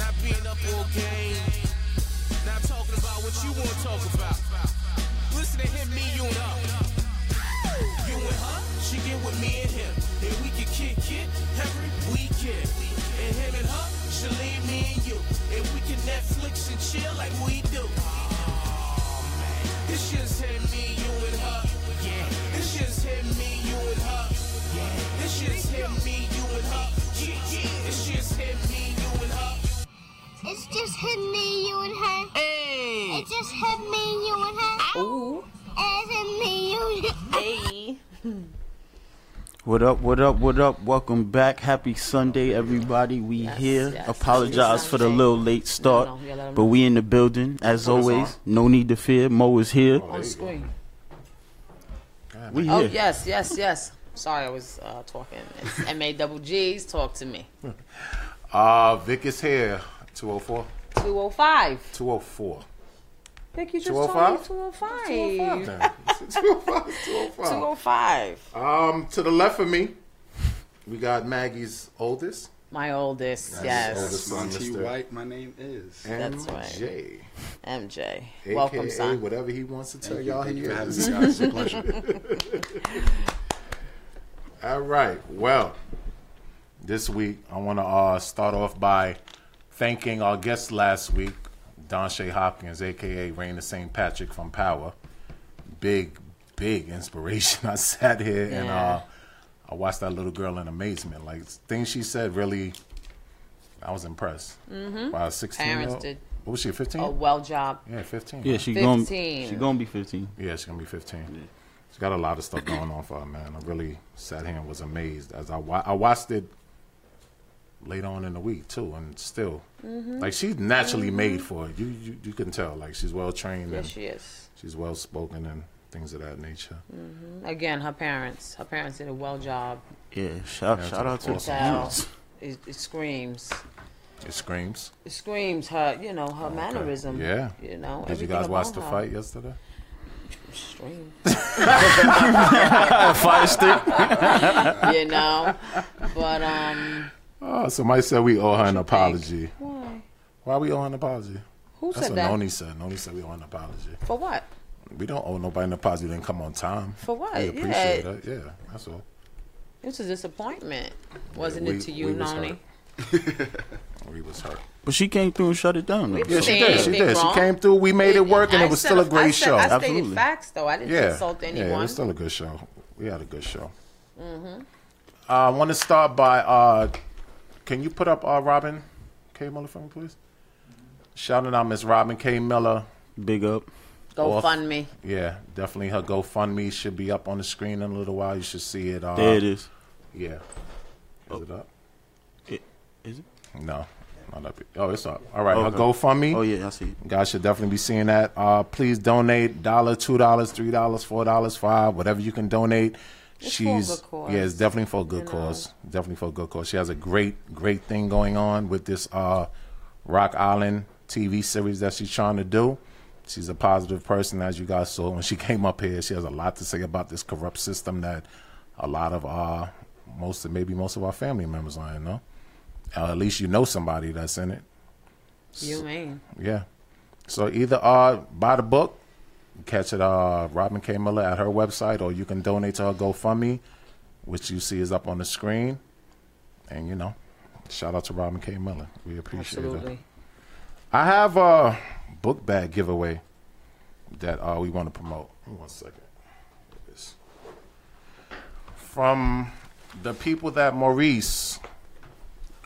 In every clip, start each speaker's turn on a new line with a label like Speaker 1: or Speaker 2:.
Speaker 1: double game. Now talking about what you want to talk about. Listen to him, me, you and her. You and her, she get with me and him. And we can kick it every weekend. And him and her, she leave me and you. And we can Netflix and chill like we do. This shit's him, me, you and her. Yeah. This shit's him, me, you and her. Yeah. This shit's him, me, you and her. Yeah, yeah. This shit's him, me, you and her.
Speaker 2: It's just hit me, you and her.
Speaker 3: Hey.
Speaker 2: It just hit me, you and her.
Speaker 3: Ooh.
Speaker 2: It's hit me, you.
Speaker 3: Hey.
Speaker 4: What up, what up, what up? Welcome back. Happy Sunday, everybody. We
Speaker 3: Yes,
Speaker 4: here.
Speaker 3: yes,
Speaker 4: Apologize
Speaker 3: happy
Speaker 4: for the
Speaker 3: Sunday.
Speaker 4: little late start,
Speaker 3: No, no, you gotta let 'em
Speaker 4: but
Speaker 3: know.
Speaker 4: we in the building. As always, no need to fear. Mo is here.
Speaker 3: On screen.
Speaker 4: We here.
Speaker 3: Oh yes, yes, yes. Sorry, I was uh, talking. It's M A double G's. Talk to me.
Speaker 5: Uh, Vic is here. 204.
Speaker 3: Two oh five.
Speaker 5: 204.
Speaker 3: Vic, you just told
Speaker 5: 205?
Speaker 3: me two oh five.
Speaker 5: Damn. 205.
Speaker 3: Two
Speaker 5: 205.
Speaker 3: oh five.
Speaker 5: Um, to the left of me, we got Maggie's oldest.
Speaker 3: My oldest. Yes.
Speaker 5: Oldest son,
Speaker 6: T.
Speaker 5: Mr.
Speaker 6: White, my name is.
Speaker 3: That's right.
Speaker 5: MJ.
Speaker 3: MJ.
Speaker 5: AKA
Speaker 3: Welcome, son.
Speaker 5: whatever he wants to tell y'all
Speaker 6: Thank
Speaker 5: he
Speaker 6: you for having
Speaker 5: is.
Speaker 6: me, guys. It's a pleasure.
Speaker 5: All right. Well, this week I want to uh, start off by thanking our guest last week, Don Shea Hopkins, aka Raina St. Patrick from Power. Big, big inspiration. I sat here and
Speaker 3: Yeah.
Speaker 5: uh, I watched that little girl in amazement. Like things she said, really, I was impressed. Mm-hmm. Wow, sixteen.
Speaker 3: Parents
Speaker 5: year old?
Speaker 3: did- Oh,
Speaker 5: What was she? Fifteen.
Speaker 3: A well job.
Speaker 5: Yeah, fifteen.
Speaker 4: Yeah,
Speaker 5: right?
Speaker 4: she going
Speaker 3: Fifteen.
Speaker 4: she going to be 15.
Speaker 5: Yeah, she's gonna be 15. She's got a lot of stuff going on for her, man. I really sat here and was amazed as I wa- I watched it later on in the week too, and still,
Speaker 3: Mm-hmm.
Speaker 5: like she's naturally made for it. You, you you can tell, like she's well trained
Speaker 3: Yes,
Speaker 5: and
Speaker 3: she is.
Speaker 5: she's well spoken and things of that nature.
Speaker 3: Mm. Again, her parents. Her parents did a well job.
Speaker 4: Yeah, shout,
Speaker 5: Yeah,
Speaker 4: shout out to the
Speaker 5: awesome.
Speaker 3: Wow.
Speaker 4: parents.
Speaker 3: It, it screams.
Speaker 5: It screams.
Speaker 3: It screams her. You know her mannerism.
Speaker 5: Yeah.
Speaker 3: You know.
Speaker 5: Did you
Speaker 3: everything
Speaker 5: guys watch
Speaker 3: about
Speaker 5: the
Speaker 3: her.
Speaker 5: fight yesterday?
Speaker 3: Scream.
Speaker 4: Fire stick.
Speaker 3: you know. But um,
Speaker 5: Oh, somebody said we owe her an apology.
Speaker 3: why?
Speaker 5: Why we owe her an apology?
Speaker 3: Who
Speaker 5: That's
Speaker 3: said
Speaker 5: what
Speaker 3: that?
Speaker 5: Noni said. Noni said we owe her an apology.
Speaker 3: For what?
Speaker 5: We don't owe nobody an apology. We didn't come on time.
Speaker 3: For what?
Speaker 5: We appreciate
Speaker 3: Yeah.
Speaker 5: that. Yeah, that's all.
Speaker 3: It was a disappointment, wasn't
Speaker 5: Yeah,
Speaker 3: it
Speaker 5: we-
Speaker 3: to you,
Speaker 5: we was
Speaker 3: Noni?
Speaker 5: We was hurt.
Speaker 4: But she came through and shut it down. though.
Speaker 5: Yeah, she
Speaker 3: Say
Speaker 5: did. She
Speaker 3: anything
Speaker 5: did.
Speaker 3: wrong.
Speaker 5: She came through. We made it work, and
Speaker 3: I
Speaker 5: it was
Speaker 3: said-
Speaker 5: still a
Speaker 3: I
Speaker 5: great
Speaker 3: said-
Speaker 5: show.
Speaker 3: I stated
Speaker 4: Absolutely.
Speaker 3: facts, though. I didn't
Speaker 5: yeah,
Speaker 3: insult anyone. Mm-hmm.
Speaker 5: yeah, it was still a good show. We had a good show. Uh, I want to start by. Uh, can you put up uh, Robin K Miller for me, please? Shouting out Miss Robin K Miller.
Speaker 4: Big up.
Speaker 3: go
Speaker 5: off.
Speaker 3: fund me.
Speaker 5: Yeah, definitely her GoFundMe should be up on the screen in a little while. You should see it. Uh,
Speaker 4: There it is.
Speaker 5: Yeah. Is
Speaker 3: Oh.
Speaker 5: it up?
Speaker 4: It, is it?
Speaker 5: No, not up. yet. Oh, it's up. All right,
Speaker 4: Okay.
Speaker 5: her GoFundMe.
Speaker 4: Oh, yeah, I see it.
Speaker 5: Guys should definitely be seeing that. Uh, please donate dollar, two dollars, three dollars, four dollars, five, whatever you can donate.
Speaker 3: for a
Speaker 5: She's
Speaker 3: good cause,
Speaker 5: yeah, it's definitely for a good
Speaker 3: know.
Speaker 5: cause. Definitely for a good cause. She has a great, great thing going on with this uh, Rock Island TV series that she's trying to do. She's a positive person, as you guys saw when she came up here. She has a lot to say about this corrupt system that a lot of uh, most of maybe most of our family members are in. No, uh, at least you know somebody that's in it.
Speaker 3: You mean?
Speaker 5: Yeah. So either uh buy the book, catch it uh Robin K. Miller at her website, or you can donate to her GoFundMe, which you see is up on the screen. And you know, shout out to Robin K. Miller. We appreciate
Speaker 3: Absolutely.
Speaker 5: it. I have a book bag giveaway that uh we want to promote. Hold on One second. This. From the people that Maurice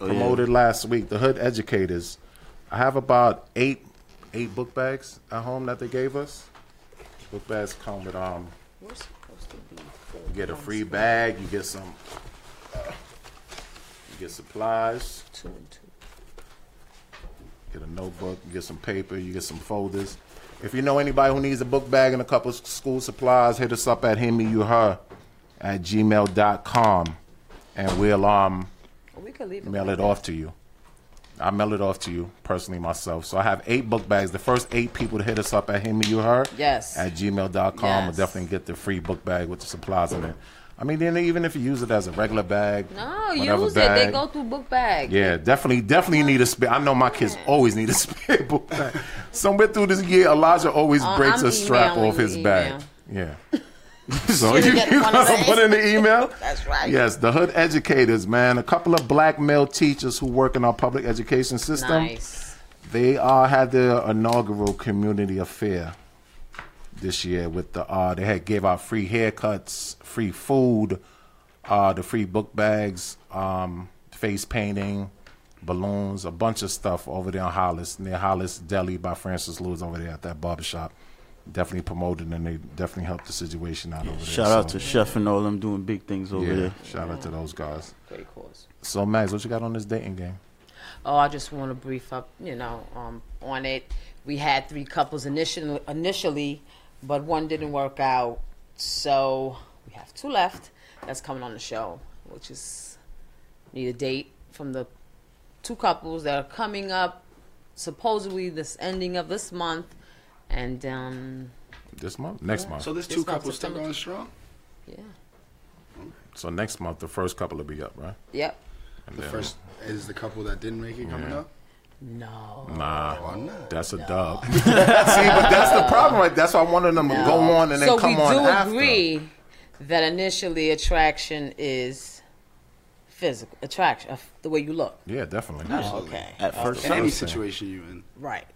Speaker 4: Oh, yeah.
Speaker 5: promoted last week, the Hood Educators. I have about eight eight book bags at home that they gave us. Book bags come with um
Speaker 3: We're supposed to be.
Speaker 5: you get a free bag, you get some uh, you get supplies,
Speaker 3: Two and two.
Speaker 5: get a notebook, you get some paper, you get some folders. If you know anybody who needs a book bag and a couple of school supplies, hit us up at himmyouher at gmail.com and we'll um
Speaker 3: We could leave it.
Speaker 5: mail
Speaker 3: like
Speaker 5: it off to you. I mail it off to you personally myself. So I have eight book bags. The first eight people to hit us up at him you her
Speaker 3: Yes.
Speaker 5: at gmail.com will
Speaker 3: Yes.
Speaker 5: definitely get the free book bag with the supplies in it. I mean, then even if you use it as a regular bag,
Speaker 3: No,
Speaker 5: whatever
Speaker 3: use it. They
Speaker 5: bag,
Speaker 3: go through book bags.
Speaker 5: Yeah, definitely, definitely need a spare. I know my kids always need a spare book bag. Somewhere through this year, Elijah always
Speaker 3: Uh,
Speaker 5: breaks
Speaker 3: I'm
Speaker 5: a strap
Speaker 3: emailing
Speaker 5: off
Speaker 3: you
Speaker 5: his bag. Yeah. so
Speaker 3: Should've
Speaker 5: you,
Speaker 3: got
Speaker 5: you
Speaker 3: one
Speaker 5: gotta
Speaker 3: of these.
Speaker 5: put in the email.
Speaker 3: That's right.
Speaker 5: Yes, the hood educators, man. A couple of black male teachers who work in our public education system.
Speaker 3: Nice.
Speaker 5: They uh, had their inaugural community affair this year with the uh, they had gave out free haircuts, free food, uh, the free book bags, um, face painting, balloons, a bunch of stuff over there on Hollis near Hollis Deli by Francis Lewis over there at that barber shop. Definitely promoted and they definitely helped the situation out over there.
Speaker 4: Shout out
Speaker 5: so-
Speaker 4: to Chef and all them doing big things over
Speaker 5: yeah,
Speaker 4: there.
Speaker 5: Shout out to those guys.
Speaker 3: Great cause.
Speaker 5: So Max, what you got on this dating game?
Speaker 3: Oh, I just want to brief up, you know, um, on it. We had three couples initially, initially, but one didn't work out. So we have two left that's coming on the show, which is need a date from the two couples that are coming up supposedly this ending of this month. And um,
Speaker 5: This month? Next month.
Speaker 6: So this
Speaker 3: This
Speaker 6: two
Speaker 3: month,
Speaker 6: couples still
Speaker 3: September.
Speaker 6: going strong.
Speaker 3: yeah,
Speaker 5: So next month the first couple will be up, right?
Speaker 3: yep.
Speaker 5: And
Speaker 6: The
Speaker 5: then-
Speaker 6: first is the couple that didn't make it coming
Speaker 5: Yeah. Oh,
Speaker 6: up.
Speaker 3: No.
Speaker 5: Nah,
Speaker 6: Or not.
Speaker 5: that's a dub. See, but that's the problem, right? That's why I wanted them to go on and then
Speaker 3: so
Speaker 5: come
Speaker 3: we
Speaker 5: on
Speaker 3: do
Speaker 5: after.
Speaker 3: agree that initially attraction is physical attraction, uh, the way you look.
Speaker 5: Yeah, definitely.
Speaker 3: Okay.
Speaker 5: Uh,
Speaker 4: At first
Speaker 6: In any
Speaker 4: sight.
Speaker 6: situation you in,
Speaker 3: Right.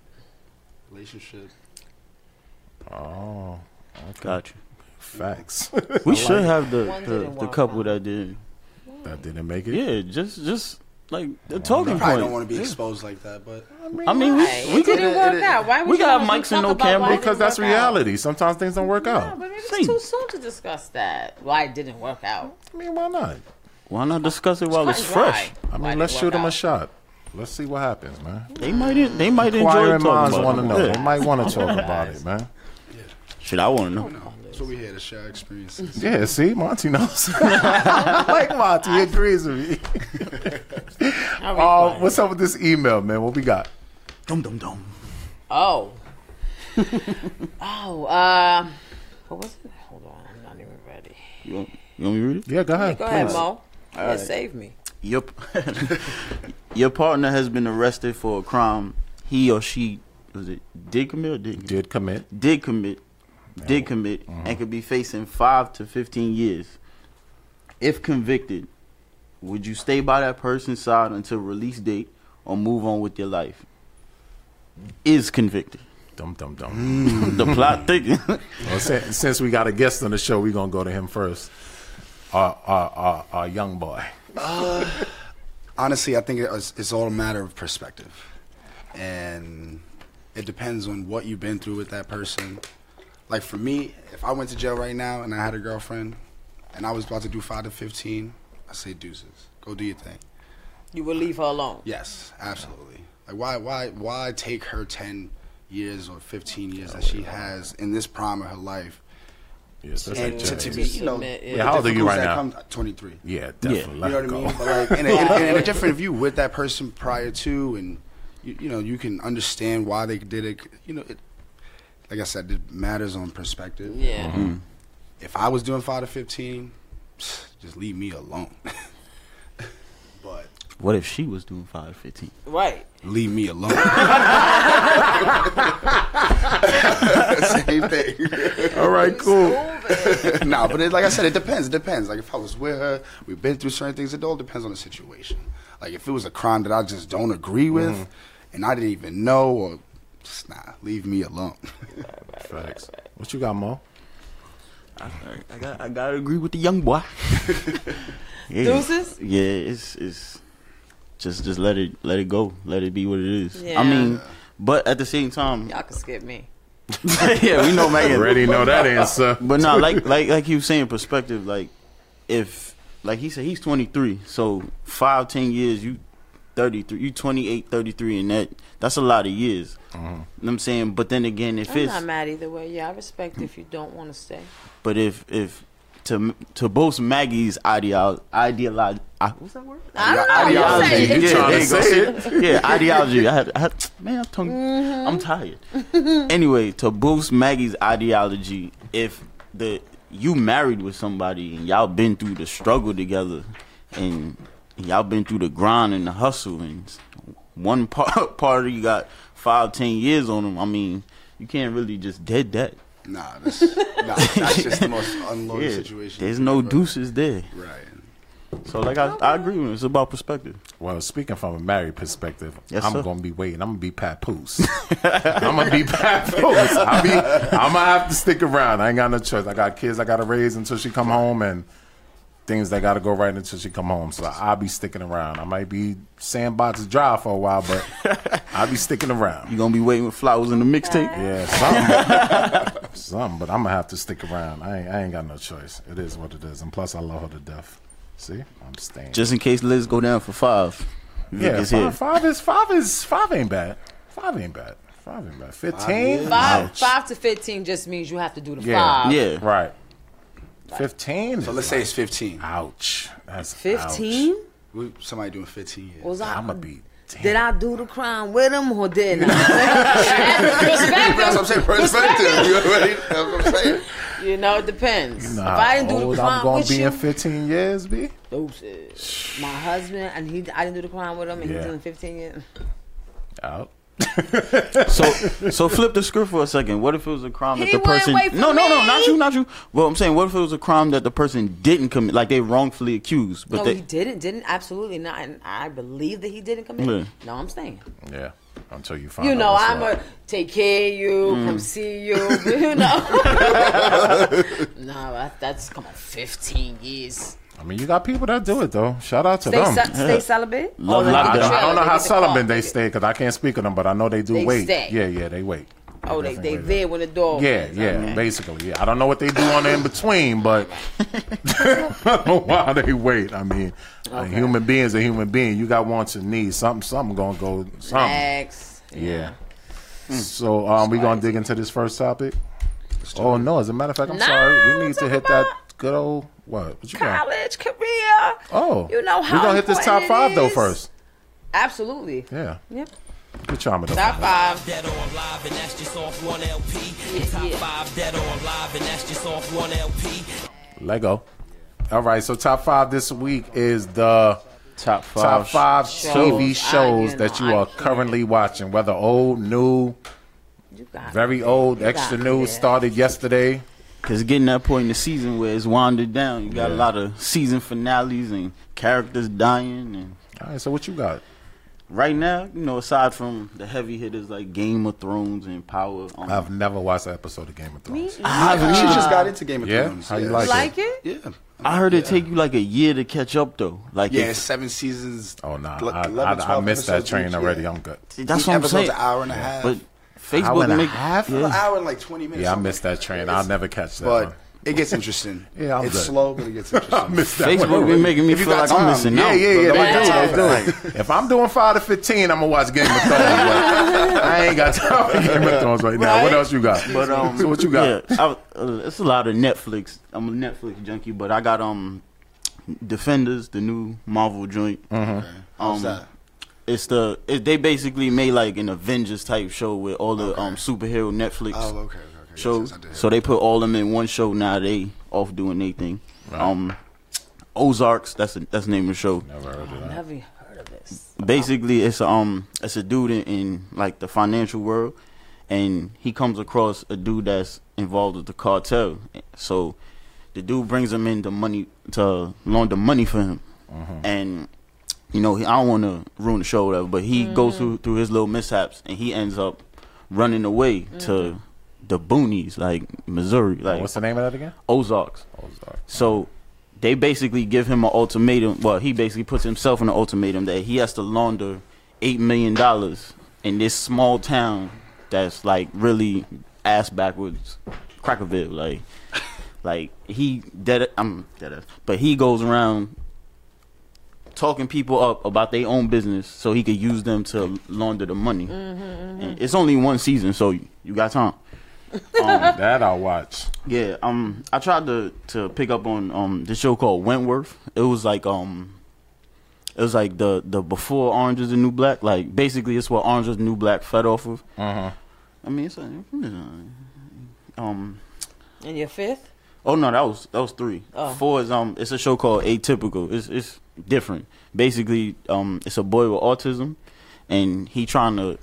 Speaker 6: relationship.
Speaker 5: Oh,
Speaker 4: Gotcha.
Speaker 5: facts.
Speaker 4: We should have the,
Speaker 3: One
Speaker 4: the,
Speaker 3: didn't
Speaker 4: the
Speaker 3: work
Speaker 4: couple
Speaker 3: out.
Speaker 4: that did.
Speaker 5: that didn't make it.
Speaker 4: Yeah, just just like the talking
Speaker 6: Probably
Speaker 4: point.
Speaker 6: don't want to be
Speaker 4: Yeah.
Speaker 6: exposed like that, but
Speaker 4: I mean, we,
Speaker 3: Right.
Speaker 4: we
Speaker 3: it didn't
Speaker 4: could.
Speaker 3: work
Speaker 6: it-
Speaker 3: out. Why would
Speaker 4: we
Speaker 3: you
Speaker 4: got
Speaker 3: wanna
Speaker 4: mics and
Speaker 3: talk
Speaker 4: no
Speaker 3: about
Speaker 4: camera.
Speaker 3: why it
Speaker 5: Because
Speaker 3: didn't
Speaker 5: that's
Speaker 3: work out?
Speaker 5: reality. Sometimes things don't work
Speaker 3: No,
Speaker 5: out.
Speaker 3: but it's
Speaker 4: Same.
Speaker 3: too soon to discuss that. Why it didn't work out.
Speaker 5: I mean, why not?
Speaker 4: Why not discuss it while
Speaker 3: Cut
Speaker 4: it's
Speaker 3: and
Speaker 4: fresh?
Speaker 3: dry.
Speaker 5: I
Speaker 3: Why
Speaker 5: mean,
Speaker 3: it
Speaker 5: let's
Speaker 3: didn't
Speaker 5: shoot
Speaker 3: work
Speaker 5: them a
Speaker 3: out.
Speaker 5: shot. Let's see what happens, man.
Speaker 4: They might they might enjoy
Speaker 5: Inquiring
Speaker 4: talking
Speaker 5: minds
Speaker 4: about
Speaker 5: want
Speaker 4: it.
Speaker 5: to know. They
Speaker 4: Yeah.
Speaker 5: might want to talk about it, man.
Speaker 4: Shit, I want to know.
Speaker 6: that's what we here to share experiences.
Speaker 5: Yeah, see, Monty knows. like Monty, he agrees with me.
Speaker 3: How we
Speaker 5: Uh,
Speaker 3: doing?
Speaker 5: what's up with this email, man? What we got?
Speaker 4: Dum dum dum.
Speaker 3: Oh. oh, uh, what was it? Hold on, I'm not even ready.
Speaker 4: You want, you want me to read it?
Speaker 5: Yeah, go ahead.
Speaker 3: Go ahead,
Speaker 5: please.
Speaker 3: Mo. Yeah, save me.
Speaker 4: Your, your partner has been arrested for a crime he or she was it did commit or did
Speaker 5: Did commit.
Speaker 4: did commit did commit and could be facing five to fifteen years. If convicted, would you stay by that person's side until release date or move on with your life? Is convicted.
Speaker 5: Dum dum dum.
Speaker 4: the plot thickens.
Speaker 5: Well, since, since we got a guest on the show, we're gonna go to him first. Our our our, our young boy.
Speaker 6: Honestly, I think it's, it's all a matter of perspective, and it depends on what you've been through with that person. Like for me, if I went to jail right now and I had a girlfriend, and I was about to do five to fifteen, I say deuces, go do your thing.
Speaker 3: You will leave her alone.
Speaker 6: Yes, absolutely. Like why why why take her ten years or fifteen years that she has in this prime of her life
Speaker 5: Yes, that's
Speaker 6: and
Speaker 5: like
Speaker 6: to,
Speaker 5: Jay.
Speaker 6: to be you know
Speaker 3: Submit, yeah.
Speaker 6: the
Speaker 5: Yeah, how old are you
Speaker 6: difficulties
Speaker 5: right
Speaker 6: that
Speaker 5: now?
Speaker 6: Twenty three.
Speaker 5: yeah, definitely.
Speaker 6: You know what I mean?
Speaker 5: Go.
Speaker 6: But like, and, and, and, it's different if you with that person prior to, and you, you know you can understand why they did it. You know, it, like I said, it matters on perspective. Um,
Speaker 3: Yeah.
Speaker 6: If I was doing five to fifteen, just leave me alone. but
Speaker 4: what if she was doing five fifteen?
Speaker 3: Right.
Speaker 6: leave me alone. Same thing.
Speaker 5: All right, cool.
Speaker 6: no, but it, like I said, it depends. It depends. Like if I was with her, we've been through certain things. It all depends on the situation. Like if it was a crime that I just don't agree with,
Speaker 4: Mm-hmm.
Speaker 6: and I didn't even know, or just nah, leave me alone.
Speaker 5: Facts. What you got, Mo?
Speaker 4: I got I gotta agree with the young boy. yeah.
Speaker 3: Deuces?
Speaker 4: Yeah, it's it's just just let it let it go. Let it be what it is.
Speaker 3: Yeah.
Speaker 4: I mean but at the same time
Speaker 3: Y'all can skip me.
Speaker 4: Yeah, we know Megan.
Speaker 5: Already know that answer.
Speaker 4: But no, like like like he was saying perspective, like if like he said he's twenty three, so five, ten years you thirty three you 28, 33 and that that's a lot of years. You know what I'm saying? But then again if
Speaker 3: I'm
Speaker 4: it's
Speaker 3: not mad either way. Yeah, I respect if you don't want to stay.
Speaker 4: But if if to to both Maggie's ideal ideology, I, what's that word?
Speaker 3: I don't
Speaker 6: Yeah,
Speaker 3: know. You
Speaker 6: ideology.
Speaker 3: say it.
Speaker 5: You
Speaker 4: yeah,
Speaker 5: trying
Speaker 4: there
Speaker 5: to
Speaker 4: you go.
Speaker 5: say
Speaker 4: See? yeah, ideology. I had, I had man, I'm, tongue, I'm tired. anyway, to boost Maggie's ideology, if the you married with somebody and y'all been through the struggle together and y'all been through the grind and the hustle and s- one part part of you got five ten years on them i mean you can't really just dead that
Speaker 6: Nah, that's, nah, that's just the most unloyal
Speaker 4: yeah,
Speaker 6: situation.
Speaker 4: there's no
Speaker 6: ever.
Speaker 4: deuces there
Speaker 6: Right.
Speaker 4: so like i, I agree with him. it's about perspective
Speaker 5: Well, speaking from a married perspective,
Speaker 4: Yes,
Speaker 5: I'm
Speaker 4: sir.
Speaker 5: gonna be waiting. I'm gonna be papoose. I'm gonna be papoose. I'll be. I'm gonna have to stick around. I ain't got no choice. I got kids. I gotta raise until she come home, and things that gotta go right until she come home. So I'll be sticking around. I might be sandbox dry for a while, but I'll be sticking around.
Speaker 4: you gonna be waiting with flowers in the mixtape
Speaker 5: Yeah, something, something. But I'm gonna have to stick around. I ain't, I ain't got no choice. It is what it is. And plus, I love her to death. See, I'm staying.
Speaker 4: just in case let's go down for five Vic
Speaker 5: Yeah,
Speaker 4: is here.
Speaker 5: five, five is five is five ain't bad. Five ain't bad. Five ain't bad. Fifteen.
Speaker 3: Five,
Speaker 5: Ouch.
Speaker 3: five to fifteen just means you have to do the
Speaker 5: Yeah.
Speaker 3: five.
Speaker 4: yeah
Speaker 5: Right. Fifteen.
Speaker 6: So let's say it's 15.
Speaker 5: Ouch. That's
Speaker 3: Fifteen?
Speaker 6: We, somebody doing 15 years.
Speaker 3: Was I?
Speaker 5: I'm gonna be. Damn.
Speaker 3: Did I do the crime with him or didn't I?
Speaker 6: that's what I'm saying. Perspective. You know what I mean? That's what I'm saying.
Speaker 3: you know, it depends.
Speaker 5: You know
Speaker 3: if
Speaker 5: how
Speaker 3: I didn't do
Speaker 5: old
Speaker 3: the
Speaker 5: I'm
Speaker 3: crime
Speaker 5: gonna
Speaker 3: with
Speaker 5: be
Speaker 3: you,
Speaker 5: in fifteen years, b.
Speaker 3: oh, shit. my husband and he, I didn't do the crime with him, and
Speaker 5: Yeah.
Speaker 3: he's doing fifteen years.
Speaker 5: Out.
Speaker 4: So so flip the script for a second. What if it was a crime
Speaker 3: He
Speaker 4: that the
Speaker 3: wouldn't
Speaker 4: person
Speaker 3: wait for
Speaker 4: No, no, no,
Speaker 3: me.
Speaker 4: not you, not you. Well, I'm saying what if it was a crime that the person didn't commit like they wrongfully accused, but
Speaker 3: no,
Speaker 4: they
Speaker 3: he didn't. Didn't absolutely not. And I believe that he didn't commit.
Speaker 4: Yeah.
Speaker 3: No, I'm staying.
Speaker 5: Yeah. Until you find.
Speaker 3: You
Speaker 5: out
Speaker 3: know,
Speaker 5: what's
Speaker 3: I'm
Speaker 5: up.
Speaker 3: a take care of you, come see you. You know. no, that, that's come on, 15 years.
Speaker 5: I mean, you got people that do it though. Shout out to
Speaker 3: Stay,
Speaker 5: them.
Speaker 3: ce- stay celibate.
Speaker 4: Love
Speaker 3: they get
Speaker 4: lockdown.
Speaker 5: I
Speaker 3: the
Speaker 5: don't, I
Speaker 3: trailer,
Speaker 5: don't know
Speaker 3: they
Speaker 5: how
Speaker 3: get the car,
Speaker 5: celibate they
Speaker 3: get-
Speaker 5: stay because I can't speak of them, but I know they do
Speaker 3: They
Speaker 5: wait.
Speaker 3: stay.
Speaker 5: Yeah, yeah, they wait.
Speaker 3: Oh, they, they
Speaker 5: definitely wait.
Speaker 3: there when the door.
Speaker 5: Yeah,
Speaker 3: opens.
Speaker 5: yeah, basically. Yeah, I don't know what they do on the in between, but I don't know why they wait. I mean, a human being's a human being. You got wants and needs. Something, something gonna go. Something.
Speaker 3: Next.
Speaker 5: Yeah. So um, we gonna dig into this first topic. Oh no! As a matter of fact, I'm
Speaker 3: No,
Speaker 5: sorry. We
Speaker 3: we're
Speaker 5: need to
Speaker 3: talking
Speaker 5: hit that good old what? What you got?
Speaker 3: College, career.
Speaker 5: Oh,
Speaker 3: You know how
Speaker 5: we gonna hit this top
Speaker 3: important it
Speaker 5: five though
Speaker 3: is.
Speaker 5: first.
Speaker 3: Absolutely.
Speaker 5: Yeah,
Speaker 3: Yep.
Speaker 5: good job.
Speaker 3: Top five.
Speaker 1: Dead or alive, and that's just off one LP.
Speaker 3: Yeah,
Speaker 1: Top
Speaker 3: yeah.
Speaker 1: five, dead or alive, and that's just off one LP.
Speaker 5: Lego. All right, so top five this week is the
Speaker 4: top 5
Speaker 5: top five TV
Speaker 3: shows. I-
Speaker 5: shows
Speaker 3: you
Speaker 5: that
Speaker 3: know,
Speaker 5: you
Speaker 3: I
Speaker 5: are
Speaker 3: can't.
Speaker 5: currently watching, whether old, new,
Speaker 3: You got it.
Speaker 5: very old,
Speaker 3: You
Speaker 5: extra
Speaker 3: got
Speaker 5: new,
Speaker 3: it.
Speaker 5: started yesterday.
Speaker 4: Cuz getting that point in the season where it's wandered down. You got a lot of season finales and characters dying and
Speaker 5: All right, so what you got?
Speaker 4: right now, you know, aside from the heavy hitters like Game of Thrones and Power um,
Speaker 5: I've never watched an episode of Game of Thrones.
Speaker 4: I've
Speaker 6: She
Speaker 4: neither.
Speaker 6: just got into Game of
Speaker 5: yeah?
Speaker 6: Thrones.
Speaker 5: How you like it?
Speaker 3: Like it?
Speaker 6: Yeah.
Speaker 4: I heard it take you like a year to catch up though. Like
Speaker 6: Yeah,
Speaker 4: if-
Speaker 6: it's seven seasons.
Speaker 5: Oh no,
Speaker 6: le-
Speaker 5: nah, I,
Speaker 6: 11,
Speaker 5: I, I
Speaker 6: 12
Speaker 5: missed that
Speaker 6: episodes
Speaker 5: train
Speaker 6: each,
Speaker 5: already.
Speaker 6: yeah.
Speaker 5: I'm good.
Speaker 4: that's
Speaker 6: Each
Speaker 4: what I'm
Speaker 6: episode's
Speaker 4: saying.
Speaker 6: an hour and a half.
Speaker 4: But
Speaker 5: Hour
Speaker 4: Facebook
Speaker 5: and a
Speaker 4: make
Speaker 5: half?
Speaker 6: An
Speaker 4: Yeah.
Speaker 6: hour and like 20 minutes.
Speaker 5: Yeah, I missed that train. I'll never catch that
Speaker 6: But
Speaker 5: one.
Speaker 6: it gets interesting.
Speaker 5: Yeah, I'm
Speaker 6: It's
Speaker 5: good.
Speaker 6: slow, but it gets
Speaker 5: I
Speaker 6: interesting.
Speaker 5: missed that
Speaker 4: Facebook
Speaker 5: one.
Speaker 4: been making me
Speaker 6: If you
Speaker 4: feel
Speaker 6: got
Speaker 4: like
Speaker 6: time,
Speaker 4: I'm missing
Speaker 5: Yeah,
Speaker 4: out.
Speaker 5: yeah, yeah.
Speaker 6: But
Speaker 5: they
Speaker 6: I'm
Speaker 5: do,
Speaker 6: not
Speaker 5: they
Speaker 6: talking
Speaker 5: do. If I'm doing five to fifteen, I'm gonna watch Game of Thrones. but I ain't got time for Game of Thrones right now. What else you got?
Speaker 4: But um,
Speaker 5: so what you got?
Speaker 4: Yeah, I, uh, it's a lot of Netflix. I'm a Netflix junkie, but I got um, Defenders, the new Marvel joint. Um,
Speaker 6: How's that?
Speaker 4: It's the it, they basically made like an Avengers type show with all the um superhero Netflix
Speaker 6: Oh, okay, okay, okay. Yes,
Speaker 4: shows.
Speaker 6: yes, I did.
Speaker 4: so they put all them in one show. Now they off doing their thing. Um, Ozarks. That's the that's the name of the show.
Speaker 5: Never heard of that.
Speaker 3: Never even heard of this.
Speaker 4: basically it's um it's a dude in, in like the financial world and he comes across a dude that's involved with the cartel so the dude brings him in the money to launder money for him and you know he, i don't want to ruin the show or whatever but he goes through through his little mishaps and he ends up running away to the boonies like missouri like
Speaker 5: Oh, What's the name of that again?
Speaker 4: ozarks
Speaker 5: Oh, sorry.
Speaker 4: so they basically give him an ultimatum. Well, he basically puts himself in an ultimatum that he has to launder eight million dollars in this small town that's like really ass backwards, Crackerville. Like, like he dead. I'm dead. ass. But he goes around talking people up about their own business so he could use them to launder the money. And it's only one season, so you, you got time.
Speaker 5: That I'll watch.
Speaker 4: Yeah, um, I tried to to pick up on um the show called Wentworth. It was like um, it was like the the before Orange Is the New Black. Like basically, it's what Orange Is the New Black fed off of.
Speaker 5: Uh-huh.
Speaker 4: I mean, it's uh, um,
Speaker 3: And your fifth?
Speaker 4: Oh no, that was that was three. Four is um, it's a show called Atypical. It's it's different. Basically, um, it's a boy with autism, and he trying to,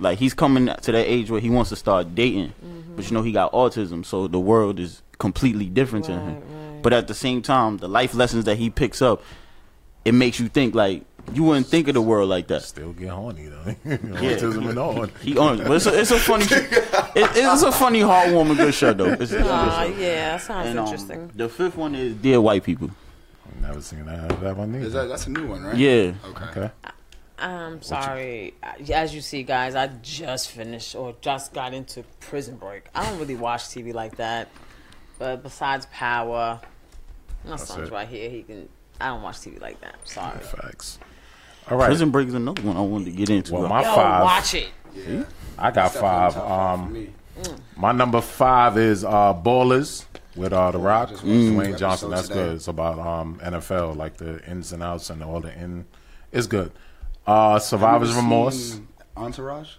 Speaker 4: like, he's coming to that age where he wants to start dating, but you know he got autism, so the world is completely different to him. But at the same time, the life lessons that he picks up, it makes you think like you wouldn't think of the world like that.
Speaker 5: Still get horny though. Autism and all.
Speaker 4: He owns, but it's a, it's a funny, it, it's a funny, heartwarming good show though. It's, it's a good
Speaker 3: Ah,
Speaker 4: show.
Speaker 3: yeah, that sounds
Speaker 4: And, um,
Speaker 3: interesting.
Speaker 4: the fifth one is Dear White People.
Speaker 5: Never seen that, that one either.
Speaker 6: Is that that's a new one, right?
Speaker 4: Yeah.
Speaker 6: Okay.
Speaker 5: okay.
Speaker 3: I'm Um, sorry. I- As you see, guys, I just finished or just got into Prison Break. I don't really watch TV like that. But besides Power, my son's
Speaker 5: it.
Speaker 3: right here. He can. I don't watch TV like that. I'm sorry.
Speaker 5: Facts. All right.
Speaker 4: Prison Break is another one I wanted to get into.
Speaker 5: well, my
Speaker 3: Yo,
Speaker 5: five.
Speaker 3: watch it.
Speaker 5: I got
Speaker 6: That's definitely
Speaker 5: five.
Speaker 6: top five for
Speaker 5: Um,
Speaker 6: me.
Speaker 5: my number five is uh, Ballers with uh, The Rock,
Speaker 6: just watched the
Speaker 5: Dwayne
Speaker 6: episode
Speaker 5: Johnson. That's
Speaker 6: today.
Speaker 5: good. It's about um, NFL, like the ins and outs and all the in. It's good. Uh, Survivor's
Speaker 6: Have you
Speaker 5: Remorse.
Speaker 6: seen Entourage.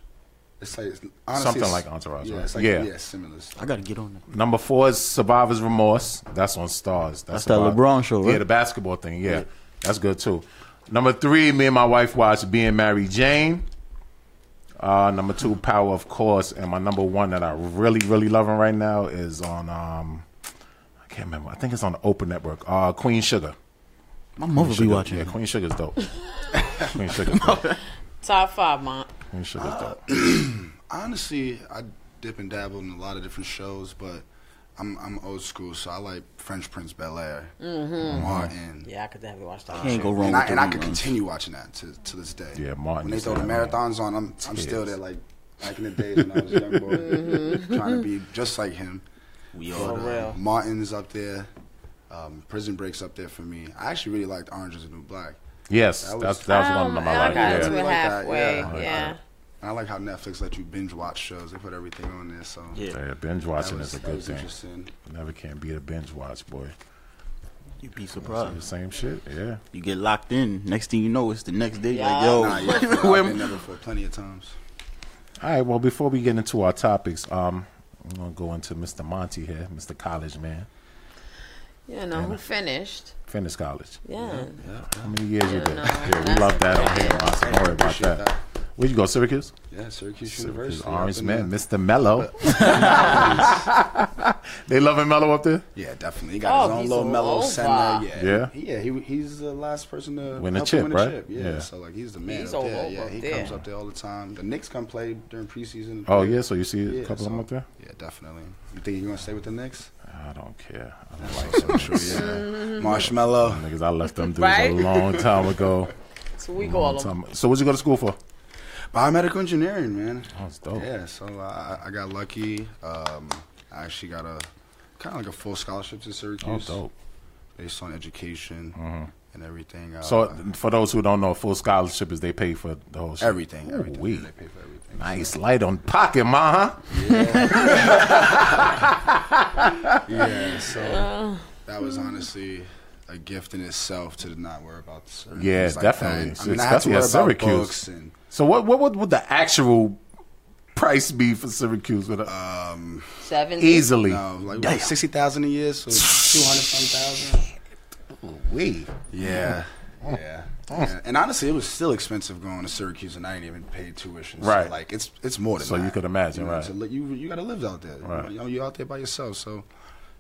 Speaker 6: It's like it's, honestly,
Speaker 5: Something
Speaker 6: it's-
Speaker 5: like Entourage,
Speaker 6: Yeah,
Speaker 5: right?
Speaker 6: it's like,
Speaker 5: Yeah.
Speaker 6: yeah. similar. Stuff.
Speaker 4: I gotta get on that.
Speaker 5: Number four is Survivor's Remorse. That's on Stars.
Speaker 4: That's that LeBron show, right?
Speaker 5: Yeah, the basketball thing. Yeah, that's good too. Number three, me and my wife watched Being Mary Jane. Uh, number two, Power, of course, and my number one that I really, really loving right now is on. Um, I can't remember. I think it's on the Open Network. Uh, Queen Sugar.
Speaker 4: My mother be
Speaker 5: Sugar-
Speaker 4: watching.
Speaker 5: Yeah,
Speaker 4: it.
Speaker 5: Queen Sugar's dope. Queen Sugar's dope.
Speaker 3: Top five, Mont.
Speaker 5: Queen Sugar's dope.
Speaker 6: Honestly, I dip and dabble in a lot of different shows, but I'm I'm old school, so I like French Prince Bel Air, Martin.
Speaker 3: Yeah, I could definitely watch that.
Speaker 4: Can't go wrong
Speaker 6: And I,
Speaker 4: with the
Speaker 6: and I could
Speaker 4: reruns.
Speaker 6: continue watching that to, to this day.
Speaker 5: Yeah, Martin
Speaker 6: When they
Speaker 5: used
Speaker 6: throw
Speaker 5: to
Speaker 6: the
Speaker 5: have
Speaker 6: marathons on, I'm I'm still there. Like back in the days when I was a young boy, trying to be just like him.
Speaker 4: We
Speaker 3: Mm-hmm. For
Speaker 4: all
Speaker 3: real.
Speaker 6: Martin's up there. Um, Prison Break's up there for me. I actually really liked Orange Is the New Black.
Speaker 5: Yes,
Speaker 6: That was-
Speaker 5: that's that's one of
Speaker 3: Um,
Speaker 5: my
Speaker 3: I
Speaker 5: like.
Speaker 3: got
Speaker 5: Yeah.
Speaker 3: into it
Speaker 6: Like that,
Speaker 3: halfway.
Speaker 6: yeah.
Speaker 3: Yeah.
Speaker 6: And I like how Netflix let you binge watch shows. They put everything on there, so
Speaker 4: Yeah.
Speaker 5: yeah, binge
Speaker 6: that
Speaker 5: watching
Speaker 6: was,
Speaker 5: is a
Speaker 6: that
Speaker 5: good
Speaker 6: was
Speaker 5: thing.
Speaker 6: interesting.
Speaker 5: Never can beat a binge watch, boy.
Speaker 4: You'd be
Speaker 5: Do the
Speaker 4: surprised.
Speaker 5: same shit. Yeah.
Speaker 4: You get locked in. Next thing you know, it's the next day.
Speaker 3: Yeah.
Speaker 4: Like
Speaker 5: Oh.
Speaker 4: yo,
Speaker 6: Nah, yeah, I've
Speaker 4: where
Speaker 6: been
Speaker 4: am-
Speaker 6: there before plenty of times.
Speaker 5: All right. Well, before we get into our topics, um, I'm gonna go into Mr. Monty here, Mr. College man.
Speaker 3: You know, who finished?
Speaker 5: Finish college.
Speaker 3: Yeah.
Speaker 5: How many years you been?
Speaker 3: no,
Speaker 5: yeah, we
Speaker 3: that's
Speaker 5: love that on
Speaker 3: okay.
Speaker 5: here. Awesome. Don't worry about
Speaker 6: Appreciate
Speaker 5: that.
Speaker 6: that.
Speaker 5: Where'd you go, Syracuse?
Speaker 6: Yeah, Syracuse,
Speaker 5: Syracuse
Speaker 6: University.
Speaker 5: Orange
Speaker 6: up in
Speaker 5: man,
Speaker 6: the-
Speaker 5: Mr. Mellow. they loving Mellow up there.
Speaker 6: Yeah, definitely. He got
Speaker 3: Oh,
Speaker 6: his own
Speaker 3: he's
Speaker 6: little
Speaker 3: all
Speaker 6: mellow
Speaker 3: over.
Speaker 6: center. Yeah,
Speaker 5: Yeah.
Speaker 6: He- yeah. He he's the last person to
Speaker 5: Win a
Speaker 6: help him
Speaker 5: chip,
Speaker 6: win a
Speaker 5: right?
Speaker 6: chip. Yeah.
Speaker 5: Yeah.
Speaker 6: so like he's the man
Speaker 3: He's all
Speaker 6: up there.
Speaker 3: over
Speaker 6: Yeah,
Speaker 3: up
Speaker 6: he
Speaker 3: there.
Speaker 6: comes up there all the time. The Knicks come play during preseason.
Speaker 5: Oh yeah, so you see a
Speaker 6: Yeah,
Speaker 5: couple of them
Speaker 6: so-
Speaker 5: up there.
Speaker 6: Yeah, definitely. You think you're gonna stay with the Knicks?
Speaker 5: I don't care. I don't like them niggas.
Speaker 6: Marshmallow.
Speaker 5: niggas. I left them dudes
Speaker 3: Right?
Speaker 5: a long time ago.
Speaker 3: So we call them.
Speaker 5: Time- So what'd you go to school for?
Speaker 6: biomedical engineering, man.
Speaker 5: That's dope.
Speaker 6: Yeah, so uh, I, I got lucky. Um, I actually got a kind of like a full scholarship to
Speaker 5: Oh,
Speaker 6: Syracuse,
Speaker 5: dope. Mm-hmm.
Speaker 6: based on education and everything. Uh,
Speaker 5: So for those who don't know, full scholarship is they pay for the whole shit.
Speaker 6: everything,
Speaker 5: Ooh,
Speaker 6: everything.
Speaker 5: wee.
Speaker 6: They pay for everything.
Speaker 5: Nice light on pocket, ma. Huh?
Speaker 6: Yeah, so that was honestly a gift in itself to not worry about the certain
Speaker 5: Yeah,
Speaker 6: things like
Speaker 5: definitely.
Speaker 6: that. I mean, I had to
Speaker 5: Especially
Speaker 6: worry
Speaker 5: at
Speaker 6: about
Speaker 5: Syracuse.
Speaker 6: books and
Speaker 5: So what what would, would the actual price be for Syracuse with a,
Speaker 3: Seven.
Speaker 5: easily?
Speaker 6: no, like what, sixty thousand a year, so two hundred some thousand.
Speaker 5: Wee.
Speaker 6: Yeah. Yeah. Yeah. and honestly, it was still expensive going to Syracuse, and I didn't even pay tuition. So,
Speaker 5: Right.
Speaker 6: like it's it's more than
Speaker 5: So you
Speaker 6: that.
Speaker 5: could imagine,
Speaker 6: you know,
Speaker 5: right.
Speaker 6: to li- you you got to live out there.
Speaker 5: Right.
Speaker 6: You know, you're out there by yourself, so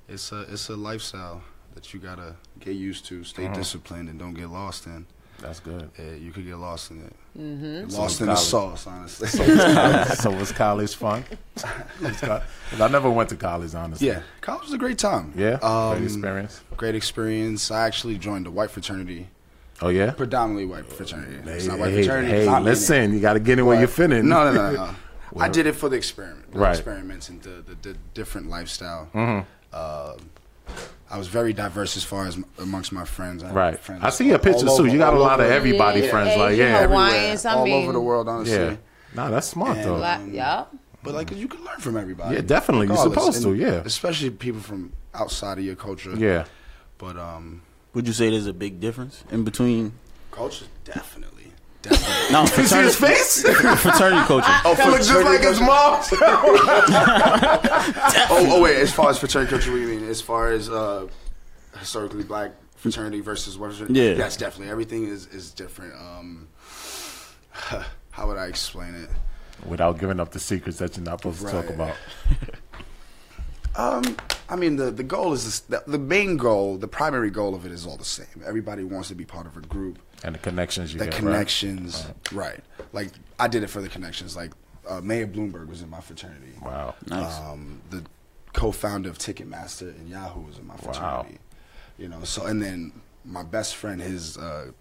Speaker 6: it's a it's a lifestyle that you gotta get used to, stay
Speaker 5: Mm-hmm.
Speaker 6: disciplined, and don't get lost in.
Speaker 5: That's good.
Speaker 6: Yeah, you could get lost in it. Mm-hmm. Lost in the
Speaker 5: college.
Speaker 6: sauce, honestly.
Speaker 5: so was college fun? Was co- 'cause I never went to college, honestly.
Speaker 6: yeah, college was a great time.
Speaker 5: Yeah.
Speaker 6: um,
Speaker 5: Great experience.
Speaker 6: Great experience. I actually joined a white fraternity,
Speaker 5: Oh yeah.
Speaker 6: predominantly white fraternity.
Speaker 5: Hey,
Speaker 6: it's not white
Speaker 5: hey,
Speaker 6: fraternity.
Speaker 5: hey,
Speaker 6: it's not meaning-
Speaker 5: listen, you got to get in where you're fitting.
Speaker 6: No, no, no, no. no. I
Speaker 5: Well-
Speaker 6: did it for the experiment, the
Speaker 5: Right. Mm-hmm.
Speaker 6: experiments and the, the, the different lifestyle. Uh, I was very diverse as far as m- amongst my friends. I had
Speaker 5: Right.
Speaker 6: friends
Speaker 5: I see your pictures
Speaker 6: all
Speaker 5: too. You got a
Speaker 6: all
Speaker 5: lot of
Speaker 6: over-
Speaker 5: everybody
Speaker 3: Yeah,
Speaker 5: friends. Like
Speaker 3: Asian,
Speaker 5: yeah, every-
Speaker 6: everywhere,
Speaker 3: Hawaiians, I
Speaker 6: all
Speaker 3: mean-
Speaker 6: over the world, honestly.
Speaker 5: yeah. Nah, that's smart
Speaker 6: And
Speaker 5: though.
Speaker 6: black-
Speaker 3: Black. Yup.
Speaker 6: But like, you can learn from everybody.
Speaker 5: Yeah, definitely. You're
Speaker 6: regardless,
Speaker 5: supposed to,
Speaker 6: and
Speaker 5: yeah.
Speaker 6: Especially people from outside of your culture.
Speaker 5: yeah.
Speaker 6: But um,
Speaker 4: Would you say there's a big difference in between?
Speaker 6: culture definitely. Definitely.
Speaker 4: No,
Speaker 5: You see
Speaker 4: fraternity,
Speaker 5: his face?
Speaker 4: fraternity coaching.
Speaker 6: oh,
Speaker 5: That looks just like his mom.
Speaker 6: oh, oh wait. As far as fraternity culture, what do you mean? As far as uh, historically black fraternity versus Western,
Speaker 4: Yeah.
Speaker 6: yes, definitely. Everything is is different. Um, how would I explain it?
Speaker 5: Without giving up the secrets that you're not supposed to talk
Speaker 6: Right.
Speaker 5: about.
Speaker 6: Um, I mean, the the goal is this, the, the main goal, the primary goal of it is all the same. Everybody wants to be part of a group.
Speaker 5: And the connections you
Speaker 6: the
Speaker 5: get. right?
Speaker 6: connections, right. Like I did it for the connections. Like uh, Maya Bloomberg was in my fraternity.
Speaker 5: Wow.
Speaker 4: Uh,
Speaker 6: Um, the co-founder of Ticketmaster and Yahoo was in my fraternity. You know, so and then my best friend, his uh,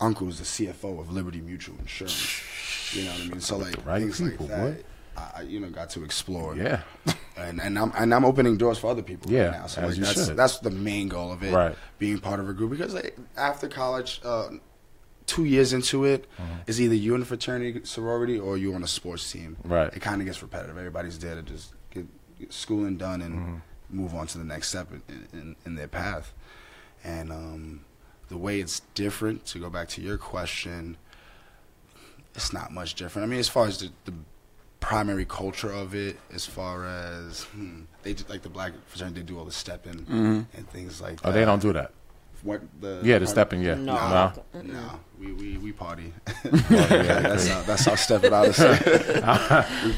Speaker 6: uncle is the CFO of Liberty Mutual Insurance. You know what I mean? So like
Speaker 5: right
Speaker 6: things
Speaker 5: people,
Speaker 6: like
Speaker 5: boy.
Speaker 6: that. I, I, you know, got to explore.
Speaker 5: Yeah.
Speaker 6: and and I'm and I'm opening doors for other people.
Speaker 5: Yeah,
Speaker 6: right now. so
Speaker 5: as
Speaker 6: like
Speaker 5: you
Speaker 6: that's
Speaker 5: should.
Speaker 6: that's the main goal of it.
Speaker 5: Right.
Speaker 6: being part of a group because like, after college, uh, two years into it,
Speaker 5: Mm-hmm.
Speaker 6: it's either you in a fraternity sorority or you on a sports team.
Speaker 5: Right.
Speaker 6: it kind of gets repetitive. Everybody's there to just get, get schooling done and
Speaker 5: Mm-hmm.
Speaker 6: move on to the next step in, in, in their path. And um, the way it's different to go back to your question, it's not much different. I mean, as far as the, the primary culture of it, as far as hmm, they do, like the black fraternity, they do all the stepping and things like that.
Speaker 5: Oh, they don't do that.
Speaker 6: What the
Speaker 5: Yeah, the stepping, yeah.
Speaker 3: No.
Speaker 5: Nah.
Speaker 6: No, we we we party.
Speaker 5: yeah,
Speaker 6: that's how, that's how step it out. Of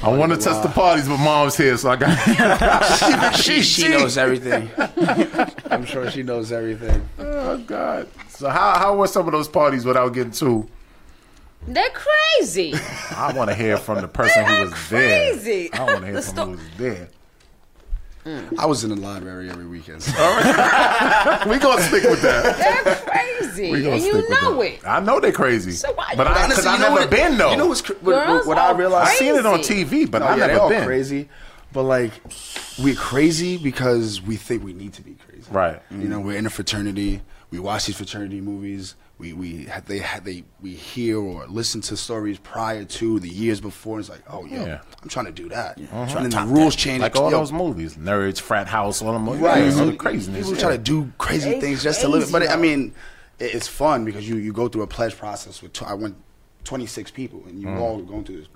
Speaker 5: I want to
Speaker 6: uh,
Speaker 5: touch the parties, but mom's here, so I got.
Speaker 6: she she knows everything. I'm sure she knows everything.
Speaker 5: oh God! So how how were some of those parties without getting too?
Speaker 3: They're crazy.
Speaker 5: I want to hear from the person who was
Speaker 3: crazy.
Speaker 5: there. I want to hear
Speaker 3: The
Speaker 5: from
Speaker 3: sto-
Speaker 5: who was there.
Speaker 6: I was in the library every weekend. so-
Speaker 5: We gonna stick with that.
Speaker 3: They're crazy.
Speaker 5: We gonna
Speaker 3: and
Speaker 5: stick
Speaker 3: you
Speaker 5: with
Speaker 3: know
Speaker 5: that.
Speaker 3: it.
Speaker 5: I know they're crazy.
Speaker 3: So why-
Speaker 5: But I, because
Speaker 6: Honestly,
Speaker 5: I've
Speaker 6: you know
Speaker 5: never
Speaker 6: what it-
Speaker 5: been though.
Speaker 6: You know what's cr- what,
Speaker 3: Girls
Speaker 6: what, what I
Speaker 3: are
Speaker 6: realized?
Speaker 5: I've seen it on
Speaker 3: crazy.
Speaker 5: TV, but
Speaker 6: No,
Speaker 5: I've
Speaker 6: yeah, they're
Speaker 5: never
Speaker 6: all
Speaker 5: been.
Speaker 6: crazy, but like we're crazy because we think we need to be crazy,
Speaker 5: Right.
Speaker 6: You know, we're in a fraternity. We watch these fraternity movies. We we ha- they ha- they we hear or listen to stories prior to the years before. It's like, oh
Speaker 5: Yeah.
Speaker 6: yo,
Speaker 5: Uh-huh.
Speaker 6: I'm trying to do that. And then the rules change.
Speaker 5: Like all
Speaker 6: yo,
Speaker 5: those movies, nerds, frat house, all them movies.
Speaker 6: right?
Speaker 5: All
Speaker 6: So
Speaker 5: the craziness.
Speaker 6: People
Speaker 5: yeah.
Speaker 6: try to do crazy
Speaker 3: They
Speaker 6: things just to
Speaker 3: crazy,
Speaker 6: live. it. But it- I
Speaker 3: though.
Speaker 6: mean, it, it's fun because you you go through a pledge process with. Tw- I went 26 people, and
Speaker 5: Mm.
Speaker 6: you all going through this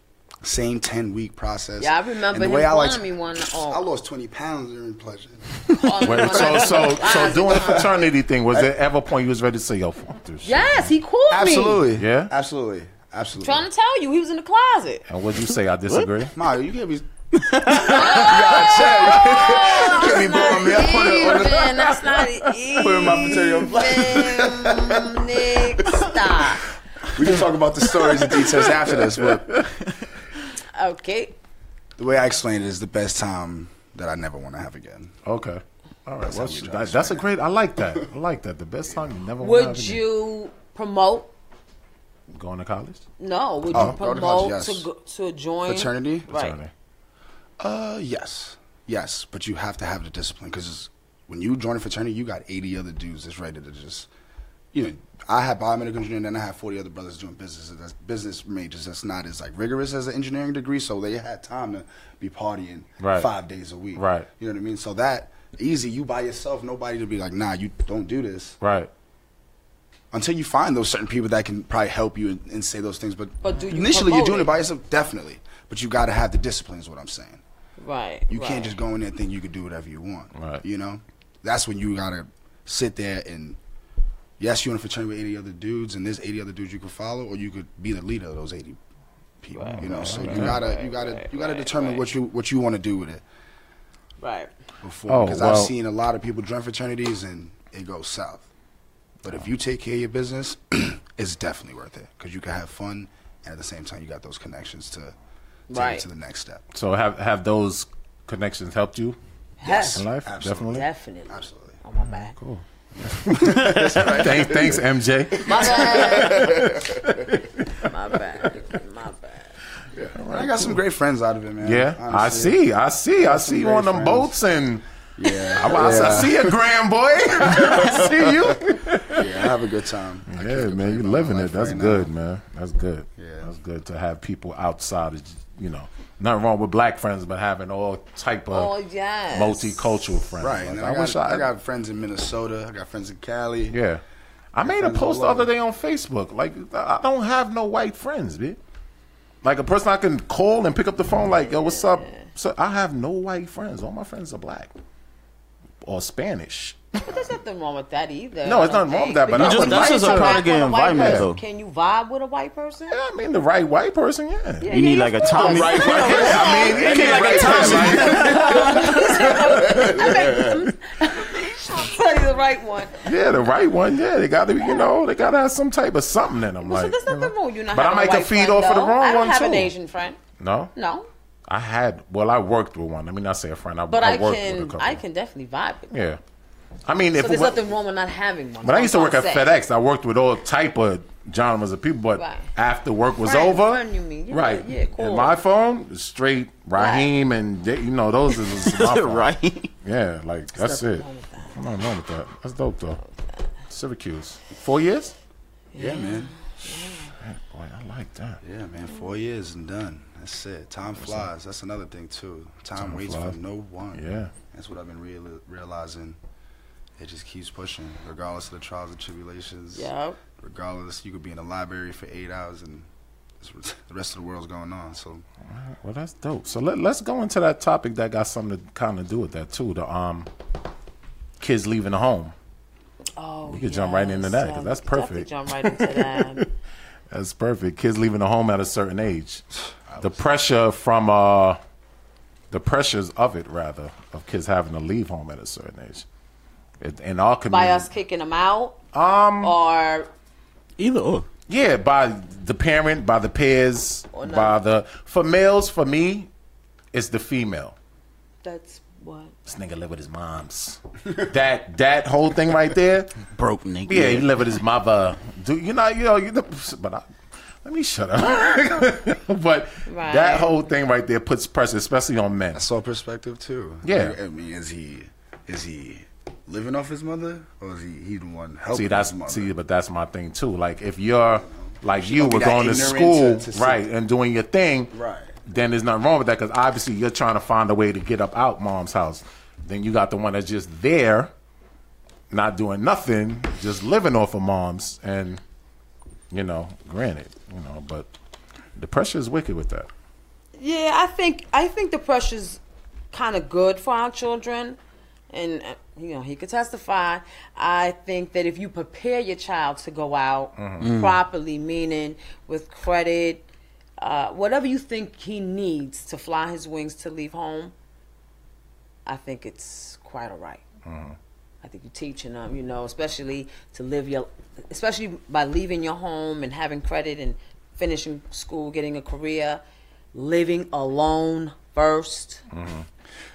Speaker 6: same 10 week process.
Speaker 3: Yeah, I remember
Speaker 6: And the
Speaker 3: him
Speaker 6: way I like.
Speaker 3: calling me one. Oh.
Speaker 6: I lost 20 pounds during pledge.
Speaker 5: Wait, so so so doing the fraternity thing. Was there ever a point you was ready to say, "Yo, fuck this"? shit,
Speaker 3: Yes,
Speaker 5: man?
Speaker 3: he called me.
Speaker 6: Absolutely.
Speaker 5: Yeah?
Speaker 6: Absolutely. Absolutely.
Speaker 3: Trying to tell you, he was in the closet.
Speaker 5: And what'd you say? I disagree.
Speaker 6: Mario, you can't be. you gotta check. You can't be blowing me up on the- on
Speaker 3: Even,
Speaker 6: the-
Speaker 3: that's not
Speaker 6: Putting my material
Speaker 3: even, Nick, stop.
Speaker 6: We can talk about the stories and details after this, but
Speaker 3: Okay.
Speaker 6: the way I explain it is the best time that I never want to have again.
Speaker 5: Okay. All right. That's, well,
Speaker 6: how we
Speaker 5: shit,
Speaker 6: drive
Speaker 5: that- that's a great. I like that. I like that. The best time you never wanna have
Speaker 3: Would
Speaker 5: again.
Speaker 3: you promote?
Speaker 5: going to college?
Speaker 3: No. Would you
Speaker 6: Oh, go to
Speaker 3: promote
Speaker 6: college, yes.
Speaker 3: to, go, to join?
Speaker 6: Fraternity?
Speaker 3: Right.
Speaker 5: Sorry.
Speaker 6: Uh, yes, yes, but you have to have the discipline because when you join a fraternity, you got eighty other dudes that's ready to just, you know. I have biomedical engineering, and then I have forty other brothers doing business. and That's business majors. That's not as like rigorous as an engineering degree, so they had time to be partying
Speaker 5: Right.
Speaker 6: five days a week.
Speaker 5: Right.
Speaker 6: You know what I mean? So that easy, you by yourself, nobody to be like, nah, you don't do this
Speaker 5: Right.
Speaker 6: until you find those certain people that can probably help you and, and say those things. But,
Speaker 3: But do you
Speaker 6: initially, you're
Speaker 3: promote
Speaker 6: doing
Speaker 3: it?
Speaker 6: it by yourself, definitely. But you got to have the discipline, is what I'm saying.
Speaker 3: Right.
Speaker 6: You
Speaker 3: right.
Speaker 6: can't just go in there and think you could do whatever you want.
Speaker 5: Right.
Speaker 6: You know? That's when you gotta sit there and yes, you're in a fraternity with eighty other dudes and there's eighty other dudes you can follow, or you could be the leader of those eighty people. you know, so you gotta you gotta you gotta determine what you what you wanna do with it
Speaker 3: Right.
Speaker 6: before.
Speaker 5: Oh,
Speaker 6: Because I've
Speaker 5: well-
Speaker 6: seen a lot of people join fraternities and it goes south. But if you take care of your business, it's definitely worth it because you can have fun and at the same time you got those connections to take
Speaker 3: Right.
Speaker 6: it to the next step.
Speaker 5: So have have those connections helped you
Speaker 3: Yes.
Speaker 5: in life?
Speaker 6: Absolutely.
Speaker 5: Definitely.
Speaker 3: Definitely.
Speaker 6: Absolutely.
Speaker 3: Oh my bad.
Speaker 5: Thanks, thanks, MJ.
Speaker 3: My bad. my bad. My bad.
Speaker 6: I got some great friends out of it, man.
Speaker 5: Yeah, I
Speaker 6: honestly.
Speaker 5: see. I see. I see you
Speaker 6: great
Speaker 5: on them
Speaker 6: friends.
Speaker 5: boats and.
Speaker 6: Yeah,
Speaker 5: I, I- I see you, grand boy. I see you.
Speaker 6: yeah, I have a good time. I
Speaker 5: Yeah,
Speaker 6: can't
Speaker 5: man,
Speaker 6: complain
Speaker 5: you
Speaker 6: about
Speaker 5: living
Speaker 6: my
Speaker 5: it.
Speaker 6: life
Speaker 5: That's
Speaker 6: right now.
Speaker 5: good, man. That's good.
Speaker 6: Yeah.
Speaker 5: that's good to have people outside. Of, you know, nothing wrong with black friends, but having all type of
Speaker 3: Oh, yes.
Speaker 5: Uh, multicultural friends.
Speaker 6: Right,
Speaker 5: Like,
Speaker 6: and then
Speaker 5: I,
Speaker 6: I, got,
Speaker 5: wish
Speaker 6: I,
Speaker 5: I,
Speaker 6: got friends in Minnesota. I got friends in Cali.
Speaker 5: Yeah. I made a
Speaker 6: friends
Speaker 5: post the
Speaker 6: all over.
Speaker 5: other day on Facebook. Like, I don't have no white friends, bitch. Like a person I can call and pick up the phone, like, yo, what's up? So I have no white friends. All my friends are black or Spanish.
Speaker 3: But there's nothing wrong with that either.
Speaker 5: No,
Speaker 3: I
Speaker 5: it's
Speaker 3: don't
Speaker 5: nothing wrong with
Speaker 3: think,
Speaker 5: that, but
Speaker 3: because
Speaker 5: I
Speaker 3: you
Speaker 5: would
Speaker 3: can vibe
Speaker 5: like to-
Speaker 3: with
Speaker 5: Product
Speaker 3: a
Speaker 4: game
Speaker 3: white
Speaker 4: environment,
Speaker 3: person.
Speaker 4: though.
Speaker 3: Can you vibe with a white person?
Speaker 5: Yeah, I mean, the right white person, yeah.
Speaker 3: Yeah,
Speaker 5: yeah.
Speaker 4: You
Speaker 3: yeah,
Speaker 4: need
Speaker 3: yeah,
Speaker 4: like a
Speaker 3: of course.
Speaker 4: Tommy.
Speaker 5: I mean, it can't right there, right?
Speaker 3: Tell you the right one.
Speaker 5: Yeah, the right one. Yeah, they got to, you know, they got to have some type of something in them.
Speaker 3: So
Speaker 5: Like,
Speaker 3: there's
Speaker 5: you know.
Speaker 3: nothing wrong with you not
Speaker 5: But I
Speaker 3: having a
Speaker 5: might
Speaker 3: white
Speaker 5: could feed
Speaker 3: friend,
Speaker 5: off of the
Speaker 3: though.
Speaker 5: wrong
Speaker 3: I don't
Speaker 5: one
Speaker 3: have
Speaker 5: too.
Speaker 3: an Asian friend.
Speaker 5: No,
Speaker 3: No,
Speaker 5: I had. Well, I worked with one. I mean, I say a friend. I,
Speaker 3: but I,
Speaker 5: I worked with a
Speaker 3: can
Speaker 5: couple.
Speaker 3: I can definitely vibe with.
Speaker 5: Yeah, I mean,
Speaker 3: So
Speaker 5: if it
Speaker 3: there's
Speaker 5: went,
Speaker 3: nothing wrong with not having one.
Speaker 5: but I used to work at
Speaker 3: That's what I'm saying.
Speaker 5: FedEx. I worked with all type of genres of people. But
Speaker 3: Right.
Speaker 5: after work was
Speaker 3: Friend,
Speaker 5: over,
Speaker 3: friend you mean. Yeah,
Speaker 5: right?
Speaker 3: yeah, cool.
Speaker 5: And my phone, straight Raheem and they- you know those is my phone.
Speaker 4: right?
Speaker 5: Yeah, like that's
Speaker 3: nothing
Speaker 5: it.
Speaker 3: wrong with that.
Speaker 5: I'm not wrong with that. That's dope though. Syracuse, four years.
Speaker 6: Yeah, man.
Speaker 5: Boy, I like that.
Speaker 6: Yeah, man. Four years and done. That's it. Time flies. That's another thing too. Time, waits
Speaker 5: flies.
Speaker 6: for no one.
Speaker 5: Yeah.
Speaker 6: That's what I've been real- realizing. It just keeps pushing, regardless of the trials and tribulations.
Speaker 3: Yeah.
Speaker 6: Regardless, you could be in the library for eight hours and it's what- the rest of the world's going on. So
Speaker 5: Well, that's dope. So let, let's go into that topic that got something to kind of do with that too. The um, kids leaving the home.
Speaker 3: Oh,
Speaker 5: You could jump right into that, 'cause that's
Speaker 3: we could definitely
Speaker 5: perfect.
Speaker 3: Jump right into that.
Speaker 5: That's perfect. Kids leaving the home at a certain age. The pressure from uh, the pressures of it rather of kids having to leave home at a certain age. It, in our community,
Speaker 3: By us kicking them out, um, or
Speaker 4: Either or.
Speaker 5: yeah, by the parent, by the peers,
Speaker 3: Or not.
Speaker 5: by the for males. For me, it's the female.
Speaker 3: that's what.
Speaker 5: This nigga live with his moms. that that whole thing right there.
Speaker 4: Broke nigga.
Speaker 5: Yeah, he live with his mother. Do you know? You know. You, but I, let me shut up. but
Speaker 3: Right.
Speaker 5: that whole thing right there puts pressure, especially on men.
Speaker 6: that's all perspective too.
Speaker 5: Yeah.
Speaker 6: Like, I mean, is he is he living off his mother, or is he he the one helping
Speaker 5: See, that's
Speaker 6: his mother?
Speaker 5: see, but that's my thing too. Like if you're like you
Speaker 6: don't be
Speaker 5: were
Speaker 6: that
Speaker 5: going to
Speaker 6: ignorant
Speaker 5: school,
Speaker 6: to- to see.
Speaker 5: right, and doing your thing,
Speaker 6: Right.
Speaker 5: Then there's nothing wrong with that because obviously you're trying to find a way to get up out mom's house. Then you got the one that's just there, not doing nothing, just living off of mom's, and you know, granted, you know, but the pressure is wicked with that.
Speaker 3: Yeah, I think I think the pressure's kind of good for our children, and uh, you know he could testify. I think that if you prepare your child to go out properly, meaning with credit, uh, whatever you think he needs to fly his wings to leave home, I think it's quite all right. I think you're teaching them, you know, especially to live your, especially by leaving your home and having credit and finishing school, getting a career, living alone 1st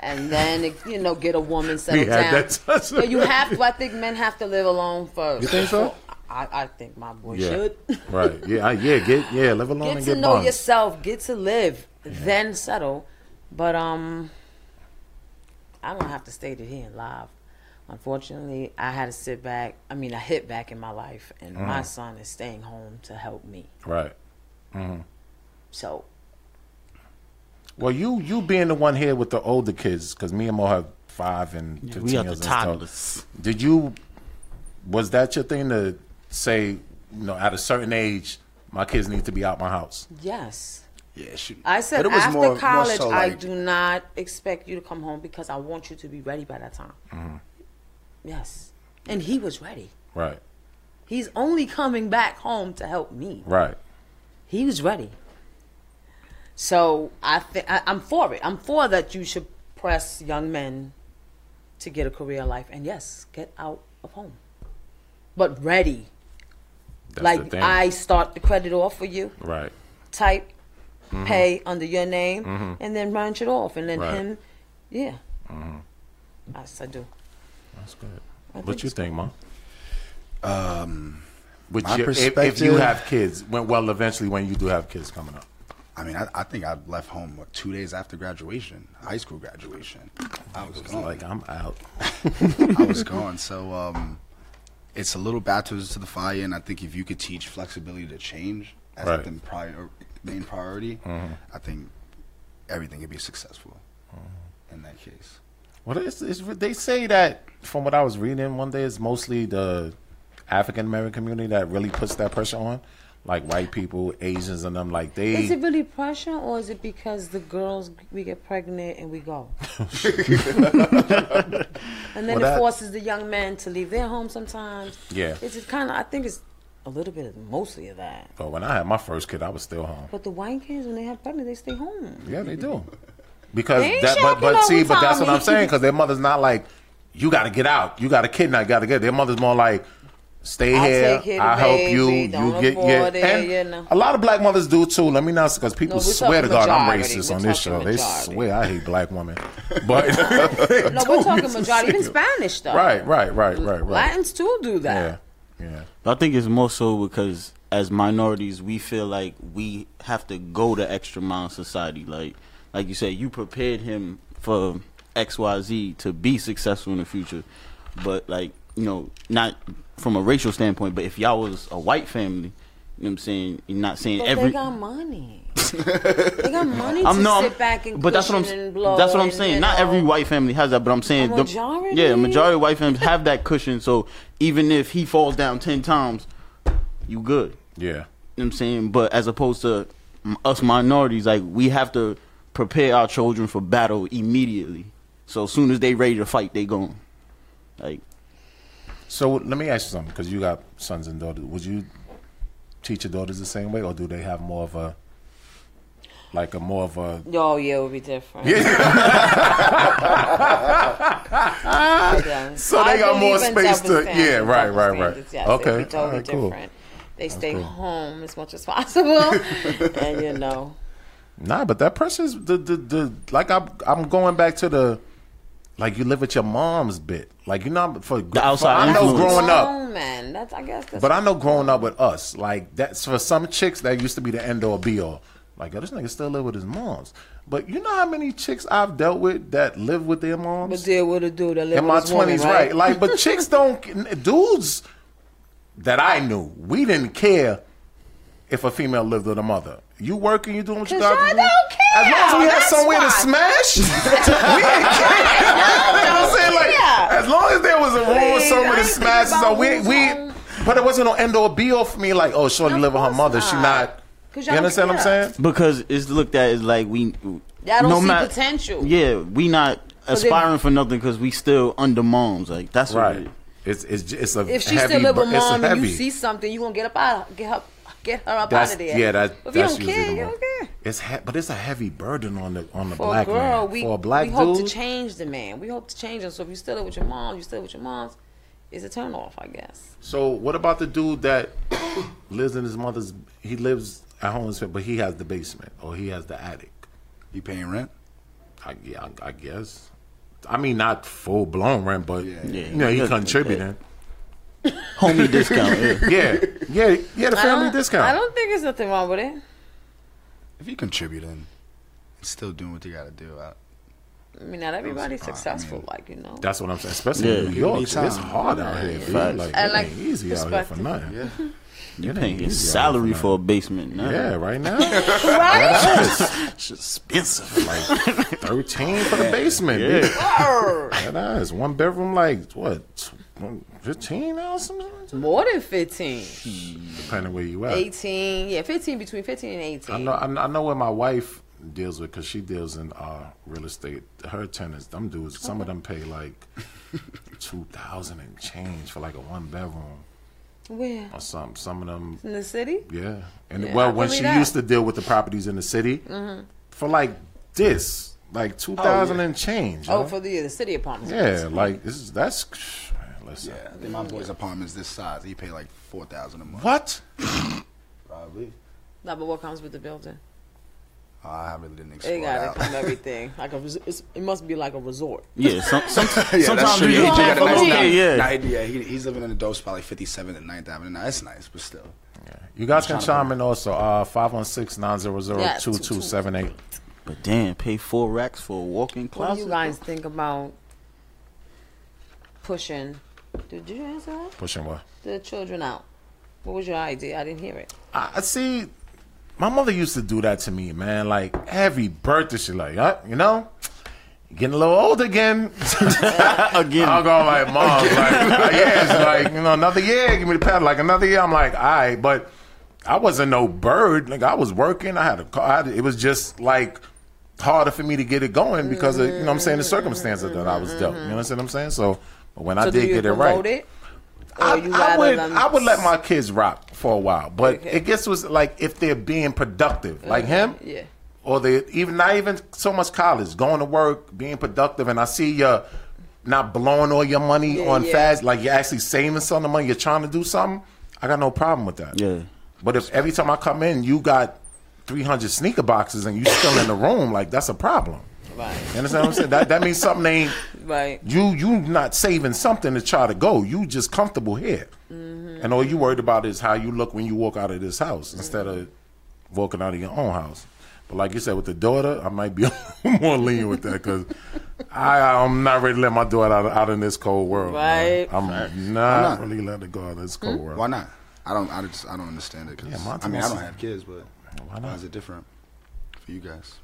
Speaker 3: and then you know get a woman settle
Speaker 5: had
Speaker 3: down.
Speaker 5: that discussion.
Speaker 3: So you have to. I think men have to live alone first.
Speaker 5: You think so?
Speaker 3: I, I think my boy
Speaker 5: Yeah.
Speaker 3: should.
Speaker 5: Right. Yeah. I- Yeah. Get. Yeah. Live alone
Speaker 3: get
Speaker 5: and
Speaker 3: to
Speaker 5: get
Speaker 3: know
Speaker 5: bonds.
Speaker 3: yourself, get to live, then settle. But um, I don't have to state it here live. Unfortunately, I had to sit back. I mean, I hit back in my life, and my
Speaker 6: Mm.
Speaker 3: son is staying home to help me.
Speaker 5: Right.
Speaker 3: So
Speaker 5: Well, you you being the one here with the older kids, because me and Mo have five and fifteen
Speaker 4: We are the
Speaker 5: years and stuff.
Speaker 4: toddlers.
Speaker 5: Did you? Was that your thing to say? You know, at a certain age, my kids need to be out my house.
Speaker 3: yes,
Speaker 6: Yeah, shoot.
Speaker 3: I said
Speaker 6: But it was
Speaker 3: after
Speaker 6: more- more
Speaker 3: college,
Speaker 6: so
Speaker 3: I
Speaker 6: like-
Speaker 3: do not expect you to come home because I want you to be ready by that time.
Speaker 6: Mm.
Speaker 3: Yes, and he was ready.
Speaker 5: Right.
Speaker 3: He's only coming back home to help me.
Speaker 5: Right.
Speaker 3: he was ready. So I think I'm for it. I'm for that. You should press young men to get a career life, and yes, get out of home, but ready.
Speaker 5: That's the
Speaker 3: like
Speaker 5: thing.
Speaker 3: I start the credit off for you,
Speaker 5: Right.
Speaker 3: type, pay under your name, and then branch it off, and then
Speaker 5: Mm-hmm. Right. Mm-hmm.
Speaker 3: him, yeah. Yes, I do.
Speaker 5: That's good.
Speaker 3: think
Speaker 5: What you
Speaker 3: it's
Speaker 5: think, Mom? Um, With
Speaker 6: my
Speaker 5: your, if, if you
Speaker 6: perspective-
Speaker 5: have kids, when, well, eventually when you do have kids coming up,
Speaker 6: I mean, I, I think I left home what, two days after graduation, high school graduation. I was
Speaker 5: it's
Speaker 6: gone.
Speaker 5: like I'm out.
Speaker 6: I was gone. So um, it's a little baptism to the fire, and I think if you could teach flexibility to change as
Speaker 5: Right. Mm-hmm.
Speaker 6: the prior, main priority, I think everything could be successful
Speaker 5: Mm-hmm.
Speaker 6: in that case.
Speaker 5: Well, it's, it's, they say that from what I was reading one day, it's mostly the African American community that really puts that pressure on, like white people, Asians, and them. Like they,
Speaker 3: Is it really pressure, or is it because the girls we get pregnant and we go, and then
Speaker 5: Well, that-
Speaker 3: it forces the young men to leave their home sometimes?
Speaker 5: Yeah.
Speaker 3: it's just kind of. I think it's a little bit, of mostly of that.
Speaker 5: but when I had my first kid, I was still home.
Speaker 3: But the white kids, when they have pregnant, they stay home.
Speaker 5: Yeah, they do. Because
Speaker 3: They ain't
Speaker 5: that, but
Speaker 3: shopping
Speaker 5: but
Speaker 3: all
Speaker 5: see,
Speaker 3: the
Speaker 5: but that's what
Speaker 3: time.
Speaker 5: I'm saying. Because their mother's not like, you got to get out, you got to kidnap, you got to get. Their mother's more like, stay
Speaker 3: I'll
Speaker 5: here,
Speaker 3: take care of
Speaker 5: I
Speaker 3: the
Speaker 5: help
Speaker 3: baby,
Speaker 5: you, you
Speaker 3: don't
Speaker 5: get
Speaker 3: abort
Speaker 5: your.
Speaker 3: it,
Speaker 5: and
Speaker 3: you know.
Speaker 5: a lot of black mothers do too. Let me not because people
Speaker 3: No, we're
Speaker 5: swear to
Speaker 3: talking
Speaker 5: God I'm
Speaker 3: majority,
Speaker 5: racist
Speaker 3: we're
Speaker 5: on this show.
Speaker 3: talking
Speaker 5: They
Speaker 3: majority.
Speaker 5: swear I hate black women, but
Speaker 3: No, we're talking majority, even Spanish though.
Speaker 5: Right, right, right, right, right.
Speaker 3: Latins too do
Speaker 5: Yeah,
Speaker 3: that.
Speaker 5: yeah.
Speaker 4: I think it's more so because as minorities, we feel like we have to go the extra mile in society. Like, like you said, you prepared him for X, Y, Z to be successful in the future, but like you know, not from a racial standpoint. But if y'all was a white family, you know what I'm saying, you're not saying
Speaker 3: But
Speaker 4: every.
Speaker 3: they got money. they got money to
Speaker 4: I'm no,
Speaker 3: sit
Speaker 4: I'm-
Speaker 3: back and
Speaker 4: but that's what I'm
Speaker 3: cushion and blow.
Speaker 4: that's what I'm
Speaker 3: and,
Speaker 4: saying.
Speaker 3: you
Speaker 4: Not
Speaker 3: know.
Speaker 4: every white family has that, but I'm saying
Speaker 3: A
Speaker 4: the-
Speaker 3: majority?
Speaker 4: yeah, majority of white families have that cushion. So even if he falls down ten times, you good.
Speaker 5: Yeah.
Speaker 4: You know what I'm saying? But as opposed to m- us minorities, like we have to prepare our children for battle immediately. So as soon as they ready to fight, they gone. Like
Speaker 5: So let me ask you something, because you got sons and daughters. Would you teach your daughters the same way, or do they have more of a like a more of a
Speaker 3: Oh yeah, it would be different. Yeah.
Speaker 5: So they
Speaker 3: I
Speaker 5: got more
Speaker 3: believe in
Speaker 5: space
Speaker 3: double
Speaker 5: to- yeah,
Speaker 3: standards,
Speaker 5: right,
Speaker 3: double
Speaker 5: right, right.
Speaker 3: standards, Yes, okay,
Speaker 5: Okay,
Speaker 3: it'd be totally
Speaker 5: alright, cool.
Speaker 3: different. They stay home as much as possible, and you know,
Speaker 5: nah? But that person's the the, the like I'm I'm going back to the like you live with your mom's bit. Like you know for, for
Speaker 4: outside
Speaker 5: I know
Speaker 4: influence.
Speaker 5: growing up.
Speaker 3: grown men. That's I guess. That's,
Speaker 5: But I know growing up with us, like that's for some chicks that used to be the end all be all. Like, yo, this nigga still live with his moms. But you know how many chicks I've dealt with that live with their
Speaker 3: but
Speaker 5: moms
Speaker 3: deal with a dude that live
Speaker 5: in my twenties, right?
Speaker 3: Like
Speaker 5: Like, but chicks don't. Dudes that I knew, we didn't care if a female lived with a mother. You working, you doing what you
Speaker 3: 'Cause
Speaker 5: got to
Speaker 3: y'all
Speaker 5: do.
Speaker 3: don't care.
Speaker 5: As long as we had
Speaker 3: That's
Speaker 5: somewhere to
Speaker 3: why.
Speaker 5: smash, we didn't care. you know what I'm saying? Like,
Speaker 3: care.
Speaker 5: as long as there was a room
Speaker 3: Please,
Speaker 5: somewhere
Speaker 3: I
Speaker 5: to
Speaker 3: ain't
Speaker 5: smash,
Speaker 3: thinking
Speaker 5: so
Speaker 3: about
Speaker 5: we
Speaker 3: who's home.
Speaker 5: we. But it wasn't no end all be all for me. Like, oh, Shorty
Speaker 3: Of
Speaker 5: live with her
Speaker 3: course
Speaker 5: mother. She
Speaker 3: not.
Speaker 5: not.
Speaker 3: 'Cause
Speaker 5: You
Speaker 3: y'all don't
Speaker 5: understand what I'm
Speaker 3: care.
Speaker 5: saying?
Speaker 4: because it's looked at as like we
Speaker 3: Y'all don't
Speaker 4: no
Speaker 3: see
Speaker 4: mat-
Speaker 3: potential.
Speaker 4: Yeah, we not
Speaker 3: they-
Speaker 4: aspiring for nothing because we still under moms. Like that's right.
Speaker 5: Right. It's it's j- it's a
Speaker 3: if she
Speaker 5: heavy,
Speaker 3: still live with
Speaker 5: bur- it's a
Speaker 3: mom and you
Speaker 5: heavy.
Speaker 3: see something, you gonna get up out, get her, get her up
Speaker 5: that's
Speaker 3: out of there.
Speaker 5: yeah. That,
Speaker 3: But if you
Speaker 5: that's
Speaker 3: don't
Speaker 5: usually
Speaker 3: care,
Speaker 5: the
Speaker 3: you
Speaker 5: one.
Speaker 3: don't care.
Speaker 5: It's he- but it's a heavy burden on the on the
Speaker 3: For
Speaker 5: black
Speaker 3: a girl,
Speaker 5: man.
Speaker 3: we
Speaker 5: for a black
Speaker 3: we
Speaker 5: dude,
Speaker 3: hope to change the man. We hope to change him. So if you still live with your mom, you still with your mom's. It's a turn off, I guess.
Speaker 5: So what about the dude that lives in his mother's? He lives at home, but he has the basement or he has the attic.
Speaker 6: You paying rent?
Speaker 5: I, yeah, I, I guess. I mean, not full blown rent, but
Speaker 6: Yeah.
Speaker 5: you know, he
Speaker 4: Yeah.
Speaker 5: contributing.
Speaker 4: Homie discount. yeah.
Speaker 5: Yeah, yeah, yeah. The
Speaker 3: I
Speaker 5: family
Speaker 3: don't-
Speaker 5: discount.
Speaker 3: I don't think there's nothing wrong with it.
Speaker 6: If you contributing, and still doing what you gotta do, I,
Speaker 3: I mean, not everybody's
Speaker 6: surprised,
Speaker 3: successful,
Speaker 6: man.
Speaker 3: like you know.
Speaker 5: That's what I'm saying. Especially in
Speaker 4: Yeah.
Speaker 5: New York,
Speaker 6: Need
Speaker 5: shit, it's
Speaker 6: time.
Speaker 5: hard out here. dude.
Speaker 4: Facts.
Speaker 5: Like,
Speaker 3: And,
Speaker 5: it
Speaker 3: like,
Speaker 5: ain't easy out here for
Speaker 3: perspective.
Speaker 5: nothing.
Speaker 6: yeah.
Speaker 4: You
Speaker 5: It
Speaker 4: paying
Speaker 5: ain't
Speaker 4: his
Speaker 5: easy out
Speaker 4: salary
Speaker 5: here
Speaker 4: for a basement. Nah.
Speaker 5: nothing. Yeah, right now.
Speaker 3: Right?
Speaker 5: It's expensive. Like thirteen for the basement.
Speaker 4: Yeah.
Speaker 5: dude. That is one bedroom, like what, tw- one- fifteen now, or something. like that?
Speaker 3: More than 15.
Speaker 5: Depending where you at.
Speaker 3: 18. Yeah, 15, between 15 and 18.
Speaker 5: I know. I know- I know where my wife deals with because she deals in uh, real estate. Her tenants, them dudes, some of them pay like two thousand and change for like a one bedroom
Speaker 3: Where?
Speaker 5: or something. Some of them,
Speaker 3: In the city?
Speaker 5: yeah. And
Speaker 3: Yeah,
Speaker 5: well,
Speaker 3: I
Speaker 5: when
Speaker 3: believe
Speaker 5: she
Speaker 3: that. Mm-hmm.
Speaker 5: used to deal with the properties in the city for like this, like two thousand and change.
Speaker 3: Oh,
Speaker 5: yo.
Speaker 3: for the the city apartments.
Speaker 5: yeah, like this is that's. Man, listen.
Speaker 6: Yeah, then my boy's apartment's this size. He pay like four thousand a month.
Speaker 5: What?
Speaker 6: Probably. Uh,
Speaker 3: No, but what comes with the building?
Speaker 6: I really didn't explore
Speaker 3: They got to
Speaker 6: that.
Speaker 3: come everything. Like a, res- it's, it must be like a resort.
Speaker 4: Yeah, some, some,
Speaker 6: Yeah,
Speaker 4: sometimes
Speaker 6: true.
Speaker 4: you
Speaker 6: Yeah,
Speaker 4: just
Speaker 6: he
Speaker 4: pay
Speaker 6: got a
Speaker 4: for
Speaker 6: nice
Speaker 4: okay,
Speaker 6: house.
Speaker 4: yeah.
Speaker 6: Nah, he- yeah, he, he's living in a dope spot like 57th and 9th Avenue. Now that's nice, but still.
Speaker 5: You guys can chime in also. Uh, 516-900-2278.
Speaker 4: But damn, pay four racks for a walk-in
Speaker 3: What do
Speaker 4: closet.
Speaker 3: you guys think about pushing? Did you answer that?
Speaker 5: Pushing what?
Speaker 3: The children out. What was your idea? I didn't hear it.
Speaker 5: I, I see. My mother used to do that to me, man. Like every birthday, she like, "Yup, you know, getting a little old again.
Speaker 4: Again,
Speaker 5: I'll go like, mom, like, yeah, it's like, you know, another year, give me the paddle. Like, another year, I'm like, all right, but I wasn't no bird. Like, I was working, I had a car. I had- it was just like harder for me to get it going because of, you know what I'm saying, the circumstances that I was dealt. You know what I'm saying? So, but when I
Speaker 3: Mm-hmm. So do
Speaker 5: did
Speaker 3: you
Speaker 5: get it
Speaker 3: promote
Speaker 5: right.
Speaker 3: it? Or
Speaker 5: I,
Speaker 3: you
Speaker 5: I
Speaker 3: rather
Speaker 5: would
Speaker 3: them-
Speaker 5: I would let my kids rock for a while, but
Speaker 3: Okay. Uh-huh.
Speaker 5: it gets was like if they're being productive, like him,
Speaker 3: yeah.
Speaker 5: or they even not even so much college, going to work, being productive, and I see you not blowing all your money
Speaker 3: Yeah,
Speaker 5: on
Speaker 3: yeah.
Speaker 5: fast, like you're actually saving some of the money, you're trying to do something. I got no problem with that.
Speaker 4: Yeah.
Speaker 5: but if every time I come in, you got 300 sneaker boxes and you still in the room, like that's a problem.
Speaker 3: Right.
Speaker 5: You understand what I'm saying? That that means something ain't
Speaker 3: Right.
Speaker 5: you you not saving something to try to go. You just comfortable here,
Speaker 3: Mm-hmm.
Speaker 5: and all you worried about is how you look when you walk out of this house instead of walking out of your own house. But like you said, with the daughter, I might be more lenient with that because I I'm not ready to let my daughter out, out in this cold world. man.
Speaker 3: Right. Hmm?
Speaker 5: I'm not,
Speaker 6: not?
Speaker 5: really let her go out of this cold world.
Speaker 6: Why not? I don't. I just. I don't understand it. Cause,
Speaker 5: Yeah, Monty
Speaker 6: I mean, I
Speaker 5: wants
Speaker 6: don't
Speaker 5: to-
Speaker 6: have kids, but
Speaker 5: Why
Speaker 6: why,
Speaker 5: not?
Speaker 6: is it different for you guys?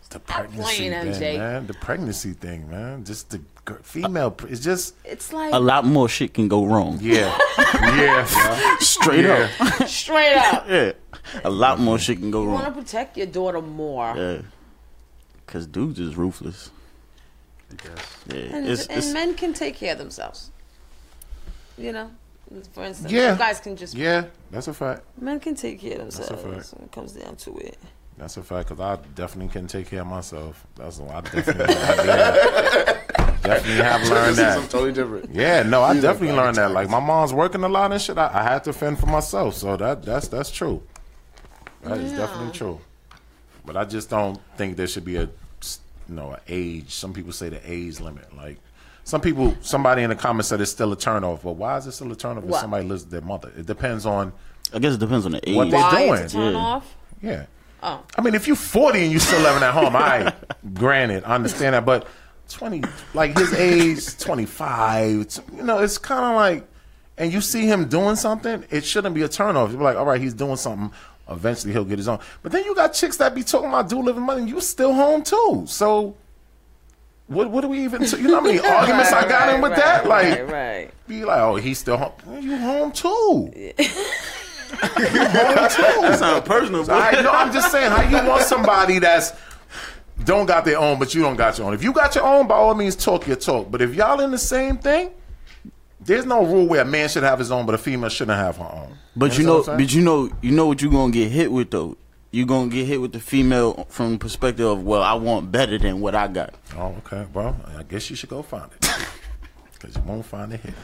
Speaker 5: It's the pregnancy
Speaker 3: playing,
Speaker 5: thing,
Speaker 3: MJ.
Speaker 5: man. The pregnancy thing, man. Just the gir- female. pr- It's just
Speaker 3: It's like
Speaker 4: a lot more shit can go wrong.
Speaker 5: yeah, yeah,
Speaker 4: Straight
Speaker 5: yeah.
Speaker 4: up,
Speaker 3: straight up.
Speaker 4: yeah, a lot more shit can go
Speaker 3: You want
Speaker 4: wrong.
Speaker 3: to protect your daughter more.
Speaker 4: Yeah, cause dudes is ruthless.
Speaker 6: I guess.
Speaker 4: Yeah,
Speaker 3: And,
Speaker 4: it's,
Speaker 3: and
Speaker 4: it's,
Speaker 3: men can take care of themselves. You know? For instance,
Speaker 5: Yeah.
Speaker 3: you guys can just.
Speaker 5: Yeah, that's a fact.
Speaker 3: Men can take care of
Speaker 5: a
Speaker 3: themselves
Speaker 5: fact.
Speaker 3: when it comes down to it.
Speaker 5: That's a fact because I definitely can take care of myself. That's what I definitely, I did. definitely have learned
Speaker 6: something
Speaker 5: that.
Speaker 6: totally different.
Speaker 5: Yeah, no, I definitely
Speaker 6: like,
Speaker 5: learned that. Like my mom's working a lot and shit. I, I had to fend for myself, so that that's that's true. That is definitely true. But I just don't think there should be a s- you know an age. Some people say the age limit. Like some people, somebody in the comments said it's still a turnoff. But why is it still a turnoff if
Speaker 3: What?
Speaker 5: somebody lives with their mother? It depends on
Speaker 4: I guess it depends on the age.
Speaker 5: What they-
Speaker 3: Why
Speaker 5: doing,
Speaker 3: is it turn
Speaker 4: yeah.
Speaker 3: off?
Speaker 5: yeah.
Speaker 3: Oh.
Speaker 5: I mean, if you're 40 and you're still living at home, I granted, I understand that, but 20, like his age, 25, t- you know, it's kind of like, and you see him doing something, it shouldn't be a turnoff. You're like, all right, he's doing something. Eventually, he'll get his own. But then you got chicks that be talking about dude living money, and you still home too. So, what what do we even? you know how many arguments I got in with
Speaker 3: Right,
Speaker 5: that? Like,
Speaker 3: right, right.
Speaker 5: be like, oh, he's still home. Man, You home too?
Speaker 4: That sounds personal. boy.
Speaker 5: I know. I'm just saying, how you want somebody that's don't got their own, but you don't got your own. If you got your own, by all means, talk your talk. But if y'all in the same thing, there's no rule where a man should have his own, but a female shouldn't have her own.
Speaker 4: But you
Speaker 5: Understand what
Speaker 4: know,
Speaker 5: I'm saying?
Speaker 4: but you know, you know what you gonna get hit with though. You gonna get hit with the female from the perspective of well, I want better than what I got.
Speaker 5: Oh, okay. Well, I guess you should go find it because you won't find it here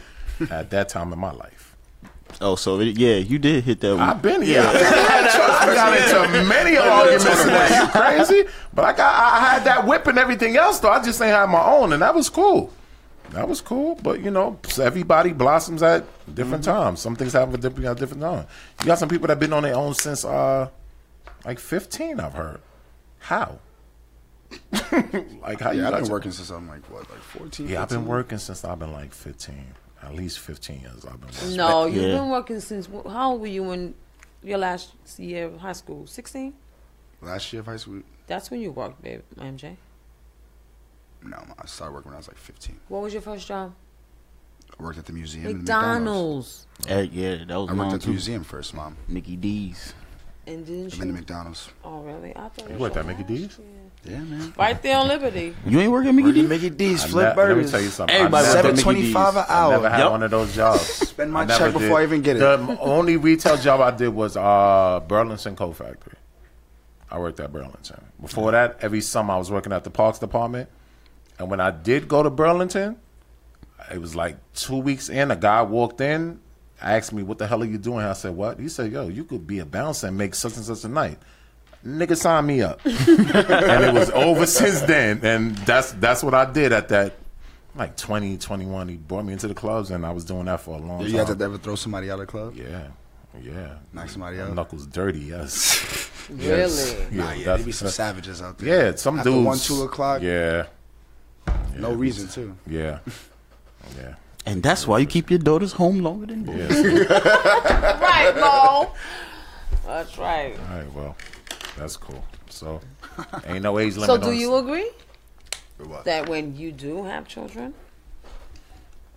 Speaker 5: at that time in my life.
Speaker 4: Oh, so it, yeah, you did hit that one.
Speaker 5: I've been here. I got into many arguments in that. You crazy? But I got I I had that whip and everything else though. I just ain't had my own, and that was cool. That was cool. But you know, everybody blossoms at different
Speaker 6: Mm-hmm.
Speaker 5: times. Some things happen at different, at different times. You got some people that been on their own since uh like fifteen. I've heard. How? like how you
Speaker 6: Yeah,
Speaker 5: got
Speaker 6: I've been
Speaker 5: to-
Speaker 6: working since I'm like what, like 14.
Speaker 5: Yeah, I've been
Speaker 6: 15?
Speaker 5: working since I've been like fifteen. At least fifteen years I've been working.
Speaker 3: No, you've
Speaker 4: Yeah.
Speaker 3: been working since. How old were you when your last year of high school? 16?
Speaker 6: Last year of high school.
Speaker 3: That's when you worked, babe, MJ.
Speaker 6: No, I started working when I was like 15.
Speaker 3: What was your first job?
Speaker 6: I worked at the museum. and
Speaker 3: McDonald's.
Speaker 4: Uh, yeah, that was
Speaker 6: I worked
Speaker 4: mine
Speaker 6: at the
Speaker 4: too.
Speaker 6: museum first, mom.
Speaker 4: Mickey D's.
Speaker 3: And didn't
Speaker 6: I've been to
Speaker 3: you?
Speaker 6: McDonald's.
Speaker 3: Oh, really? I thought it was
Speaker 5: worked
Speaker 3: your
Speaker 5: at Mickey
Speaker 3: last
Speaker 5: D's?
Speaker 3: year.
Speaker 6: Yeah, man.
Speaker 3: Right there on Liberty.
Speaker 4: You ain't working Mickey D's.
Speaker 6: Mickey D's
Speaker 5: I ne- Let me tell you something. I
Speaker 4: Everybody
Speaker 5: never-
Speaker 4: worked at Mickey D's.
Speaker 6: 725 an
Speaker 5: I
Speaker 6: hour.
Speaker 5: never had
Speaker 4: Yep.
Speaker 5: one of those jobs. Spend
Speaker 6: my check before I even get it.
Speaker 5: The m- only retail job I did was uh, Burlington Coat Factory. I worked at Burlington. Before that, every summer I was working at the Parks Department. And when I did go to Burlington, it was like two weeks in. A guy walked in, asked me, "What the hell are you doing?" here?" I said, "What?" He said, "Yo, you could be a bouncer and make such and such a night." Nigga, sign me up. and it was over since then. And that's that's what I did at that like 20, 21. He brought me into the clubs and I was doing that for a long
Speaker 6: You
Speaker 5: time.
Speaker 6: had to ever throw somebody out of the club?
Speaker 5: yeah. Yeah.
Speaker 6: Knock somebody
Speaker 5: My
Speaker 6: out?
Speaker 5: Knuckles dirty, yes.
Speaker 3: Really?
Speaker 5: Yeah,
Speaker 6: Nah, yeah,
Speaker 5: that's-
Speaker 6: there be some savages out there.
Speaker 5: yeah, some
Speaker 6: After
Speaker 5: dudes.
Speaker 6: one, two o'clock.
Speaker 5: Yeah.
Speaker 6: No reason too.
Speaker 5: Yeah. Yeah.
Speaker 4: And that's why you keep your daughters home longer than boys.
Speaker 5: Yeah.
Speaker 3: right, Mo. That's right.
Speaker 5: All right, well, that's cool. So, ain't no age limit.
Speaker 3: So, do
Speaker 5: on-
Speaker 3: you agree?
Speaker 6: Or what?
Speaker 3: that when you do have children,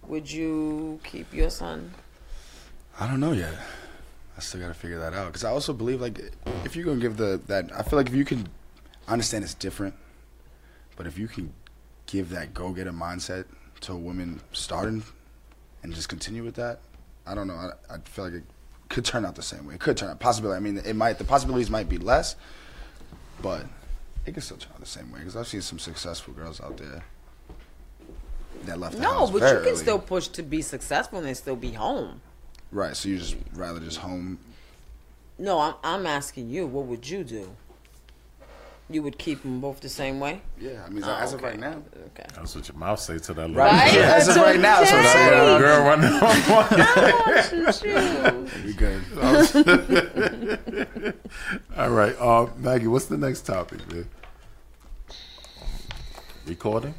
Speaker 3: would you keep your son?
Speaker 6: I don't know yet. I still gotta figure that out because I also believe like if you're gonna give the that I feel like if you can, I understand it's different, but if you can give that go getter mindset to a woman starting, and just continue with that, I don't know. I, I feel like it could turn out the same way. It could turn out possibly. I mean, it might. The possibilities might be less, but it could still turn out the same way because I've seen some successful girls out there that left. The
Speaker 3: No,
Speaker 6: house
Speaker 3: but
Speaker 6: very
Speaker 3: you can
Speaker 6: early.
Speaker 3: still push to be successful and still be home.
Speaker 6: right. So you just rather just home
Speaker 3: No, I'm I'm asking you, what would you do? You would keep them both the same way?
Speaker 6: Yeah, I mean,
Speaker 3: Oh,
Speaker 6: as of
Speaker 3: okay.
Speaker 6: right now.
Speaker 3: Okay.
Speaker 5: That's what your mouth say to that little
Speaker 3: Right?
Speaker 6: Yeah, as of right now, that's what I'm saying.
Speaker 5: That little girl running
Speaker 6: We good.
Speaker 5: All right, uh, Maggie, what's the next topic, man? Recording?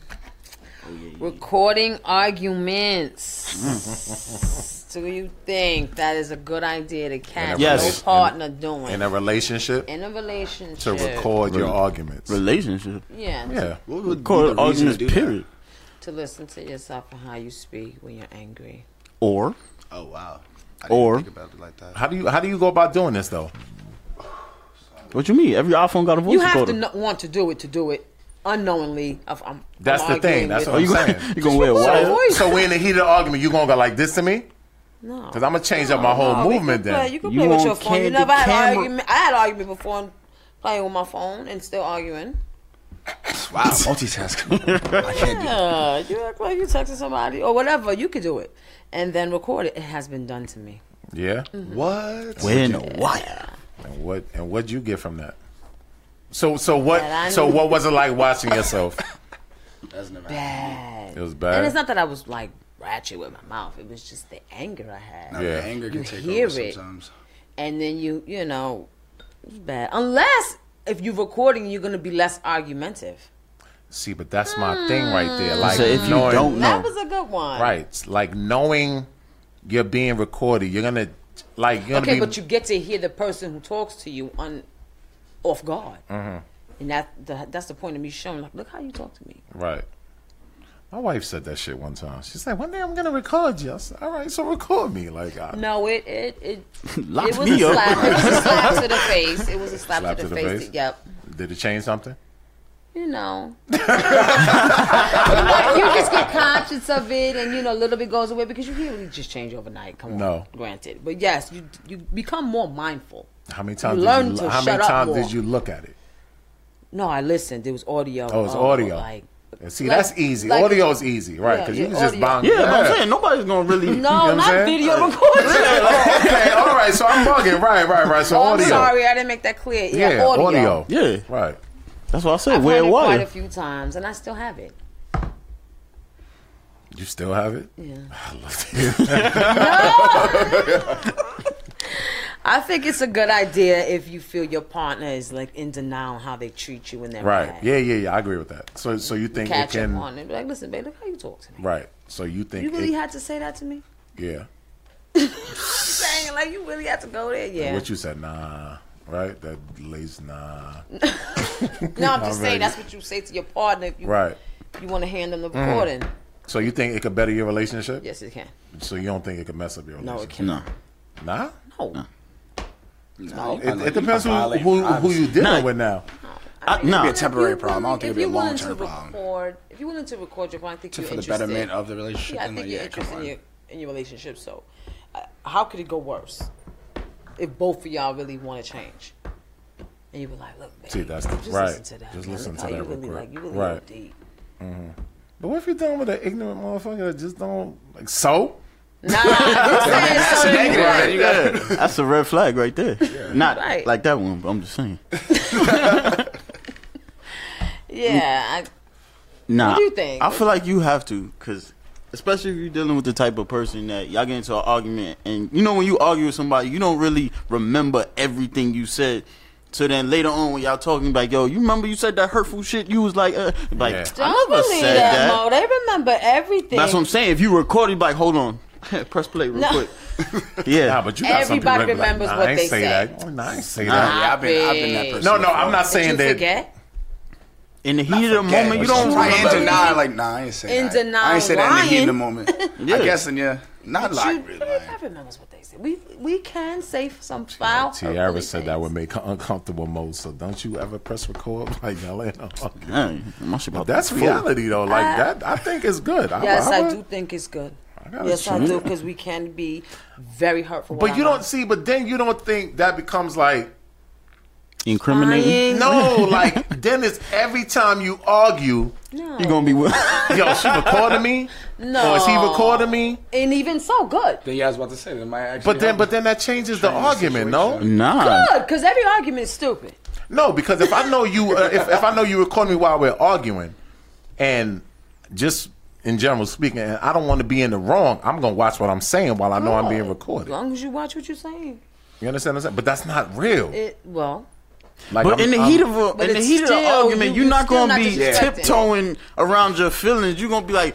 Speaker 3: Recording arguments. Do you think that is a good idea to catch
Speaker 5: Whenever
Speaker 4: Yes.
Speaker 3: your partner doing
Speaker 5: In a relationship?
Speaker 3: in a relationship?
Speaker 5: to record your arguments.
Speaker 4: Relationship.
Speaker 3: Yeah,
Speaker 5: Yeah.
Speaker 6: What would be
Speaker 4: Call
Speaker 6: the
Speaker 4: it
Speaker 6: reason to
Speaker 4: arguments,
Speaker 6: do that?
Speaker 4: period.
Speaker 3: to listen to yourself and how you speak when you're angry.
Speaker 4: Or
Speaker 6: Oh wow. I didn't
Speaker 4: Or-
Speaker 6: think about it like that.
Speaker 5: How do you how do you go about doing this though?
Speaker 4: what you mean? Every iPhone got a voice
Speaker 3: You have to
Speaker 4: recorder.
Speaker 3: kno- want to do it to do it unknowingly. If I'm,
Speaker 5: That's
Speaker 3: I'm
Speaker 5: the thing.
Speaker 3: arguing
Speaker 5: That's
Speaker 3: with
Speaker 5: what I'm
Speaker 4: you gonna,
Speaker 5: saying.
Speaker 4: you gonna wear a
Speaker 3: Just record
Speaker 4: wire?
Speaker 3: your voice.
Speaker 5: So we in the heat of the argument, you gonna go like this to me?
Speaker 3: No,
Speaker 5: Cause I'm gonna change up my whole
Speaker 3: Oh, No, we
Speaker 5: movement
Speaker 3: can
Speaker 5: then.
Speaker 3: Play, you can
Speaker 4: You
Speaker 3: play with
Speaker 4: want
Speaker 3: your phone. You
Speaker 4: candid
Speaker 3: never had an
Speaker 4: camera-
Speaker 3: argument. I had an argument before and playing with my phone and still arguing.
Speaker 6: Wow, multitasking. I can't do
Speaker 3: Yeah,
Speaker 6: that.
Speaker 3: you act like you texting somebody or whatever. You could do it and then record it. It has been done to me.
Speaker 5: Yeah.
Speaker 3: Mm-hmm.
Speaker 6: What?
Speaker 4: Wearing a wire.
Speaker 5: And what and what'd you get from that? So so what
Speaker 3: That I
Speaker 5: so
Speaker 3: knew.
Speaker 5: what was it like watching yourself?
Speaker 6: That's never
Speaker 3: Bad.
Speaker 5: It was bad.
Speaker 3: And it's not that I was like ratchet with my mouth. It was just the anger I had.
Speaker 6: Now,
Speaker 5: Yeah.
Speaker 6: the anger
Speaker 3: You
Speaker 6: can take
Speaker 3: hear
Speaker 6: over
Speaker 3: it.
Speaker 6: sometimes.
Speaker 3: And then you, you know, it's bad. Unless if you're recording, you're gonna be less argumentative.
Speaker 5: See, but that's my thing right there. Like
Speaker 4: Hmm. So if you
Speaker 5: knowing,
Speaker 4: don't know,
Speaker 3: That was a good one.
Speaker 5: right, like knowing you're being recorded, you're gonna like you're gonna
Speaker 3: Okay,
Speaker 5: be
Speaker 3: but you get to hear the person who talks to you on off guard, and that the, that's the point of me showing. Like, look how you talk to me.
Speaker 5: Right. My wife said that shit one time. She's like, one day I'm gonna record you. I said, all right, so record me. Like, I,
Speaker 3: No, it it it,
Speaker 4: Lock
Speaker 3: it was
Speaker 4: me
Speaker 3: a
Speaker 4: up.
Speaker 3: slap. It was a slap to the face. It was a slap, to, the face. Yep.
Speaker 5: did it change something?
Speaker 3: You know, Like, you just get conscious of it, and you know, a little bit goes away because you can't really just change overnight. Come on,
Speaker 5: No.
Speaker 3: granted, but yes, you you become more mindful.
Speaker 5: How many times?
Speaker 3: learn
Speaker 5: did you,
Speaker 3: to
Speaker 5: how
Speaker 3: shut
Speaker 5: many
Speaker 3: up
Speaker 5: times
Speaker 3: more.
Speaker 5: did you look at it?
Speaker 3: No, I listened. It was audio.
Speaker 5: Oh, it's
Speaker 3: uh,
Speaker 5: audio.
Speaker 3: Like,
Speaker 5: And see,
Speaker 3: like-
Speaker 5: that's easy.
Speaker 3: like-
Speaker 5: Audio's easy, right?
Speaker 3: Yeah,
Speaker 5: Because
Speaker 3: yeah,
Speaker 5: you can just
Speaker 3: audio.
Speaker 5: bang.
Speaker 4: Yeah, but I'm saying nobody's gonna really.
Speaker 3: no,
Speaker 5: what I'm
Speaker 3: not
Speaker 5: saying?
Speaker 3: video recording.
Speaker 5: Oh, okay, all right. So I'm bugging. Right, right, right. So
Speaker 3: Oh,
Speaker 5: audio.
Speaker 3: I'm sorry, I didn't make that clear. Yeah,
Speaker 5: Yeah, audio.
Speaker 4: Yeah,
Speaker 5: Right.
Speaker 4: that's what I said.
Speaker 3: I've
Speaker 4: Wear
Speaker 3: heard
Speaker 4: a
Speaker 3: it quite a
Speaker 4: wire.
Speaker 3: few times, and I still have it.
Speaker 5: You still have it?
Speaker 3: Yeah.
Speaker 5: I love it.
Speaker 3: I think it's a good idea if you feel your partner is like in denial how they treat you in their
Speaker 5: right.
Speaker 3: mad.
Speaker 5: Yeah, yeah, yeah. I agree with that. So, so you think
Speaker 3: Catch
Speaker 5: it
Speaker 3: up
Speaker 5: can?
Speaker 3: on it. Be like, listen, babe, look how you talk to me.
Speaker 5: Right. So you think?
Speaker 3: You really
Speaker 5: it,
Speaker 3: had to say that to me?
Speaker 5: yeah.
Speaker 3: Saying like you really had to go there? Yeah.
Speaker 5: What you said? Nah. Right. That lays nah.
Speaker 3: no, I'm just
Speaker 5: I'm ready.
Speaker 3: saying that's what you say to your partner if you
Speaker 5: Right.
Speaker 3: you want to hand them the recording.
Speaker 5: So you think it could better your relationship?
Speaker 3: Yes, it can.
Speaker 5: So you don't think it could mess up your
Speaker 3: No, it
Speaker 5: relationship?
Speaker 3: can.
Speaker 4: No,
Speaker 5: Nah.
Speaker 3: No.
Speaker 6: No,
Speaker 5: It, it depends who who, who you dealing with now. Uh,
Speaker 4: I,
Speaker 6: be
Speaker 4: no.
Speaker 6: a temporary
Speaker 3: If you
Speaker 6: problem. I
Speaker 3: willing-
Speaker 6: don't think
Speaker 3: if
Speaker 6: it'd be a
Speaker 3: you're willing
Speaker 6: long-term
Speaker 3: to
Speaker 6: problem.
Speaker 3: record- If you're willing to record your phone, I think
Speaker 6: To,
Speaker 3: you're
Speaker 6: for the
Speaker 3: interested.
Speaker 6: betterment of the relationship,
Speaker 3: Yeah, I
Speaker 6: then,
Speaker 3: think
Speaker 6: like,
Speaker 3: you're
Speaker 6: yeah, come
Speaker 3: interested in
Speaker 6: on.
Speaker 3: your in your relationship. So, uh, how could it go worse if both of y'all really want to change? And you be like, look, babe,
Speaker 5: See, that's the-
Speaker 3: just
Speaker 5: right.
Speaker 3: listen to that.
Speaker 5: Just
Speaker 3: man.
Speaker 5: listen
Speaker 3: Look
Speaker 5: to
Speaker 3: how
Speaker 5: that
Speaker 3: You really
Speaker 5: real
Speaker 3: like you
Speaker 5: quick.
Speaker 3: really
Speaker 5: Right.
Speaker 3: go deep.
Speaker 5: But what if you're dealing with an ignorant motherfucker that just don't like so?
Speaker 3: Nah, I'm saying so that you like-
Speaker 6: Right, you gotta-
Speaker 4: That's a red flag right there. Not
Speaker 3: Right.
Speaker 4: like that one. But I'm just saying.
Speaker 3: yeah, I,
Speaker 4: Nah,
Speaker 3: What do you think?
Speaker 4: I feel like you have to, cause especially if you're dealing with the type of person that y'all get into an argument, and you know when you argue with somebody, you don't really remember everything you said. So then later on, when y'all talking, like, yo, you remember you said that hurtful shit? You was like, uh, like,
Speaker 5: Yeah.
Speaker 4: I
Speaker 3: don't
Speaker 4: never
Speaker 3: believe
Speaker 4: said
Speaker 3: that,
Speaker 4: that.
Speaker 3: Mo. They remember everything.
Speaker 4: That's what I'm saying. If you recorded, like, hold on, press play real
Speaker 3: No.
Speaker 4: quick. Yeah,
Speaker 5: Nah, but you got some
Speaker 3: Everybody
Speaker 5: people that be like,
Speaker 3: remembers
Speaker 5: nah,
Speaker 3: what
Speaker 5: I ain't
Speaker 3: they
Speaker 5: say
Speaker 3: say.
Speaker 5: that. Nah, I ain't say
Speaker 6: Nah,
Speaker 5: that.
Speaker 6: yeah, I've been, I've been that
Speaker 3: Stop
Speaker 6: person.
Speaker 5: No, no,
Speaker 6: before.
Speaker 5: I'm not
Speaker 3: Did
Speaker 5: saying
Speaker 3: you
Speaker 5: that.
Speaker 3: forget?
Speaker 4: in the heat of the
Speaker 6: Yeah,
Speaker 4: moment, you
Speaker 6: but
Speaker 4: don't
Speaker 6: she's lying
Speaker 4: remember.
Speaker 6: to deny, like nah, I ain't say
Speaker 3: In
Speaker 6: that. I
Speaker 3: denial,
Speaker 6: ain't say that in the heat of the
Speaker 3: lying.
Speaker 6: moment.
Speaker 4: Yeah.
Speaker 6: I guess in yeah, not
Speaker 3: But you-
Speaker 6: like really. lying.
Speaker 3: I remember what they said. We we can say some foul.
Speaker 5: Tiara
Speaker 3: hurtful
Speaker 5: said
Speaker 3: things.
Speaker 5: that would make her uncomfortable mode. So don't you ever press record like y'all ain't no argument.
Speaker 4: Dang, my shit about
Speaker 5: That's
Speaker 4: to fold.
Speaker 5: reality though. Like that, I think it's good.
Speaker 3: Uh, Yes, I,
Speaker 5: would-
Speaker 3: do think it's good.
Speaker 5: gotta
Speaker 3: yes, I
Speaker 5: try
Speaker 3: do
Speaker 5: it.
Speaker 3: because we can be very hurtful.
Speaker 5: But
Speaker 3: with
Speaker 5: you
Speaker 3: our
Speaker 5: don't see. But then you don't think that becomes like
Speaker 3: Lying.
Speaker 4: Incriminating.
Speaker 5: no. Like then it's every time you argue.
Speaker 4: You're gonna be with.
Speaker 5: Yo, she recording me.
Speaker 3: No.
Speaker 5: Or is he recording me?
Speaker 3: And even so, good.
Speaker 6: Then yeah, I was about to say that might actually.
Speaker 5: But then, but then that changes the argument. No.
Speaker 4: nah.
Speaker 3: Good, because every argument is stupid.
Speaker 5: No, because if I know you, uh, if, if I know you record me while we're arguing, and just in general speaking, and I don't want to be in the wrong, I'm gonna watch what I'm saying while I know I'm being
Speaker 3: As
Speaker 5: recorded.
Speaker 3: long as you watch what you're saying.
Speaker 5: You understand what I'm saying? But that's not real.
Speaker 3: It well,
Speaker 5: Like,
Speaker 4: But
Speaker 5: I'm-
Speaker 4: in the
Speaker 5: I'm-
Speaker 4: heat of a,
Speaker 3: But
Speaker 4: in the
Speaker 3: it's
Speaker 4: heat of
Speaker 3: still-
Speaker 4: an argument,
Speaker 3: you-
Speaker 4: you, are
Speaker 3: it's
Speaker 4: not
Speaker 3: still
Speaker 4: gonna
Speaker 3: not
Speaker 4: be
Speaker 3: disrespecting.
Speaker 4: tiptoeing around your feelings. You're gonna be like,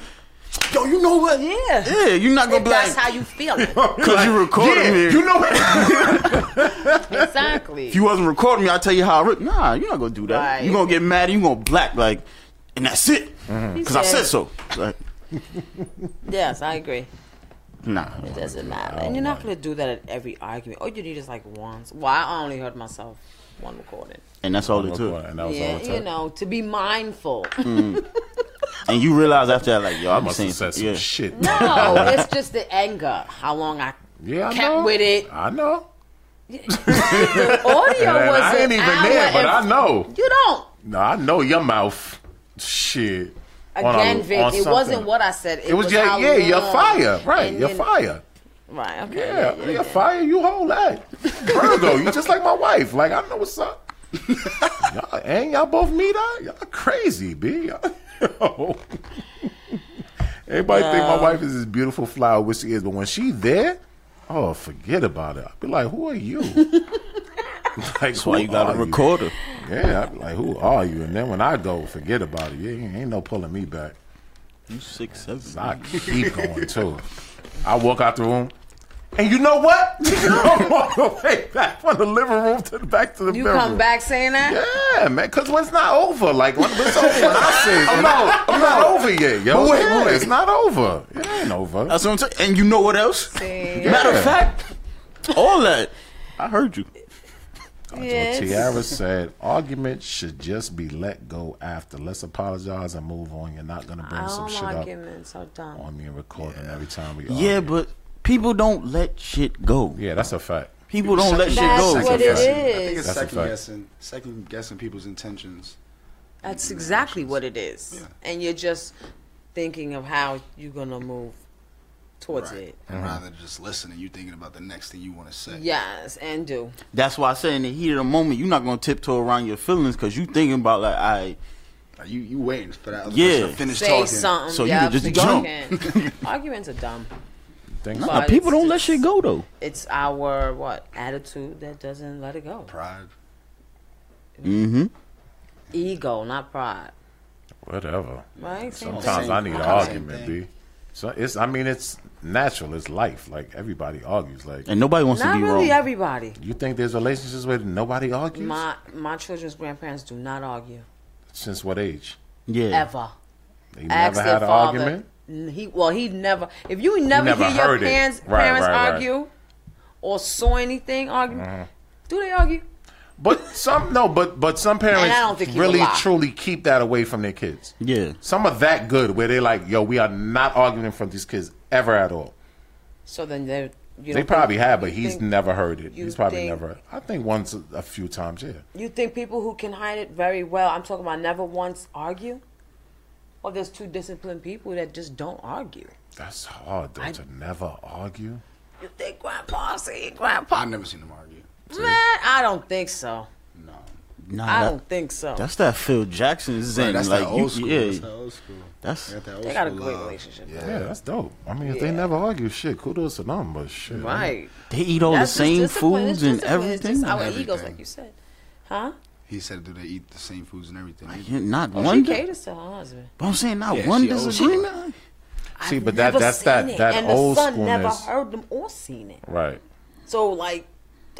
Speaker 4: yo, you know what?
Speaker 3: yeah.
Speaker 4: yeah. You're not gonna
Speaker 3: If
Speaker 4: be
Speaker 3: that's
Speaker 4: like,
Speaker 3: how you feel.
Speaker 4: because you recorded
Speaker 5: yeah,
Speaker 4: me.
Speaker 5: you know what?
Speaker 3: exactly.
Speaker 4: if you wasn't recording me, I'll tell you how. I re- nah, you're not gonna do that.
Speaker 3: Right.
Speaker 4: You're gonna get mad. and You're gonna black like, and that's it. Because I said so. Like,
Speaker 3: yes, I agree.
Speaker 4: nah.
Speaker 3: It doesn't matter. And you're not gonna do that at every argument. All you need is like once. Well, I only heard myself one recording.
Speaker 4: And that's all it took.
Speaker 5: And that was all
Speaker 3: Yeah,
Speaker 5: it
Speaker 3: you
Speaker 5: took.
Speaker 3: know, to be mindful.
Speaker 5: Mm.
Speaker 4: And you realize after that, like, yo,
Speaker 5: I
Speaker 4: I'm
Speaker 5: must have
Speaker 4: saying,
Speaker 5: said some
Speaker 4: yeah.
Speaker 5: shit.
Speaker 3: no, it's just the anger. How long I
Speaker 5: Yeah, I
Speaker 3: kept
Speaker 5: know.
Speaker 3: with it.
Speaker 5: I know.
Speaker 3: The audio
Speaker 5: And
Speaker 3: was
Speaker 5: I
Speaker 3: an
Speaker 5: ain't even
Speaker 3: hour
Speaker 5: there, but
Speaker 3: and-
Speaker 5: I know.
Speaker 3: You don't.
Speaker 5: No, I know your mouth. Shit. On a-
Speaker 3: Again, Vic,
Speaker 5: on
Speaker 3: it wasn't
Speaker 5: something.
Speaker 3: what I said. It,
Speaker 5: It was, your,
Speaker 3: how
Speaker 5: yeah, your
Speaker 3: long.
Speaker 5: fire, right?
Speaker 3: And
Speaker 5: Your
Speaker 3: then-
Speaker 5: fire.
Speaker 3: Right. Okay.
Speaker 5: Yeah, yeah, fire you whole lot. Virgo, you just like my wife. Like I know what's up. y'all, and y'all both meet up. Y'all crazy, b. Y'all, Everybody think my wife is this beautiful flower, which she is, but when she there, oh, forget about it. I'd be like, who are you? like,
Speaker 4: That's why you got a recorder.
Speaker 5: Yeah, I'd be like, who are you? And then when I go, forget about it. Yeah, ain't no pulling me back.
Speaker 4: You six seven.
Speaker 5: I keep going too. I walk out the room, and you know what? I walk the way back from the living room to the back to the
Speaker 3: You
Speaker 5: bedroom.
Speaker 3: come back saying that?
Speaker 5: Yeah, man, because when it's not over, like when it's over, when I say it's not, I'm not over yet, yo.
Speaker 4: But wait,
Speaker 5: Yeah,
Speaker 4: wait.
Speaker 5: It's not over. It ain't over.
Speaker 4: That's what I'm saying. And you know what else?
Speaker 3: See?
Speaker 4: Matter
Speaker 5: Yeah.
Speaker 4: of fact, all that. I heard you.
Speaker 5: Well,
Speaker 3: Yes.
Speaker 5: Tiara said, arguments should just be let go after. Let's apologize and move on. You're not going to bring some
Speaker 3: All
Speaker 5: shit up
Speaker 3: arguments are done.
Speaker 5: on me and record them every time we
Speaker 4: Yeah,
Speaker 5: argue.
Speaker 4: but people don't let shit go.
Speaker 5: Yeah, that's a fact.
Speaker 4: People don't let shit
Speaker 3: That's
Speaker 4: go.
Speaker 3: what it
Speaker 5: guessing.
Speaker 6: I think
Speaker 3: is.
Speaker 5: That's
Speaker 6: it's
Speaker 5: a
Speaker 6: second
Speaker 5: fact.
Speaker 6: guessing, second guessing people's intentions.
Speaker 3: That's exactly what it is. And you're just thinking of how you're going to move towards
Speaker 6: Right.
Speaker 3: it.
Speaker 6: Rather than just listening, you thinking about the next thing you want to say.
Speaker 3: Yes, and do.
Speaker 4: That's why I say in the heat of the moment, you're not gonna tiptoe around your feelings because you thinking about like, I
Speaker 6: Like, you you waiting for that other
Speaker 4: Yeah.
Speaker 6: person to finish
Speaker 3: Say
Speaker 6: talking.
Speaker 3: something.
Speaker 4: So you
Speaker 3: yeah,
Speaker 4: can just
Speaker 3: because you can. arguments are dumb.
Speaker 5: Think
Speaker 3: But
Speaker 4: nah,
Speaker 3: it's
Speaker 4: people don't let
Speaker 3: just-
Speaker 4: shit go though.
Speaker 3: It's our, what, attitude that doesn't let it go.
Speaker 6: Pride.
Speaker 3: Ego, not pride.
Speaker 5: Whatever.
Speaker 3: Right? Same thing.
Speaker 5: Sometimes I need an
Speaker 6: Same
Speaker 5: argument,
Speaker 6: thing.
Speaker 5: B. So it's I mean it's natural, it's life. Like everybody argues. Like
Speaker 4: And nobody wants
Speaker 3: Not
Speaker 4: to be
Speaker 3: really
Speaker 4: wrong.
Speaker 3: everybody.
Speaker 5: you think there's relationships where nobody argues?
Speaker 3: My my children's grandparents do not argue
Speaker 5: Since what age?
Speaker 4: yeah.
Speaker 3: ever.
Speaker 5: They
Speaker 3: Ask
Speaker 5: never
Speaker 3: their
Speaker 5: had an
Speaker 3: father.
Speaker 5: argument?
Speaker 3: N- He well, he never. If you never,
Speaker 5: never
Speaker 3: hear your
Speaker 5: heard it.
Speaker 3: parents,
Speaker 5: Right,
Speaker 3: parents
Speaker 5: right, right. Uh-huh.
Speaker 3: argue or saw anything argue, do they argue?
Speaker 5: But some no, but but some
Speaker 3: And I don't
Speaker 5: parents
Speaker 3: think he
Speaker 5: really
Speaker 3: would lie.
Speaker 5: truly keep that away from their kids.
Speaker 4: Yeah.
Speaker 5: Some are that good where they're like, yo, we are not arguing from these kids ever at all.
Speaker 3: So then they you
Speaker 5: They
Speaker 3: don't
Speaker 5: probably
Speaker 3: think-
Speaker 5: have, but
Speaker 3: you
Speaker 5: he's
Speaker 3: think-
Speaker 5: never heard it.
Speaker 3: you
Speaker 5: He's probably
Speaker 3: think-
Speaker 5: never. I think once a, a few times, yeah.
Speaker 3: You think people who can hide it very well? I'm talking about never once argue. Or there's two disciplined people that just don't argue.
Speaker 5: That's hard though to never argue.
Speaker 3: You think grandpa see grandpa?
Speaker 6: I've never seen them argue.
Speaker 3: Man, I don't think so.
Speaker 6: No.
Speaker 4: Nah,
Speaker 3: I
Speaker 4: that-
Speaker 3: don't think so.
Speaker 4: that's that Phil Jackson zen.
Speaker 6: Right, that's
Speaker 4: like
Speaker 6: that
Speaker 4: you,
Speaker 6: old school.
Speaker 4: yeah,
Speaker 6: That's that old school.
Speaker 4: that's
Speaker 6: They got that old
Speaker 3: They got a
Speaker 6: school
Speaker 3: great
Speaker 6: love.
Speaker 3: relationship.
Speaker 6: Yeah.
Speaker 5: Yeah, that's dope. I mean, if they never argue, shit, kudos to them, but shit.
Speaker 3: Right.
Speaker 4: they eat all
Speaker 3: That's
Speaker 4: the
Speaker 3: just
Speaker 4: same
Speaker 3: discipline. It's
Speaker 4: foods
Speaker 3: discipline.
Speaker 4: and
Speaker 3: It's
Speaker 4: everything.
Speaker 3: just our
Speaker 6: Everything.
Speaker 3: egos, like you said, huh?
Speaker 6: He said, do they eat the same foods and everything?
Speaker 4: Yeah, not one.
Speaker 3: Oh, She
Speaker 4: di-
Speaker 3: caters to her husband.
Speaker 4: but I'm saying not
Speaker 6: Yeah,
Speaker 4: one
Speaker 6: she old school.
Speaker 4: disagreement.
Speaker 5: See,
Speaker 3: I've
Speaker 5: but that
Speaker 3: never
Speaker 5: that's
Speaker 3: seen
Speaker 5: that
Speaker 3: it,
Speaker 5: that
Speaker 3: and
Speaker 5: old
Speaker 3: the son never
Speaker 5: schoolness.
Speaker 3: heard them or seen it.
Speaker 5: Right.
Speaker 3: So like,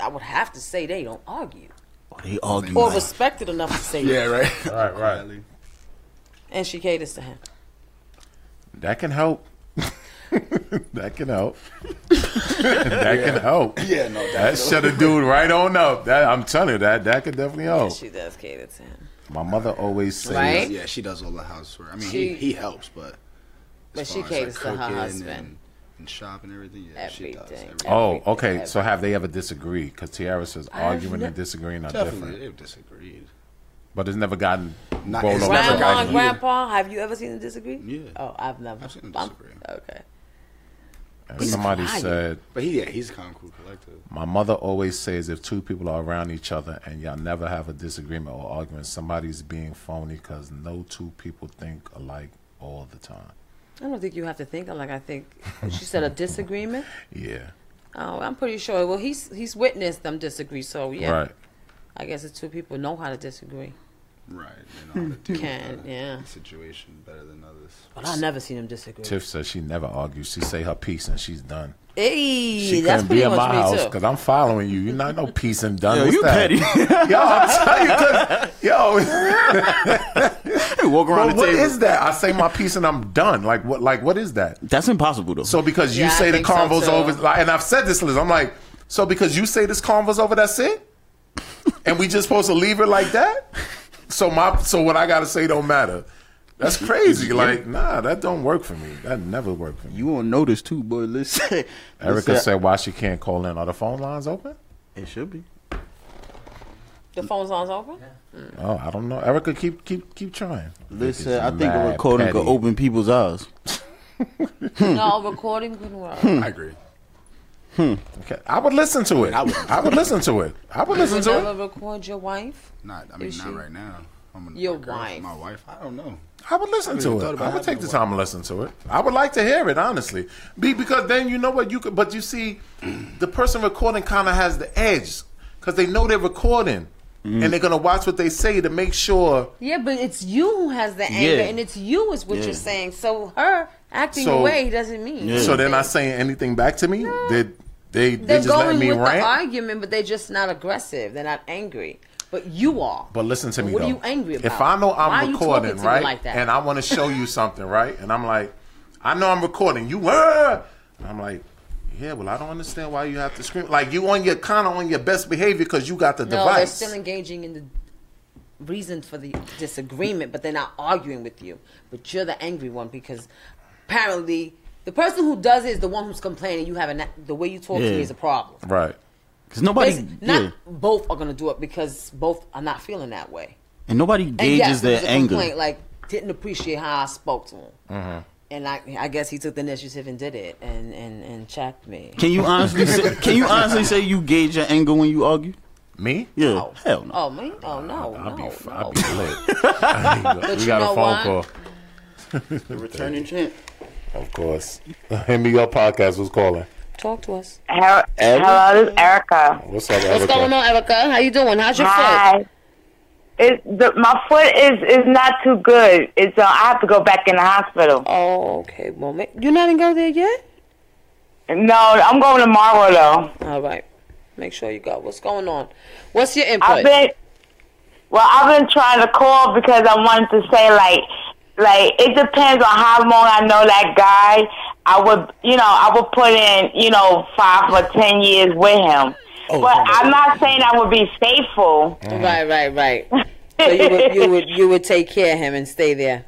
Speaker 3: I would have to say they don't argue
Speaker 4: They argue.
Speaker 3: or
Speaker 4: like-
Speaker 3: respect it enough to say.
Speaker 6: Yeah,
Speaker 3: it.
Speaker 6: right.
Speaker 5: Right, right.
Speaker 3: and she caters to him.
Speaker 5: That can help. that can help. that can help.
Speaker 6: Yeah, no,
Speaker 5: That shut a dude right on up. That I'm telling you that that could definitely help.
Speaker 3: She does cater to him,
Speaker 5: My mother always says
Speaker 3: Right?
Speaker 6: Yeah, she does all the housework. I mean,
Speaker 3: She-
Speaker 6: he, he helps, but as
Speaker 3: but she
Speaker 6: far as, like,
Speaker 3: caters to her
Speaker 6: cooking
Speaker 3: husband.
Speaker 6: and, and shopping and everything. Yeah, she does.
Speaker 3: Everything.
Speaker 6: Everything.
Speaker 5: Oh,
Speaker 3: Everything,
Speaker 5: okay. So have they ever disagreed? Because Tiara says arguing
Speaker 3: ne-
Speaker 5: and disagreeing are
Speaker 6: Definitely,
Speaker 5: different,
Speaker 6: they've disagreed.
Speaker 5: but it's never gotten
Speaker 6: Not-
Speaker 5: rolled
Speaker 6: it's
Speaker 5: over.
Speaker 6: never
Speaker 3: Grandma
Speaker 6: gotten
Speaker 3: and
Speaker 6: you.
Speaker 3: grandpa, have you ever seen them disagree?
Speaker 6: Yeah.
Speaker 3: Oh, I've never.
Speaker 6: I've seen them
Speaker 3: I'm-
Speaker 6: disagree.
Speaker 3: Okay.
Speaker 5: And somebody
Speaker 3: quiet.
Speaker 5: said,
Speaker 6: But he, yeah, he's kind of cool, collective.
Speaker 5: "My mother always says if two people are around each other and y'all never have a disagreement or argument, somebody's being phony because no two people think alike all the time."
Speaker 3: I don't think you have to think like I think. She said a disagreement.
Speaker 5: Yeah,
Speaker 3: Oh, I'm pretty sure. Well, he's he's witnessed them disagree. So yeah,
Speaker 5: right.
Speaker 3: I guess the two people know how to disagree.
Speaker 6: Right. They know how to deal
Speaker 3: Can,
Speaker 6: with a
Speaker 3: yeah.
Speaker 6: situation better than others.
Speaker 3: But I've never seen them disagree.
Speaker 5: Tiff says she never argues. She say her piece and she's done.
Speaker 3: Hey,
Speaker 5: She
Speaker 3: that's
Speaker 5: couldn't
Speaker 3: pretty
Speaker 5: be in
Speaker 3: much
Speaker 5: my
Speaker 3: me
Speaker 5: house
Speaker 3: too.
Speaker 5: because I'm following you. You're not no peace and done.
Speaker 4: Yo,
Speaker 5: What's
Speaker 4: you
Speaker 5: that?
Speaker 4: petty.
Speaker 5: Yo, I'm telling you, 'cause- yo.
Speaker 4: Walk around
Speaker 5: But
Speaker 4: the
Speaker 5: what
Speaker 4: table.
Speaker 5: is that? I say my piece and I'm done. Like what? Like what is that?
Speaker 4: That's impossible though.
Speaker 5: So because you
Speaker 3: Yeah, I
Speaker 5: say the
Speaker 3: think so,
Speaker 5: convo's
Speaker 3: too.
Speaker 5: over, like, and I've said this, Liz. I'm like, so because you say this convo's over, that's it, and we just supposed to leave it like that. So my, so what I gotta say don't matter. That's crazy. Like nah, that don't work for me. That never worked for me.
Speaker 4: you won't notice too, boy. Listen,
Speaker 5: Erica said why she can't call in. Are the phone lines open?
Speaker 4: it should be.
Speaker 3: The phone's on open.
Speaker 5: Oh, I don't know. Erica, keep keep keep trying.
Speaker 4: Listen,
Speaker 5: Niggas
Speaker 4: I think a
Speaker 5: mad
Speaker 4: recording
Speaker 5: petty.
Speaker 4: could open people's eyes.
Speaker 3: No, recording couldn't work.
Speaker 6: I agree.
Speaker 5: Hmm. Okay. I would listen to it. I would, listen to it. I would listen
Speaker 3: You
Speaker 5: to it.
Speaker 3: never record your wife.
Speaker 6: Not. I mean,
Speaker 3: Is
Speaker 6: not
Speaker 3: she-
Speaker 6: right now. I'm a,
Speaker 3: Your
Speaker 6: my girl-
Speaker 3: wife.
Speaker 6: My wife. I don't know.
Speaker 5: I would listen
Speaker 6: I
Speaker 5: to
Speaker 6: really thought
Speaker 5: it.
Speaker 6: about
Speaker 5: I would take
Speaker 6: having
Speaker 5: the
Speaker 6: one.
Speaker 5: time to listen to it. I would like to hear it, honestly, be because then you know what you could. But you see, the person recording kind of has the edge because they know they're recording
Speaker 6: Mm-hmm.
Speaker 5: and they're gonna watch what they say to make sure.
Speaker 3: Yeah, but it's you who has the anger,
Speaker 4: Yeah.
Speaker 3: and it's you is what
Speaker 4: Yeah.
Speaker 3: you're saying. So her acting
Speaker 5: So-
Speaker 3: away doesn't mean.
Speaker 4: Yeah.
Speaker 5: So they're not saying anything back to me. They they they
Speaker 3: They're
Speaker 5: just
Speaker 3: going
Speaker 5: letting me
Speaker 3: with the
Speaker 5: rant.
Speaker 3: argument, but they're just not aggressive. They're not angry. But you are.
Speaker 5: But listen to me
Speaker 3: What
Speaker 5: though.
Speaker 3: are you angry about?
Speaker 5: If I know I'm
Speaker 3: Why are you
Speaker 5: recording,
Speaker 3: talking to me
Speaker 5: right,
Speaker 3: like that?
Speaker 5: and I want to show you something, right, and I'm like, I know I'm recording. You were. I'm like, yeah. Well, I don't understand why you have to scream. Like you on your kind of on your best behavior because you got the
Speaker 3: no, they're
Speaker 5: device.
Speaker 3: still engaging in the reason for the disagreement, but they're not arguing with you. But you're the angry one because apparently the person who does it is the one who's complaining. You have a the way you talk to
Speaker 4: Yeah.
Speaker 3: me is a problem.
Speaker 5: right.
Speaker 4: Cause nobody,
Speaker 3: Basi-
Speaker 4: yeah,
Speaker 3: not both are gonna do it because both are not feeling that way.
Speaker 4: and nobody
Speaker 3: And
Speaker 4: gauges
Speaker 3: yes, it was
Speaker 4: their
Speaker 3: a
Speaker 4: anger.
Speaker 3: Complaint, like didn't appreciate how I spoke to him. And I, I guess he took the initiative and did it and and and checked me.
Speaker 4: Can you honestly say? Can you honestly say you gauge your anger when you argue?
Speaker 5: Me.
Speaker 4: Yeah, hell no.
Speaker 3: Oh me? Oh no,
Speaker 5: I'll
Speaker 3: no,
Speaker 5: be, f
Speaker 3: no.
Speaker 5: I'll be lit. we
Speaker 3: you
Speaker 5: got
Speaker 3: know
Speaker 5: a phone
Speaker 3: what?
Speaker 5: call.
Speaker 4: Returning champ.
Speaker 5: Of course. Hit me up podcast was calling.
Speaker 3: Talk to us.
Speaker 7: Hello, hello, this is Erica.
Speaker 5: What's up,
Speaker 3: What's
Speaker 5: Erica?
Speaker 3: going on, Erica? How you doing? How's your foot?
Speaker 7: Hi. It, the, my foot is is not too good. It's uh, I have to go back in the hospital.
Speaker 3: Oh, okay. Well, ma- you not even go there yet.
Speaker 7: No, I'm going tomorrow though.
Speaker 3: All right. Make sure you go. What's going on? What's your input?
Speaker 7: I've been well. I've been trying to call because I wanted to say like like it depends on how long I know that guy. I would you know I would put in you know five or ten years with him. but I'm not saying I would be faithful.
Speaker 3: Right, right, right. so you would, you would you would take care of him and stay there.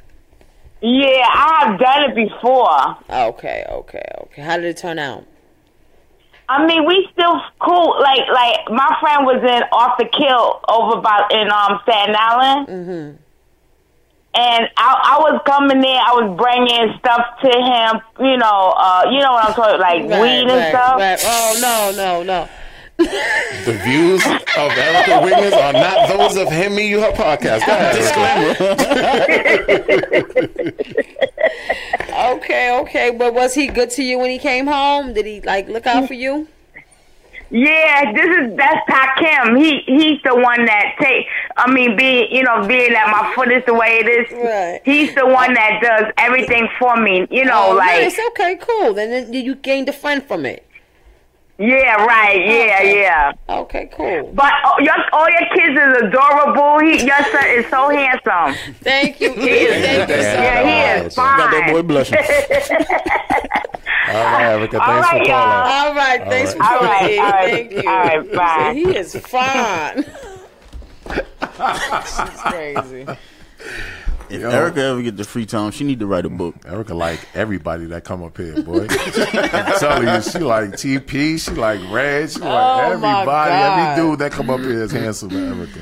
Speaker 7: Yeah, I have done it before.
Speaker 3: Okay, okay, okay. How did it turn out?
Speaker 7: I mean, we still cool. Like, like my friend was in off the kill over by in um Staten Island,
Speaker 3: Mm-hmm.
Speaker 7: and I, I was coming in. I was bringing stuff to him. You know, uh, you know what I'm talking like
Speaker 3: Right,
Speaker 7: weed and
Speaker 3: right,
Speaker 7: stuff.
Speaker 3: right. Oh no, no, no.
Speaker 5: The views of Erica Wiggins are not those of him, me, you, her podcast. Go ahead, Erica.
Speaker 3: Okay, okay. But was he good to you when he came home? Did he like look out for you?
Speaker 7: Yeah, this is that's Kim. He he's the one that take. I mean, being you know being that my foot is the way it is.
Speaker 3: Right.
Speaker 7: He's the one that does everything for me. You know,
Speaker 3: Oh,
Speaker 7: like
Speaker 3: nice. Okay, cool. Then, then you gained a friend from it.
Speaker 7: yeah, right, yeah,
Speaker 3: Okay.
Speaker 7: yeah.
Speaker 3: Okay, cool.
Speaker 7: But
Speaker 8: uh,
Speaker 7: all your, all your kids is adorable. He, your son is so handsome.
Speaker 3: Thank you. Thank you. Oh.
Speaker 8: friend.
Speaker 5: boy bless you. All right, Erica. Thanks
Speaker 8: All
Speaker 5: for
Speaker 8: right,
Speaker 5: calling.
Speaker 8: y'all.
Speaker 3: All right, thanks for
Speaker 8: All
Speaker 3: calling.
Speaker 8: right, all right,
Speaker 3: Thank you.
Speaker 8: all right, bye.
Speaker 3: He is fine. She's crazy.
Speaker 4: If
Speaker 5: Yo.
Speaker 4: Erica ever get the free time, she need to write a book.
Speaker 5: Erica like everybody that come up here, boy. I'm telling you, she like TP, she like Red, she like
Speaker 3: Oh, my
Speaker 5: everybody,
Speaker 3: God.
Speaker 5: every dude that come up here is handsome, Erica.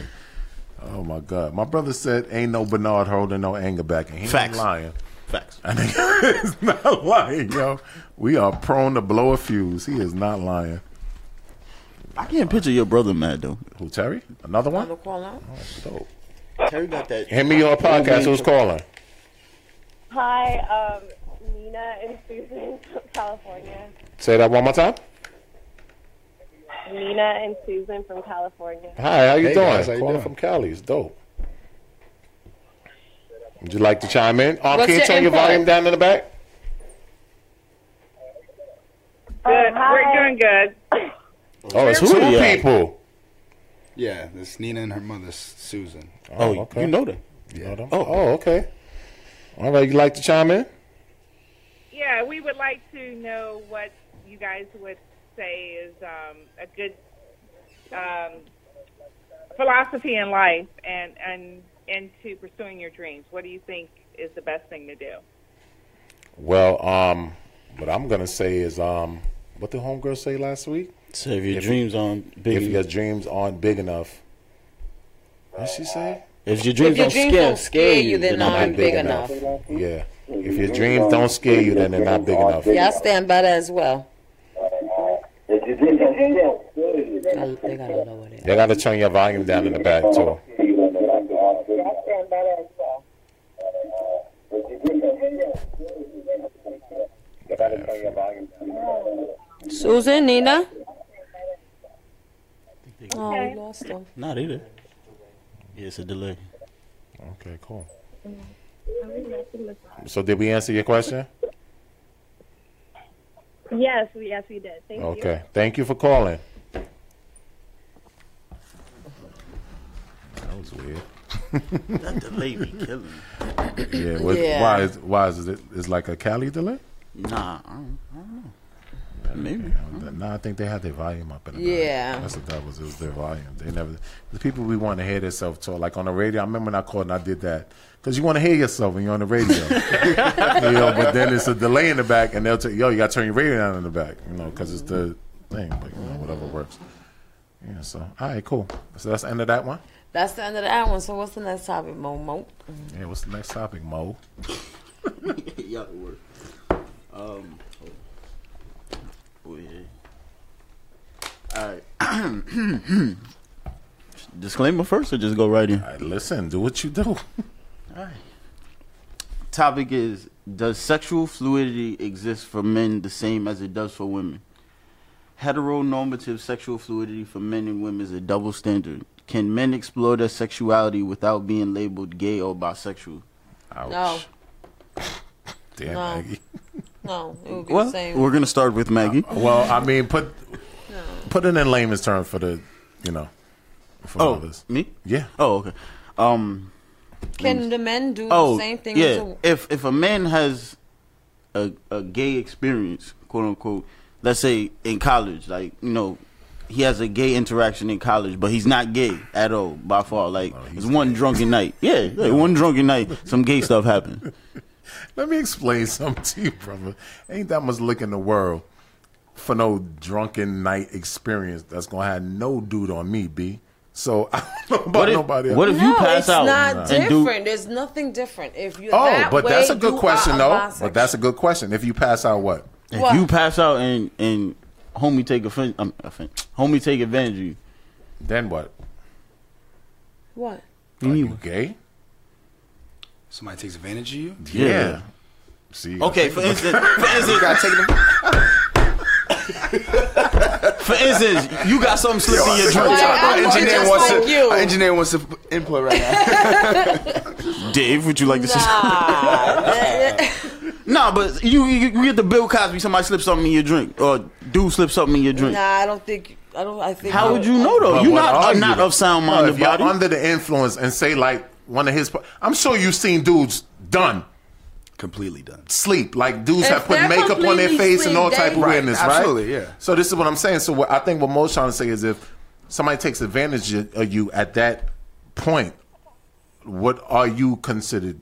Speaker 5: Oh my God, my brother said, "Ain't no Bernard holding no anger back," and he ain't
Speaker 4: Facts.
Speaker 5: lying.
Speaker 4: Facts.
Speaker 5: I think he's not lying, yo. We are prone to blow a fuse. He is not lying.
Speaker 4: I can't picture your brother mad though.
Speaker 5: Who Terry? Another one?
Speaker 3: Wanna call out?
Speaker 5: Dope.
Speaker 4: Terry got that.
Speaker 5: Hit me on podcast. Who's calling?
Speaker 9: Hi, um, Nina and Susan from California.
Speaker 5: Say that one more time.
Speaker 9: Nina and Susan from California.
Speaker 5: Hi, how you
Speaker 6: Hey,
Speaker 5: doing?
Speaker 6: guys, how you
Speaker 5: Calling
Speaker 6: doing?
Speaker 5: from Cali. It's dope. Would you like to chime in? Um,
Speaker 3: What's
Speaker 5: can you
Speaker 3: your
Speaker 5: turn your
Speaker 3: input?
Speaker 5: volume down in the back?
Speaker 9: Good. We're doing good.
Speaker 5: Oh, it's two
Speaker 4: Yeah.
Speaker 5: people.
Speaker 6: Yeah, it's Nina and her mother, Susan.
Speaker 5: Oh,
Speaker 4: You know that.
Speaker 5: You know them? Oh, okay. All right, you like to chime in?
Speaker 7: Yeah, we would like to know what you guys would say is um, a good um, philosophy in life and and into pursuing your dreams. What do you think is the best thing to do?
Speaker 5: Well, um, what I'm gonna say is, um, what the homegirl say last week?
Speaker 10: So if your dreams aren't big,
Speaker 5: If your dreams aren't big enough, what she say?
Speaker 10: if your dreams
Speaker 3: If your
Speaker 10: don't
Speaker 3: dreams
Speaker 10: scare,
Speaker 3: don't scare you, then
Speaker 10: not
Speaker 3: I'm
Speaker 5: big
Speaker 3: big
Speaker 5: enough.
Speaker 3: enough.
Speaker 5: Yeah. If your dreams don't scare you, then they're not big enough.
Speaker 3: Yeah, I stand by that as well. I, they gotta lower it.
Speaker 5: They gotta turn your volume down in the back too.
Speaker 3: Susan, Nina. Oh, we lost them.
Speaker 10: Not either. Yeah, it's a delay.
Speaker 5: Okay, cool. So did we answer your question?
Speaker 9: Yes, we yes we did. Thank you.
Speaker 5: Okay. Thank you for calling. That was weird.
Speaker 4: That delay be killing. me.
Speaker 5: Yeah. What,
Speaker 3: Yeah.
Speaker 5: Why is why is it? It's like a Cali delay.
Speaker 4: Nah, I don't, I don't know. Maybe.
Speaker 5: No, I think they had their volume up. In the back.
Speaker 3: Yeah.
Speaker 5: that's what that was. It was their volume. They never the people we want to hear themselves talk. Like on the radio, I remember when I called and I did that because you want to hear yourself when you're on the radio. you know, but then it's a delay in the back, and they'll tell you, "Yo, you got to turn your radio down in the back," you know, because it's the thing. But you know, whatever works. Yeah. So, all right, cool. So that's the end of that one.
Speaker 3: That's the end of that one. So what's the next topic, Momo?
Speaker 5: Yeah. What's the next topic, Mo?
Speaker 4: yeah, it worked. Um. Oh yeah. All right. Disclaimer first, or just go right in.
Speaker 5: All right, listen, do what you do.
Speaker 4: Topic is: Does sexual fluidity exist for men the same as it does for women? Heteronormative sexual fluidity for men and women is a double standard. Can men explore their sexuality without being labeled gay or bisexual?
Speaker 5: Ouch.
Speaker 3: No.
Speaker 5: Damn,
Speaker 3: No.
Speaker 5: Maggie.
Speaker 3: No, it would be the
Speaker 4: Well, Uh,
Speaker 3: same.
Speaker 4: we're gonna start with Maggie.
Speaker 5: Well, I mean, put put it in layman's term for the, you know, for
Speaker 4: Oh,
Speaker 5: others.
Speaker 4: me?
Speaker 5: Yeah.
Speaker 4: Oh, okay. Um.
Speaker 3: Can the men do
Speaker 4: Oh,
Speaker 3: the same thing?
Speaker 4: yeah.
Speaker 3: As a,
Speaker 4: if if a man has a a gay experience, quote unquote, let's say in college, like you know, he has a gay interaction in college, but he's not gay at all by far. Like
Speaker 5: Oh, he's
Speaker 4: it's one drunken night. Yeah, like, one drunken night, some gay stuff happened.
Speaker 5: Let me explain something to you, brother. Ain't that much lick in the world for no drunken night experience that's gonna have no dude on me, b. So I don't know about
Speaker 4: What if,
Speaker 5: nobody.
Speaker 4: what if
Speaker 5: else.
Speaker 4: you
Speaker 3: no,
Speaker 4: pass
Speaker 3: it's
Speaker 4: out?
Speaker 3: not
Speaker 4: and do-
Speaker 3: different. There's nothing different. If you
Speaker 5: Oh,
Speaker 3: that
Speaker 5: but
Speaker 3: way,
Speaker 5: that's a good
Speaker 3: you
Speaker 5: question,
Speaker 3: are a
Speaker 5: though.
Speaker 3: bisexual.
Speaker 5: But that's a good question. If you pass out, what?
Speaker 4: if
Speaker 3: What?
Speaker 4: you pass out and and homie take offense, um, offense, homie take advantage of you.
Speaker 5: Then what?
Speaker 3: what?
Speaker 5: Are you gay?
Speaker 6: Somebody takes advantage of you.
Speaker 4: Yeah.
Speaker 5: See. I
Speaker 4: Okay,
Speaker 5: think
Speaker 4: for
Speaker 5: about-
Speaker 4: instance, for instance, for instance, you got something slipped in your drink.
Speaker 3: Like, I'm just like you.
Speaker 6: Our engineer wants to input right now.
Speaker 4: Dave, would you like to say?
Speaker 3: Nah.
Speaker 4: Nah, but you, you you get the Bill Cosby. Somebody slips something in your drink, or dude slips something in your drink.
Speaker 3: nah, I don't think. I don't. I think.
Speaker 4: How would you know though?
Speaker 5: But
Speaker 4: You're
Speaker 5: what
Speaker 4: not
Speaker 5: are
Speaker 4: are
Speaker 5: you?
Speaker 4: not of sound
Speaker 5: No,
Speaker 4: mind
Speaker 5: if
Speaker 4: and
Speaker 5: you're
Speaker 4: body.
Speaker 5: under the influence and say like one of his, I'm sure you've seen dudes done.
Speaker 6: completely done.
Speaker 5: sleep. Like dudes
Speaker 6: If
Speaker 5: have put
Speaker 6: they're
Speaker 5: makeup on their
Speaker 6: completely
Speaker 5: face and all
Speaker 6: sleep,
Speaker 5: type of
Speaker 6: they-
Speaker 5: weirdness,
Speaker 6: Right,
Speaker 5: right?
Speaker 6: absolutely, yeah.
Speaker 5: So this is what I'm saying. So what I think what Mo's trying to say is if somebody takes advantage of you at that point, what are you considered?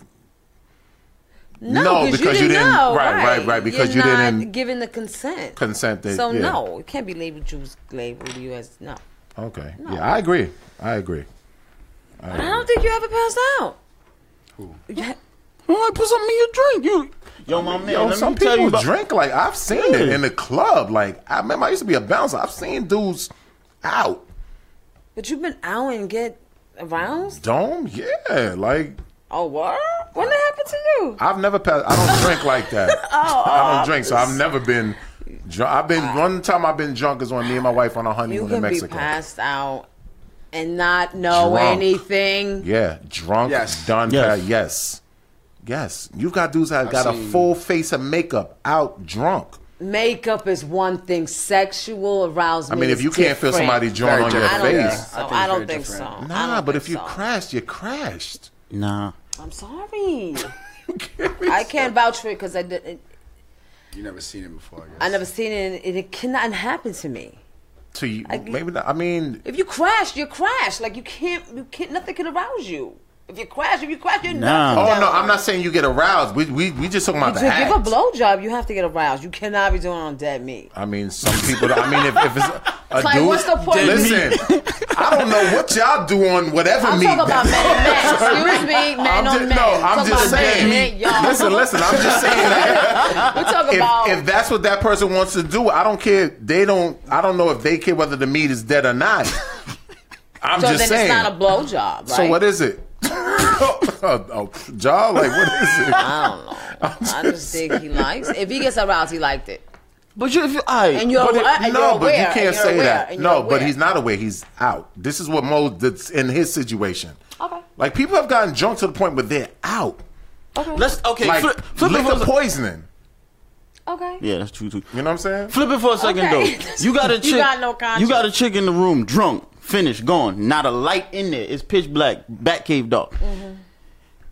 Speaker 3: No,
Speaker 5: because you didn't.
Speaker 3: know,
Speaker 5: right, right, right. Because
Speaker 3: You're
Speaker 5: you
Speaker 3: not
Speaker 5: didn't
Speaker 3: giving the consent.
Speaker 5: consent. That,
Speaker 3: so
Speaker 5: yeah.
Speaker 3: no, it can't be labeled. You as- labeled you as no.
Speaker 5: Okay. Yeah, I agree. I agree. I
Speaker 3: I
Speaker 5: agree.
Speaker 3: don't think you ever passed out. Yeah.
Speaker 4: Well, I put something in your drink. You, yo, my man.
Speaker 5: Yo,
Speaker 4: let
Speaker 5: Oh, some
Speaker 4: me tell you
Speaker 5: people
Speaker 4: about-
Speaker 5: drink like I've seen it in the club. Like I remember, I used to be a bouncer. I've seen dudes out
Speaker 3: But you've been out and get aroused.
Speaker 5: dome. Yeah, like
Speaker 3: Oh what? When that happened to you?
Speaker 5: I've never passed. I don't drink like that.
Speaker 3: Oh,
Speaker 5: I don't drink, so I've never been. Drunk. I've been one time. I've been drunk is when me and my wife on a
Speaker 3: you
Speaker 5: honeymoon in
Speaker 3: can be
Speaker 5: Mexico.
Speaker 3: passed out and not know
Speaker 5: Drunk.
Speaker 3: anything.
Speaker 5: Yeah, drunk, done, yes. yes, yes. You've got dudes that
Speaker 3: I've
Speaker 5: got a
Speaker 3: seen-
Speaker 5: full face of makeup, out drunk.
Speaker 3: Makeup is one thing. Sexual arousal.
Speaker 5: I mean, if you can't feel somebody drawing on your
Speaker 3: I don't
Speaker 5: face,
Speaker 3: think so. I don't think so.
Speaker 5: Nah, but if you crashed, you crashed.
Speaker 10: Nah.
Speaker 3: I'm sorry. I can't vouch for it because I did.
Speaker 6: You never seen it before. I guess.
Speaker 3: I never seen it, and it cannot happen to me.
Speaker 5: To you, maybe not. I mean,
Speaker 3: If you crash, you crash. Like you can't, you can't. Nothing can arouse you. If you crash, if you crash, you're
Speaker 5: nah.
Speaker 3: not.
Speaker 5: Oh no, I'm not saying you get aroused. We we, we just talking about
Speaker 3: to
Speaker 5: the
Speaker 3: give a
Speaker 5: act.
Speaker 3: blowjob, you have to get aroused. You cannot be doing it on dead meat.
Speaker 5: I mean, some people. I mean, if, if it's a, a
Speaker 3: Like,
Speaker 5: dude,
Speaker 3: what's the point?
Speaker 5: listen, I don't know what y'all do on whatever
Speaker 3: I'm
Speaker 5: meat.
Speaker 3: talking about men and men. Excuse me,
Speaker 5: I'm
Speaker 3: men on
Speaker 5: just-
Speaker 3: men.
Speaker 5: No, I'm
Speaker 3: Talking
Speaker 5: just
Speaker 3: about men and
Speaker 5: saying.
Speaker 3: men, y'all.
Speaker 5: Listen, listen. I'm just saying that.
Speaker 3: We're talking
Speaker 5: if,
Speaker 3: about-
Speaker 5: if that's what that person wants to do, I don't care. They don't. I don't know if they care whether the meat is dead or not. I'm
Speaker 3: so
Speaker 5: just
Speaker 3: then
Speaker 5: saying.
Speaker 3: it's not a blowjob, right?
Speaker 5: So what is it? a, a jaw? Like what is it?
Speaker 3: I don't know. I just think he likes. If he gets aroused, he liked it.
Speaker 4: But you, if you, I,
Speaker 3: And you're
Speaker 5: But it-
Speaker 3: awa- and
Speaker 5: no,
Speaker 3: you're
Speaker 5: but
Speaker 3: aware,
Speaker 5: you
Speaker 3: and you're
Speaker 5: can't say
Speaker 3: aware,
Speaker 5: that.
Speaker 3: and
Speaker 5: No,
Speaker 3: you're
Speaker 5: but
Speaker 3: aware.
Speaker 5: he's not aware. He's out. This is what Mo that's in his situation.
Speaker 3: Okay.
Speaker 5: Like people have gotten drunk to the point where they're out.
Speaker 3: Okay.
Speaker 4: Let's okay.
Speaker 5: like
Speaker 4: flip, flip it
Speaker 5: liquor
Speaker 4: for
Speaker 5: poisoning.
Speaker 3: Okay.
Speaker 4: Yeah, that's true too.
Speaker 5: You know what I'm saying?
Speaker 4: Flip it for a second
Speaker 3: Okay.
Speaker 4: though. You got a
Speaker 3: You
Speaker 4: chick.
Speaker 3: got no conscience.
Speaker 4: you got a chick in the room, drunk, finished, gone. Not a light in there. It's pitch black. Batcave dark.
Speaker 3: Mm-hmm.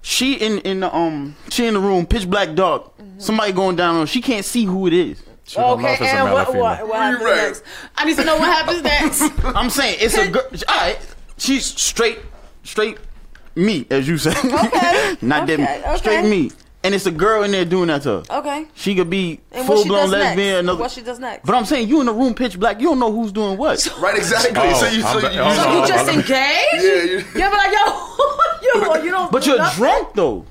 Speaker 4: She in in the um. She in the room, pitch black dark.
Speaker 3: Mm-hmm.
Speaker 4: Somebody going down on. her. She can't see who it is.
Speaker 3: Okay, and what, what, what happens next? I need to know what happens next.
Speaker 4: I'm saying it's a girl. All right, she's straight, straight meat, as you say.
Speaker 3: Okay.
Speaker 4: Not
Speaker 3: Okay,
Speaker 4: dead meat.
Speaker 3: okay.
Speaker 4: Straight meat. And it's a girl in there doing that to her.
Speaker 3: Okay.
Speaker 4: She could be
Speaker 3: And what
Speaker 4: full
Speaker 3: she does
Speaker 4: blown
Speaker 3: next?
Speaker 4: lesbian.
Speaker 3: And
Speaker 4: Another,
Speaker 3: what she does next?
Speaker 4: But I'm saying you in the room pitch black. You don't know who's doing what.
Speaker 6: Right, exactly.
Speaker 5: Oh,
Speaker 6: so you, so
Speaker 5: I'm
Speaker 6: you,
Speaker 5: ba- oh,
Speaker 3: So
Speaker 5: no,
Speaker 3: you just
Speaker 5: I'm-
Speaker 3: engaged?
Speaker 6: Yeah, you-
Speaker 3: Yeah, but like yo, yo, you don't.
Speaker 4: But
Speaker 3: do
Speaker 4: you're
Speaker 3: nothing.
Speaker 4: drunk though.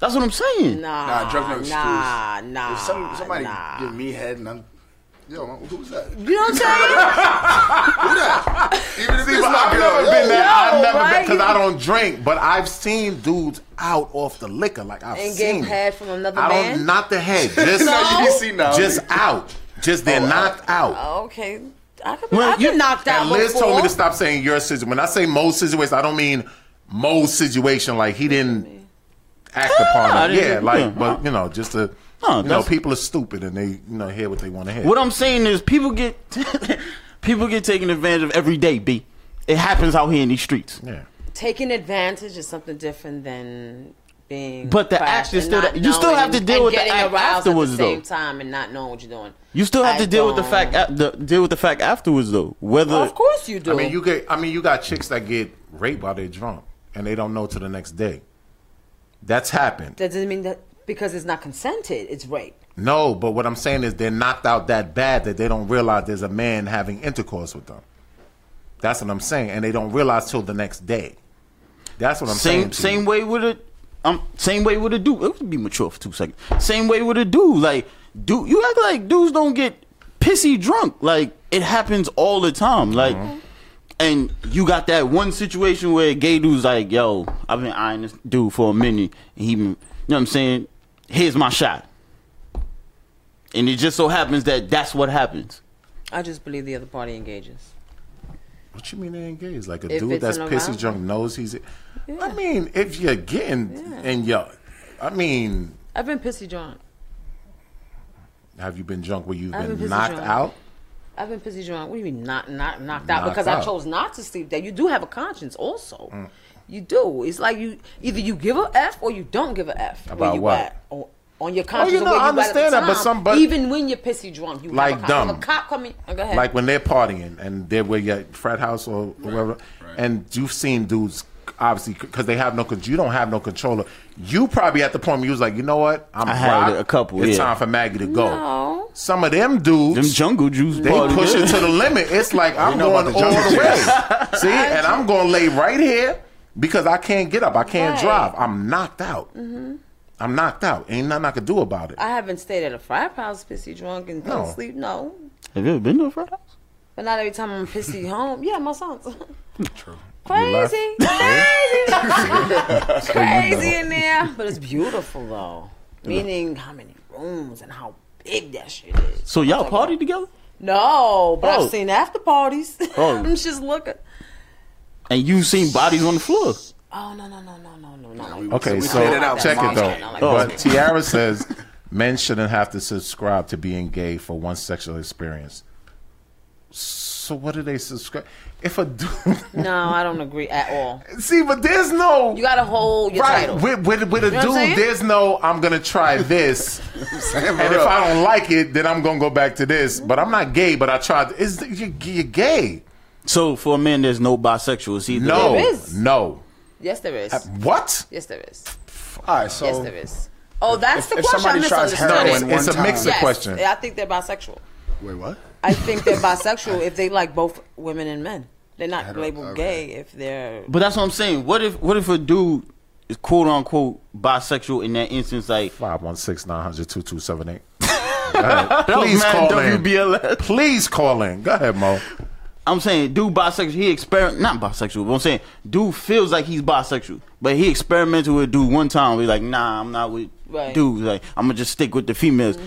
Speaker 4: That's what I'm saying.
Speaker 3: Nah,
Speaker 6: Nah, drunk no excuse.
Speaker 3: Nah, nah,
Speaker 6: If some, somebody
Speaker 3: nah.
Speaker 6: give me head and I'm, yo, who's that? Who
Speaker 3: You know what I'm saying?
Speaker 6: that? Even if
Speaker 5: See,
Speaker 6: it's
Speaker 5: but
Speaker 6: my
Speaker 5: I've
Speaker 6: girl,
Speaker 5: never
Speaker 6: yo,
Speaker 5: been there.
Speaker 3: yo,
Speaker 5: I've never
Speaker 3: right?
Speaker 5: because I don't drink. But I've seen dudes out off the liquor. Like I've
Speaker 3: and
Speaker 5: seen
Speaker 3: get
Speaker 5: it.
Speaker 3: head from another
Speaker 5: I
Speaker 3: man.
Speaker 5: don't not the head. Just
Speaker 3: No, you
Speaker 6: see now.
Speaker 5: just out. Just
Speaker 3: Oh,
Speaker 5: they're knocked out.
Speaker 3: Okay, I could.
Speaker 4: Well,
Speaker 3: I've
Speaker 4: you-
Speaker 3: been knocked out
Speaker 5: And Liz
Speaker 3: before.
Speaker 5: told me to stop saying your situation. When I say Mo's situation, I don't mean Mo's situation. Like he didn't act
Speaker 4: Ah, I
Speaker 5: upon it.
Speaker 4: didn't-
Speaker 5: Yeah, like
Speaker 4: yeah,
Speaker 5: but you know, just to
Speaker 4: No,
Speaker 5: you know,
Speaker 4: that's-
Speaker 5: people are stupid and they you know hear what they want to hear.
Speaker 4: What I'm saying is people get people get taken advantage of every day. B. It happens out here in these streets.
Speaker 5: yeah.
Speaker 3: Taking advantage is something different than being.
Speaker 4: But the
Speaker 3: crashed
Speaker 4: act is
Speaker 3: and
Speaker 4: still
Speaker 3: not
Speaker 4: that- you still
Speaker 3: knowing
Speaker 4: have to
Speaker 3: and-
Speaker 4: deal
Speaker 3: and
Speaker 4: with the
Speaker 3: getting
Speaker 4: act
Speaker 3: aroused
Speaker 4: afterwards,
Speaker 3: at the same
Speaker 4: though.
Speaker 3: time and not knowing what you're doing.
Speaker 4: You still have
Speaker 3: I
Speaker 4: to deal with the fact
Speaker 3: don't-
Speaker 4: a- the, deal with the fact afterwards though. Whether
Speaker 3: of course you do.
Speaker 5: I mean, you get. I mean, you got chicks that get raped while they're drunk and they don't know till the next day. That's happened.
Speaker 3: that doesn't mean that because it's not consented, it's rape.
Speaker 5: No, but what I'm saying is they're knocked out that bad that they don't realize there's a man having intercourse with them. That's what I'm saying, and they don't realize till the next day. That's what I'm saying.
Speaker 4: same
Speaker 5: to
Speaker 4: same way with it. Um, same way with a dude. It would be mature for two seconds. Same way with a dude. Like, dude, you act like dudes don't get pissy drunk. Like, it happens all the time. Like,
Speaker 5: Uh-huh.
Speaker 4: and you got that one situation where a gay dude's like, "Yo, I've been eyeing this dude for a minute. And he, been, you know what I'm saying? Here's my shot." And it just so happens that that's what happens.
Speaker 3: I just believe the other party engages.
Speaker 5: What you mean they engaged? Like a
Speaker 3: If
Speaker 5: dude
Speaker 3: it's
Speaker 5: that's
Speaker 3: an
Speaker 5: pissy
Speaker 3: arousal.
Speaker 5: drunk knows he's. I mean, if you're getting and you, I mean,
Speaker 3: I've been pissy drunk.
Speaker 5: have you been drunk where you've
Speaker 3: I've
Speaker 5: been,
Speaker 3: been pissy
Speaker 5: knocked
Speaker 3: drunk.
Speaker 5: out?
Speaker 3: I've been pissy drunk. What do you mean not not knocked out?
Speaker 5: Knocked
Speaker 3: because
Speaker 5: out. Mm.
Speaker 3: I chose not to sleep there. You do have a conscience also. You do. It's like you either you give a F or you don't give a F. where
Speaker 5: About
Speaker 3: you
Speaker 5: what? Oh,
Speaker 3: At, or on your conscience.
Speaker 5: you
Speaker 3: or
Speaker 5: know,
Speaker 3: where
Speaker 5: I
Speaker 3: you at the
Speaker 5: understand that, but
Speaker 3: time,
Speaker 5: some- but-
Speaker 3: even when you're pissy drunk, you have
Speaker 5: Like
Speaker 3: a con-
Speaker 5: dumb.
Speaker 3: If a cop coming. Go ahead.
Speaker 5: Like when they're partying and they're where your frat house or wherever, and you've seen dudes obviously because they have no con- you don't have no controller. You probably at the point where you was like, you know what, I'm
Speaker 4: I had
Speaker 5: rocked.
Speaker 4: a couple,
Speaker 5: It's
Speaker 4: yeah.
Speaker 5: time for Maggie to go.
Speaker 3: No.
Speaker 5: Some of them dudes,
Speaker 4: Them jungle juice.
Speaker 5: they
Speaker 4: party.
Speaker 5: push it to the limit. It's like I'm
Speaker 6: know
Speaker 5: going
Speaker 6: about
Speaker 5: all
Speaker 6: the jungle
Speaker 5: the way. See, and I'm going to lay right here because I can't get up. I can't
Speaker 3: Right. Mm-hmm.
Speaker 5: drive. I'm knocked out. I'm knocked out. Ain't nothing I can do about it.
Speaker 3: I haven't stayed at a frat house pissy drunk and fell
Speaker 5: No.
Speaker 3: asleep. No,
Speaker 4: Have you ever been to a frat house?
Speaker 3: but not every time I'm pissy home. Yeah, my son's
Speaker 6: True.
Speaker 3: crazy, crazy, crazy in there. But it's beautiful though. Meaning how many rooms and how big that shit is.
Speaker 4: So y'all party together?
Speaker 3: No, but
Speaker 4: Oh.
Speaker 3: I've seen after parties.
Speaker 4: Oh.
Speaker 3: I'm just looking.
Speaker 4: And you seen bodies on the floor.
Speaker 3: Oh no no no no no no no.
Speaker 5: Okay,
Speaker 6: we
Speaker 5: so
Speaker 6: cleared it out.
Speaker 5: check it
Speaker 3: Mom's
Speaker 5: though.
Speaker 3: getting all like
Speaker 5: But Tiara says men shouldn't have to subscribe to being gay for one sexual experience. So what do they subscribe? If a dude,
Speaker 3: No, I don't agree at all.
Speaker 5: see, but there's no
Speaker 3: You gotta hold your
Speaker 5: right
Speaker 3: title.
Speaker 5: with, with with a
Speaker 3: what I'm saying?
Speaker 5: dude. There's no I'm gonna try this, and
Speaker 6: Sam,
Speaker 5: if
Speaker 6: bro.
Speaker 5: I don't like it, then I'm gonna go back to this. But I'm not gay. But I tried. Is you're, you're gay?
Speaker 4: So for a man, there's no bisexual. It's either
Speaker 5: No,
Speaker 3: There is.
Speaker 5: no.
Speaker 3: yes, there is.
Speaker 5: What?
Speaker 3: Yes, there is.
Speaker 6: All right, so
Speaker 3: Yes, there is. Oh, that's
Speaker 6: if-
Speaker 3: the
Speaker 6: if
Speaker 3: question. I
Speaker 6: somebody tries
Speaker 3: misunderstood
Speaker 5: No,
Speaker 6: heroin
Speaker 3: it.
Speaker 5: it's, it's
Speaker 6: one
Speaker 5: a mix
Speaker 6: time.
Speaker 5: of
Speaker 3: Yes,
Speaker 5: question.
Speaker 3: I think they're bisexual.
Speaker 6: wait, what?
Speaker 3: I think they're bisexual if they like both women and men. They're not
Speaker 6: Hetero-
Speaker 3: labeled
Speaker 6: okay.
Speaker 3: gay if they're.
Speaker 4: But that's what I'm saying. What if what if a dude is quote unquote bisexual in that instance? Like,
Speaker 5: Five one six nine hundred two two seven eight.
Speaker 4: oh,
Speaker 5: Please
Speaker 4: man,
Speaker 5: call in.
Speaker 4: WBLS.
Speaker 5: Please call in. Go ahead, Mo.
Speaker 4: I'm saying dude bisexual. He experiment not bisexual, but I'm saying dude feels like he's bisexual, but he experimented with dude one time. He's like, nah, I'm not with
Speaker 3: Right. Mm-hmm.
Speaker 4: dudes. Like, I'm gonna just stick with the females.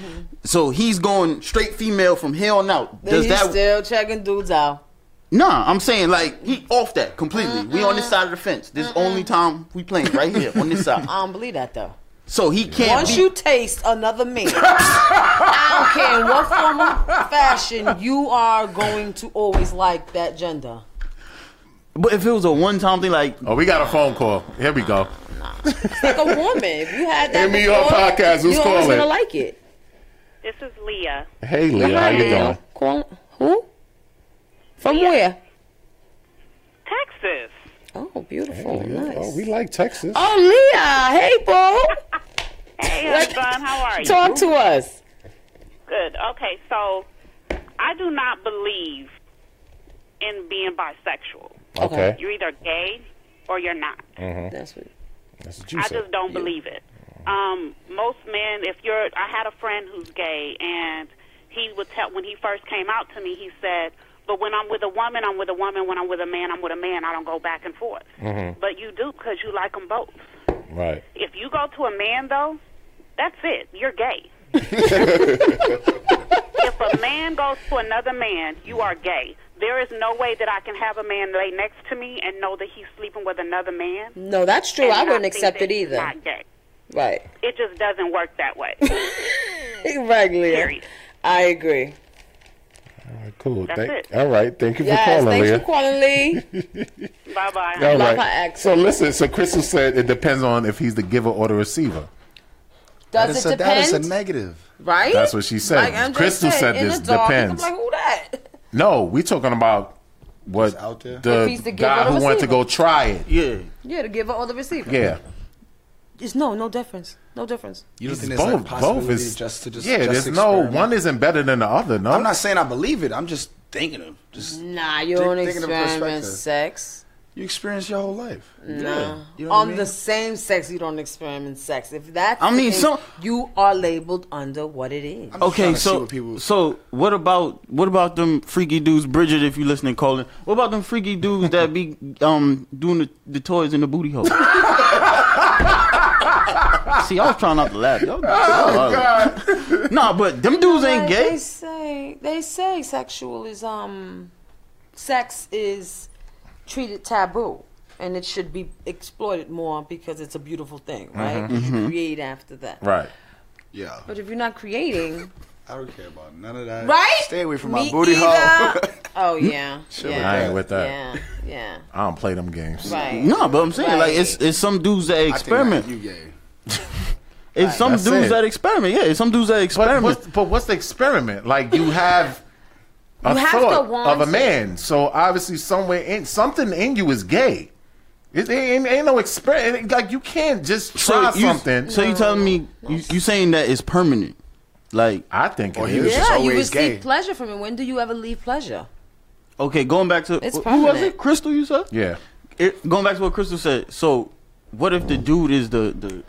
Speaker 4: So he's going straight female from here on out.
Speaker 3: Then
Speaker 4: Does
Speaker 3: he's
Speaker 4: that
Speaker 3: still checking dudes out.
Speaker 4: Nah, I'm saying like he off that completely. We on
Speaker 3: Mm-hmm.
Speaker 4: this side of the fence. This only time we playing right here on this side.
Speaker 3: I don't believe that though.
Speaker 4: So he can't.
Speaker 3: Once
Speaker 4: be-
Speaker 3: you taste another man, I don't care in what form or fashion, you are going to always like that gender.
Speaker 4: but if it was a one time thing, like
Speaker 5: Oh, we got a phone call. Here we go.
Speaker 3: Like a woman, if you had that
Speaker 5: Hit me up,
Speaker 3: before,
Speaker 5: podcast. Who's
Speaker 3: you're always
Speaker 5: calling?
Speaker 3: gonna like it.
Speaker 9: This is Leah.
Speaker 5: Hey, Leah, how you doing?
Speaker 3: Call- Who? From where?
Speaker 9: Texas.
Speaker 3: Oh, beautiful, nice.
Speaker 5: Oh, we like Texas.
Speaker 3: Oh, Leah, hey, boo,
Speaker 9: Hey, husband, how are you?
Speaker 3: talk to us.
Speaker 9: Good. Okay, so I do not believe in being bisexual.
Speaker 5: okay.
Speaker 9: You're either gay or you're not.
Speaker 3: That's what.
Speaker 5: That's what you
Speaker 9: I
Speaker 5: said.
Speaker 9: just don't believe it. Um, most men, if you're, I had a friend who's gay, and he would tell when he first came out to me, he said, "But when I'm with a woman, I'm with a woman. When I'm with a man, I'm with a man. I don't go back and forth." But you do because you like them both.
Speaker 5: Right.
Speaker 9: If you go to a man though, that's it. You're gay. if a man goes to another man, you are gay. There is no way that I can have a man lay next to me and know that he's sleeping with another man.
Speaker 3: No, that's true.
Speaker 9: and
Speaker 3: I
Speaker 9: not
Speaker 3: wouldn't
Speaker 9: think
Speaker 3: accept it
Speaker 9: that he's
Speaker 3: either.
Speaker 9: Not gay.
Speaker 3: Right.
Speaker 9: It just doesn't work that way.
Speaker 3: Right, Leah.
Speaker 9: Period.
Speaker 3: I agree.
Speaker 5: All right, cool.
Speaker 9: That's
Speaker 5: Thank,
Speaker 9: it.
Speaker 5: All right. Thank you
Speaker 3: Yes,
Speaker 5: for calling,
Speaker 3: thanks
Speaker 5: Leah.
Speaker 3: for calling, Lee.
Speaker 9: Bye bye.
Speaker 5: All
Speaker 3: Love
Speaker 5: right.
Speaker 3: her accent.
Speaker 5: So listen. So Crystal said it depends on if he's the giver or the receiver.
Speaker 6: That
Speaker 3: Does
Speaker 6: is
Speaker 3: it
Speaker 6: a, that is a
Speaker 3: depend?
Speaker 6: negative.
Speaker 3: right?
Speaker 5: That's what she said.
Speaker 3: I'm just
Speaker 5: Crystal
Speaker 3: saying,
Speaker 5: said
Speaker 3: in
Speaker 5: this
Speaker 3: the dark,
Speaker 5: depends.
Speaker 3: I'm like, who that?
Speaker 5: No, we talking about what
Speaker 6: It's out there.
Speaker 5: the
Speaker 3: If he's the giver
Speaker 5: guy
Speaker 3: or the
Speaker 5: who went to
Speaker 3: receiver.
Speaker 5: go try it.
Speaker 4: yeah,
Speaker 3: Yeah, the giver or the receiver.
Speaker 5: Yeah.
Speaker 3: It's no, no difference. No difference.
Speaker 6: You don't think there's
Speaker 5: Both.
Speaker 6: like
Speaker 5: both
Speaker 6: possibility
Speaker 5: is.
Speaker 6: just to just
Speaker 5: yeah.
Speaker 6: just
Speaker 5: there's
Speaker 6: experiment?
Speaker 5: no one isn't better than the other. No.
Speaker 6: I'm not saying I believe it. I'm just thinking of just
Speaker 3: Nah, you
Speaker 6: Think-
Speaker 3: don't
Speaker 6: thinking of
Speaker 3: experience
Speaker 6: perspective.
Speaker 3: sex.
Speaker 6: you experience your whole life.
Speaker 3: No.
Speaker 6: You know what I
Speaker 3: On
Speaker 6: mean?
Speaker 3: the same sex, you don't experiment sex. If that's
Speaker 4: I
Speaker 3: the
Speaker 4: mean,
Speaker 3: case,
Speaker 4: some-
Speaker 3: you are labeled under what it is.
Speaker 6: I'm just
Speaker 4: okay.
Speaker 6: trying to see
Speaker 4: So
Speaker 6: what people,
Speaker 4: so what about what about them freaky dudes, Bridget? If you listening, calling. What about them freaky dudes that be um doing the, the toys in the booty hole? See, I was trying not to laugh. Y'all- y'all- Nah, but them dudes ain't
Speaker 3: But They
Speaker 4: gay.
Speaker 3: say they say sexual is um, sex is treated taboo, and it should be exploited more because it's a beautiful thing, right? You should create after that.
Speaker 5: Right.
Speaker 6: yeah,
Speaker 3: But if you're not creating,
Speaker 6: I don't care about none of that.
Speaker 3: right?
Speaker 6: Stay away from
Speaker 3: Me
Speaker 6: my booty hole.
Speaker 3: either. oh yeah,
Speaker 5: I
Speaker 3: yeah,
Speaker 5: ain't with that.
Speaker 3: yeah, yeah.
Speaker 5: I don't play them games.
Speaker 3: Right.
Speaker 4: Nah, but I'm saying like
Speaker 3: Right.
Speaker 4: it's it's some dudes that
Speaker 6: I think
Speaker 4: experiment.
Speaker 6: that you gay.
Speaker 4: It's some
Speaker 5: That's
Speaker 4: dudes
Speaker 5: it.
Speaker 4: that experiment. Yeah, it's some dudes that
Speaker 5: But
Speaker 4: experiment.
Speaker 5: what's, but what's the experiment? Like you have a
Speaker 3: You have to
Speaker 5: thought
Speaker 3: want
Speaker 5: of
Speaker 3: it.
Speaker 5: a man, so obviously somewhere in something in you is gay. It ain't, ain't no experiment. Like you can't just try
Speaker 4: you,
Speaker 5: something.
Speaker 4: So you telling me you, you saying that it's permanent? Like
Speaker 5: I think
Speaker 6: Or
Speaker 5: it
Speaker 6: he was
Speaker 5: is.
Speaker 6: just
Speaker 3: Yeah, you
Speaker 6: always
Speaker 3: receive
Speaker 6: gay.
Speaker 3: pleasure from it. When do you ever leave pleasure?
Speaker 4: okay, going back to
Speaker 3: It's
Speaker 4: wh- who was
Speaker 3: permanent.
Speaker 4: it? Crystal, you said.
Speaker 5: Yeah.
Speaker 4: It, going back to what Crystal said. So what if the dude is the the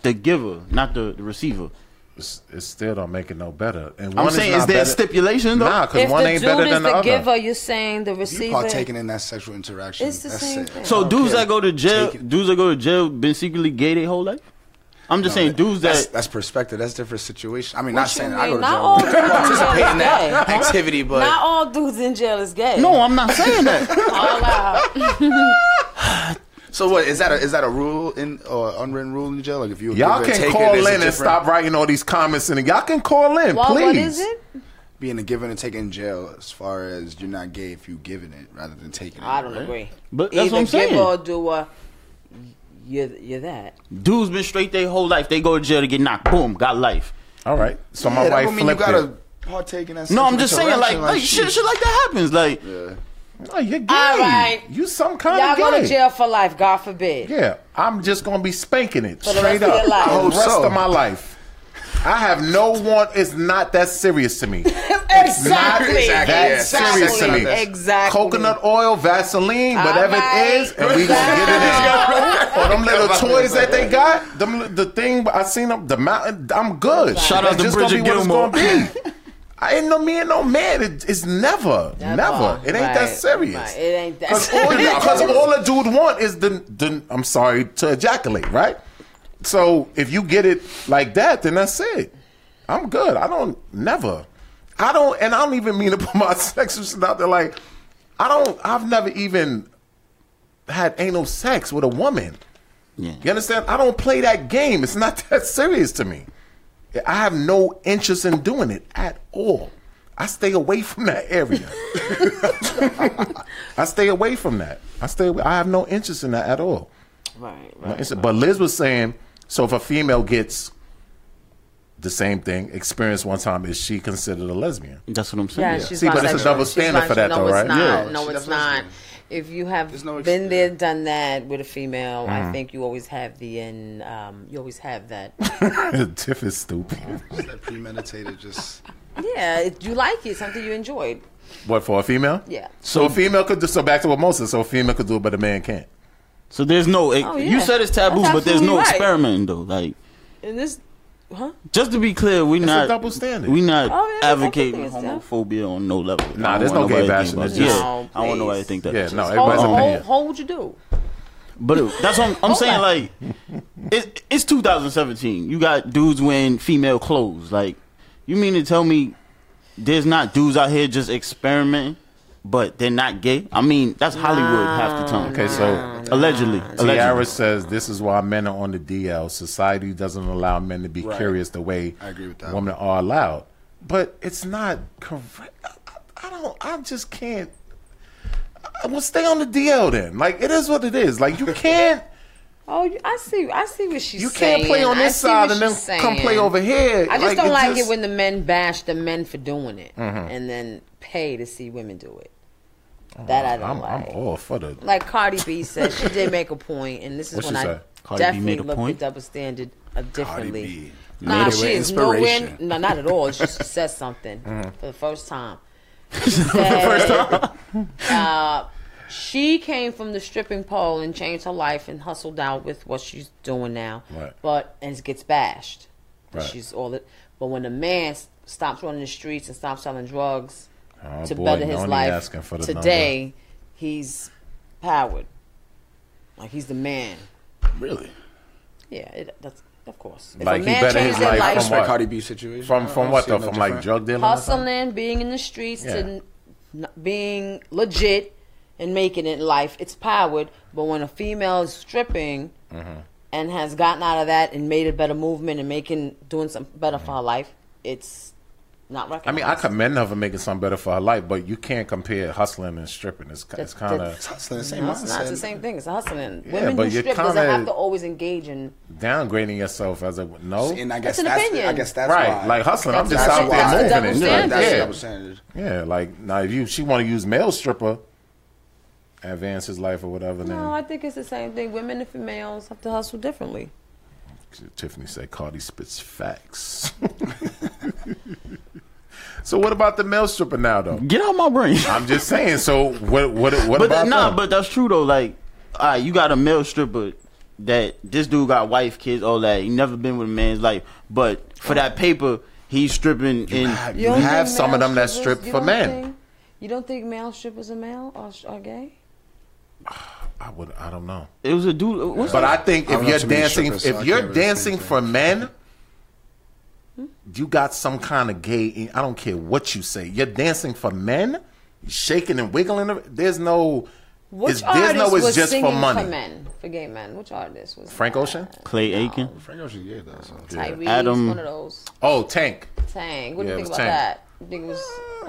Speaker 4: the giver, not the, the receiver?
Speaker 5: It's, it still don't make it no better. And
Speaker 4: I'm
Speaker 5: one
Speaker 4: saying
Speaker 5: is
Speaker 4: is
Speaker 5: not
Speaker 4: there a
Speaker 5: better.
Speaker 4: stipulation though?
Speaker 5: Nah, because
Speaker 3: If
Speaker 5: one
Speaker 3: the
Speaker 5: ain't
Speaker 3: dude
Speaker 5: better
Speaker 3: is
Speaker 5: than
Speaker 3: the,
Speaker 5: the, other.
Speaker 3: giver, you're saying the
Speaker 6: You
Speaker 3: receiver.
Speaker 6: partaking in that sexual interaction.
Speaker 3: It's the
Speaker 6: that's
Speaker 3: same
Speaker 6: it.
Speaker 3: thing.
Speaker 4: So
Speaker 6: Okay.
Speaker 4: dudes that go to jail,
Speaker 6: Take it.
Speaker 4: dudes that go to jail, been secretly gay their whole life. I'm just saying, dudes
Speaker 6: that's,
Speaker 4: that
Speaker 6: that's perspective. That's different situation. I mean, not
Speaker 3: What you
Speaker 6: saying that
Speaker 3: mean?
Speaker 6: I go to
Speaker 3: Not
Speaker 6: jail.
Speaker 3: all
Speaker 6: I don't participate in that
Speaker 3: gay.
Speaker 6: activity, but
Speaker 3: Not all dudes in jail is gay.
Speaker 4: no, I'm not saying that.
Speaker 3: all out.
Speaker 6: so what is that? A, is that a rule in or unwritten rule in jail? Like if you a
Speaker 5: Y'all
Speaker 6: giver and
Speaker 5: can
Speaker 6: taker,
Speaker 5: call
Speaker 6: there's a
Speaker 5: in and
Speaker 6: different-
Speaker 5: stop writing all these comments in. Y'all can call in,
Speaker 3: Well,
Speaker 5: please.
Speaker 3: what is it?
Speaker 6: being a giver and a taker in jail. As far as you're not gay if you giving it rather than taking it.
Speaker 3: I don't
Speaker 6: right?
Speaker 3: agree.
Speaker 4: But that's
Speaker 3: Either
Speaker 4: what I'm saying.
Speaker 3: give or do a, you're, you're that.
Speaker 4: Dudes been straight their whole life. They go to jail to get knocked. Boom, got life.
Speaker 5: All right. So
Speaker 6: Yeah,
Speaker 5: my
Speaker 6: that
Speaker 5: wife
Speaker 6: don't mean you
Speaker 5: flipped
Speaker 6: gotta
Speaker 5: it.
Speaker 6: partake in that.
Speaker 4: No,
Speaker 6: sexual
Speaker 4: I'm just saying, like,
Speaker 6: interaction,
Speaker 4: like shit, shit like that happens. Like,
Speaker 6: Yeah.
Speaker 5: No, you're gay.
Speaker 3: All right.
Speaker 5: You some kind
Speaker 3: Y'all
Speaker 5: of gay.
Speaker 3: go to jail for life, God forbid.
Speaker 5: Yeah, I'm just gonna be spanking it
Speaker 3: the
Speaker 5: straight
Speaker 3: rest of
Speaker 5: up
Speaker 3: your life. I
Speaker 5: the
Speaker 6: hope
Speaker 5: rest
Speaker 6: so.
Speaker 5: of my life. I have no want. It's not that serious to me.
Speaker 3: Exactly.
Speaker 6: Exactly.
Speaker 5: That
Speaker 3: Exactly.
Speaker 5: serious to me.
Speaker 3: Exactly.
Speaker 5: Coconut oil, Vaseline,
Speaker 3: All
Speaker 5: whatever
Speaker 3: right.
Speaker 5: it is, and we gonna get it in. or them little toys that they got, them the thing I seen them, the mountain. I'm good.
Speaker 4: Shout
Speaker 5: That's
Speaker 4: out to
Speaker 5: just gonna
Speaker 4: Bridget
Speaker 5: be what it's
Speaker 4: Gilmore.
Speaker 5: gonna be. I ain't no me and no man. It, it's never, never. It ain't that
Speaker 3: Right,
Speaker 5: serious.
Speaker 3: right. It ain't that
Speaker 5: Because all,
Speaker 3: serious.
Speaker 5: because all a dude want is the, the I'm sorry to ejaculate, right? So if you get it like that, then that's it. I'm good. I don't never. I don't, and I don't even mean to put my sexual shit out there. Like I don't. I've never even had anal sex with a woman.
Speaker 4: Yeah.
Speaker 5: You understand? I don't play that game. It's not that serious to me. I have no interest in doing it at all. I stay away from that area. I stay away from that. I stay. I have no interest in that at all.
Speaker 3: Right,
Speaker 5: No
Speaker 3: right.
Speaker 5: interest. But Liz was saying, so if a female gets the same thing, experience one time, is she considered a lesbian?
Speaker 4: that's what I'm
Speaker 3: Yeah,
Speaker 4: saying.
Speaker 3: she's
Speaker 5: See, but it's a
Speaker 3: bisexual.
Speaker 5: double
Speaker 3: She's
Speaker 5: standard for that
Speaker 3: no,
Speaker 5: though,
Speaker 3: it's
Speaker 5: right?
Speaker 3: Not.
Speaker 6: Yeah.
Speaker 3: No,
Speaker 6: She
Speaker 3: it's
Speaker 6: definitely
Speaker 3: not.
Speaker 6: is.
Speaker 3: If you have
Speaker 6: There's no
Speaker 3: been
Speaker 6: excuse.
Speaker 3: there, done that with a female,
Speaker 5: Mm-hmm.
Speaker 3: I think you always have the and um, you always have that.
Speaker 5: Tiff is stupid.
Speaker 6: Is that premeditated? Just
Speaker 3: yeah, it, you like it, something you enjoyed.
Speaker 5: What for a female?
Speaker 3: Yeah.
Speaker 5: So a female could do. So back to what Moses. said, So a female could do it, but a man can't.
Speaker 4: So there's no.
Speaker 3: Oh,
Speaker 4: You
Speaker 3: yeah.
Speaker 4: said it's taboo,
Speaker 3: That's
Speaker 4: but there's
Speaker 3: absolutely
Speaker 4: no
Speaker 3: right.
Speaker 4: experimenting though. Like,
Speaker 3: And this, huh?
Speaker 4: just to be clear, we
Speaker 5: It's
Speaker 4: not
Speaker 5: a double standard.
Speaker 4: We not
Speaker 3: Oh, yeah,
Speaker 4: advocating
Speaker 3: everything is
Speaker 4: homophobia on no level.
Speaker 5: Nah,
Speaker 4: I don't
Speaker 5: there's
Speaker 4: want
Speaker 5: no gay
Speaker 4: nobody to
Speaker 5: bashing
Speaker 4: think about that.
Speaker 5: in
Speaker 4: Yeah,
Speaker 5: this.
Speaker 3: No,
Speaker 4: I want
Speaker 3: please.
Speaker 4: nobody to think that.
Speaker 5: Yeah, no,
Speaker 3: How,
Speaker 5: everybody's
Speaker 3: how,
Speaker 5: opinion.
Speaker 3: how would you do?
Speaker 4: But it- that's what I'm, I'm saying. Like, it, it's 2017. You got dudes wearing female clothes. Like, you mean to tell me there's not dudes out here just experimenting, but they're not gay? I mean, that's Hollywood half the time.
Speaker 5: Okay, so
Speaker 4: allegedly,
Speaker 5: Tiara
Speaker 4: allegedly.
Speaker 5: says this is why men are on the DL. Society doesn't allow men to be
Speaker 6: Right.
Speaker 5: curious the way
Speaker 6: I agree with that.
Speaker 5: women are allowed. But it's not correct. I, I- I don't. I just can't. I, well, stay on the DL then. Like it is what it is. Like you can't.
Speaker 3: Oh, you- I see. I see what she's
Speaker 5: You
Speaker 3: saying.
Speaker 5: can't play on
Speaker 3: I
Speaker 5: this
Speaker 3: see what
Speaker 5: side and then
Speaker 3: she's
Speaker 5: come
Speaker 3: saying.
Speaker 5: play over here.
Speaker 3: I just don't like it
Speaker 5: just- Mm-hmm.
Speaker 3: when the men bash the men for doing it and then pay to see women do it. That I don't
Speaker 5: Uh, I'm, I'm
Speaker 3: like.
Speaker 5: all for the.
Speaker 3: like Cardi B said, she did make a point, and this is
Speaker 5: What
Speaker 3: when
Speaker 5: she
Speaker 3: I
Speaker 5: say?
Speaker 4: Cardi B
Speaker 3: definitely
Speaker 4: made a
Speaker 3: look
Speaker 4: point?
Speaker 3: at double standard uh, differently.
Speaker 6: B.
Speaker 3: Nah,
Speaker 6: Made it
Speaker 3: she
Speaker 6: with
Speaker 3: is nowhere.
Speaker 6: inspiration.
Speaker 3: No, not at all. It's just she said something for the first time. She said, uh, she came from the stripping pole and changed her life and hustled out with what she's doing now.
Speaker 5: Right.
Speaker 3: But and gets bashed.
Speaker 5: Right.
Speaker 3: She's all that. But when a man s- stops running the streets and stops selling drugs
Speaker 5: Oh,
Speaker 3: to
Speaker 5: boy,
Speaker 3: better his
Speaker 5: don't he
Speaker 3: life
Speaker 5: asking for the
Speaker 3: today, he's powered. Like he's the man.
Speaker 6: really.
Speaker 3: Yeah, it, that's of course. If
Speaker 5: Like,
Speaker 3: a
Speaker 5: he
Speaker 3: man
Speaker 5: better
Speaker 3: changes
Speaker 5: his
Speaker 3: their
Speaker 5: life
Speaker 6: I
Speaker 5: from
Speaker 6: respect
Speaker 5: what?
Speaker 6: Cardi B situation.
Speaker 5: From
Speaker 6: I
Speaker 5: from
Speaker 6: don't
Speaker 5: what
Speaker 6: see
Speaker 5: though?
Speaker 6: no
Speaker 5: From
Speaker 6: different.
Speaker 5: like drug dealing. or something?
Speaker 3: hustling, being in the streets, to
Speaker 5: Yeah.
Speaker 3: n- n- being legit and making it in life. It's powered, but when a female is stripping
Speaker 5: Mm-hmm.
Speaker 3: and has gotten out of that and made a better movement and making doing something better for her life, it's not
Speaker 5: Mm-hmm. I
Speaker 3: recognized.
Speaker 5: mean, I commend her for making something better for her life, but you can't compare hustling and stripping. It's, it's
Speaker 3: That-
Speaker 5: kind
Speaker 3: that-
Speaker 5: of
Speaker 6: hustling, same
Speaker 3: No, it's not it's the
Speaker 6: mindset.
Speaker 3: same thing. It's a hustling.
Speaker 5: Yeah,
Speaker 3: Women
Speaker 5: but
Speaker 3: who
Speaker 5: you're
Speaker 3: strip doesn't
Speaker 5: kinda-
Speaker 3: have to always engage in.
Speaker 5: downgrading yourself as a no.
Speaker 6: And I guess
Speaker 3: That's an
Speaker 6: that's
Speaker 3: opinion.
Speaker 6: I guess that's
Speaker 5: right,
Speaker 6: why.
Speaker 5: like hustling. I'm
Speaker 3: That's
Speaker 5: just
Speaker 3: a-
Speaker 5: out
Speaker 3: that's a
Speaker 5: there
Speaker 3: double
Speaker 5: moving it.
Speaker 3: standard.
Speaker 6: That's
Speaker 5: yeah.
Speaker 6: double standard.
Speaker 5: Yeah, like now if you she want to use male stripper, advance his life or
Speaker 3: No,
Speaker 5: whatever. Then
Speaker 3: I think it's the same thing. Women and females have to hustle differently.
Speaker 5: Tiffany said Cardi spits facts. so what about the male stripper now though?
Speaker 4: Get out my brain.
Speaker 5: I'm just saying. So what what what
Speaker 4: but
Speaker 5: about
Speaker 4: that, nah,
Speaker 5: them?
Speaker 4: but that's true though. Like, all right, you got a male stripper that this dude got wife, kids, all that. He never been with a man's life, but for that paper, he's stripping in.
Speaker 5: You
Speaker 3: don't
Speaker 5: have
Speaker 3: think
Speaker 5: some of
Speaker 3: male
Speaker 5: them that
Speaker 3: strippers-
Speaker 5: strip
Speaker 3: you
Speaker 5: for
Speaker 3: don't
Speaker 5: men.
Speaker 3: think- you don't think male strippers are male or sh- are gay?
Speaker 5: I would I don't know.
Speaker 4: It was a dude. uh, What's
Speaker 5: But I think
Speaker 6: I don't
Speaker 5: if
Speaker 6: know
Speaker 5: you're
Speaker 6: too many
Speaker 5: dancing,
Speaker 6: strippers, so I
Speaker 5: if
Speaker 6: can't
Speaker 5: you're
Speaker 6: really speak
Speaker 5: dancing
Speaker 6: to
Speaker 5: for
Speaker 6: that.
Speaker 5: men, you got some kind of gay. I don't care what you say. You're dancing for men, shaking and wiggling. There's no.
Speaker 3: Which
Speaker 5: it's-
Speaker 3: artist
Speaker 5: there's no. It's
Speaker 3: was
Speaker 5: just
Speaker 3: singing
Speaker 5: for money.
Speaker 3: men, for gay men? Which artist was?
Speaker 5: Frank
Speaker 3: that?
Speaker 5: Ocean.
Speaker 4: Clay Aiken,
Speaker 6: Frank Ocean gave that. So.
Speaker 3: Tyrese,
Speaker 4: Adam-
Speaker 3: one of those.
Speaker 5: Oh, Tank.
Speaker 3: Tang. What
Speaker 5: Yeah,
Speaker 3: do you
Speaker 5: it
Speaker 3: think
Speaker 5: was
Speaker 3: about
Speaker 5: Tang.
Speaker 3: that? You think it was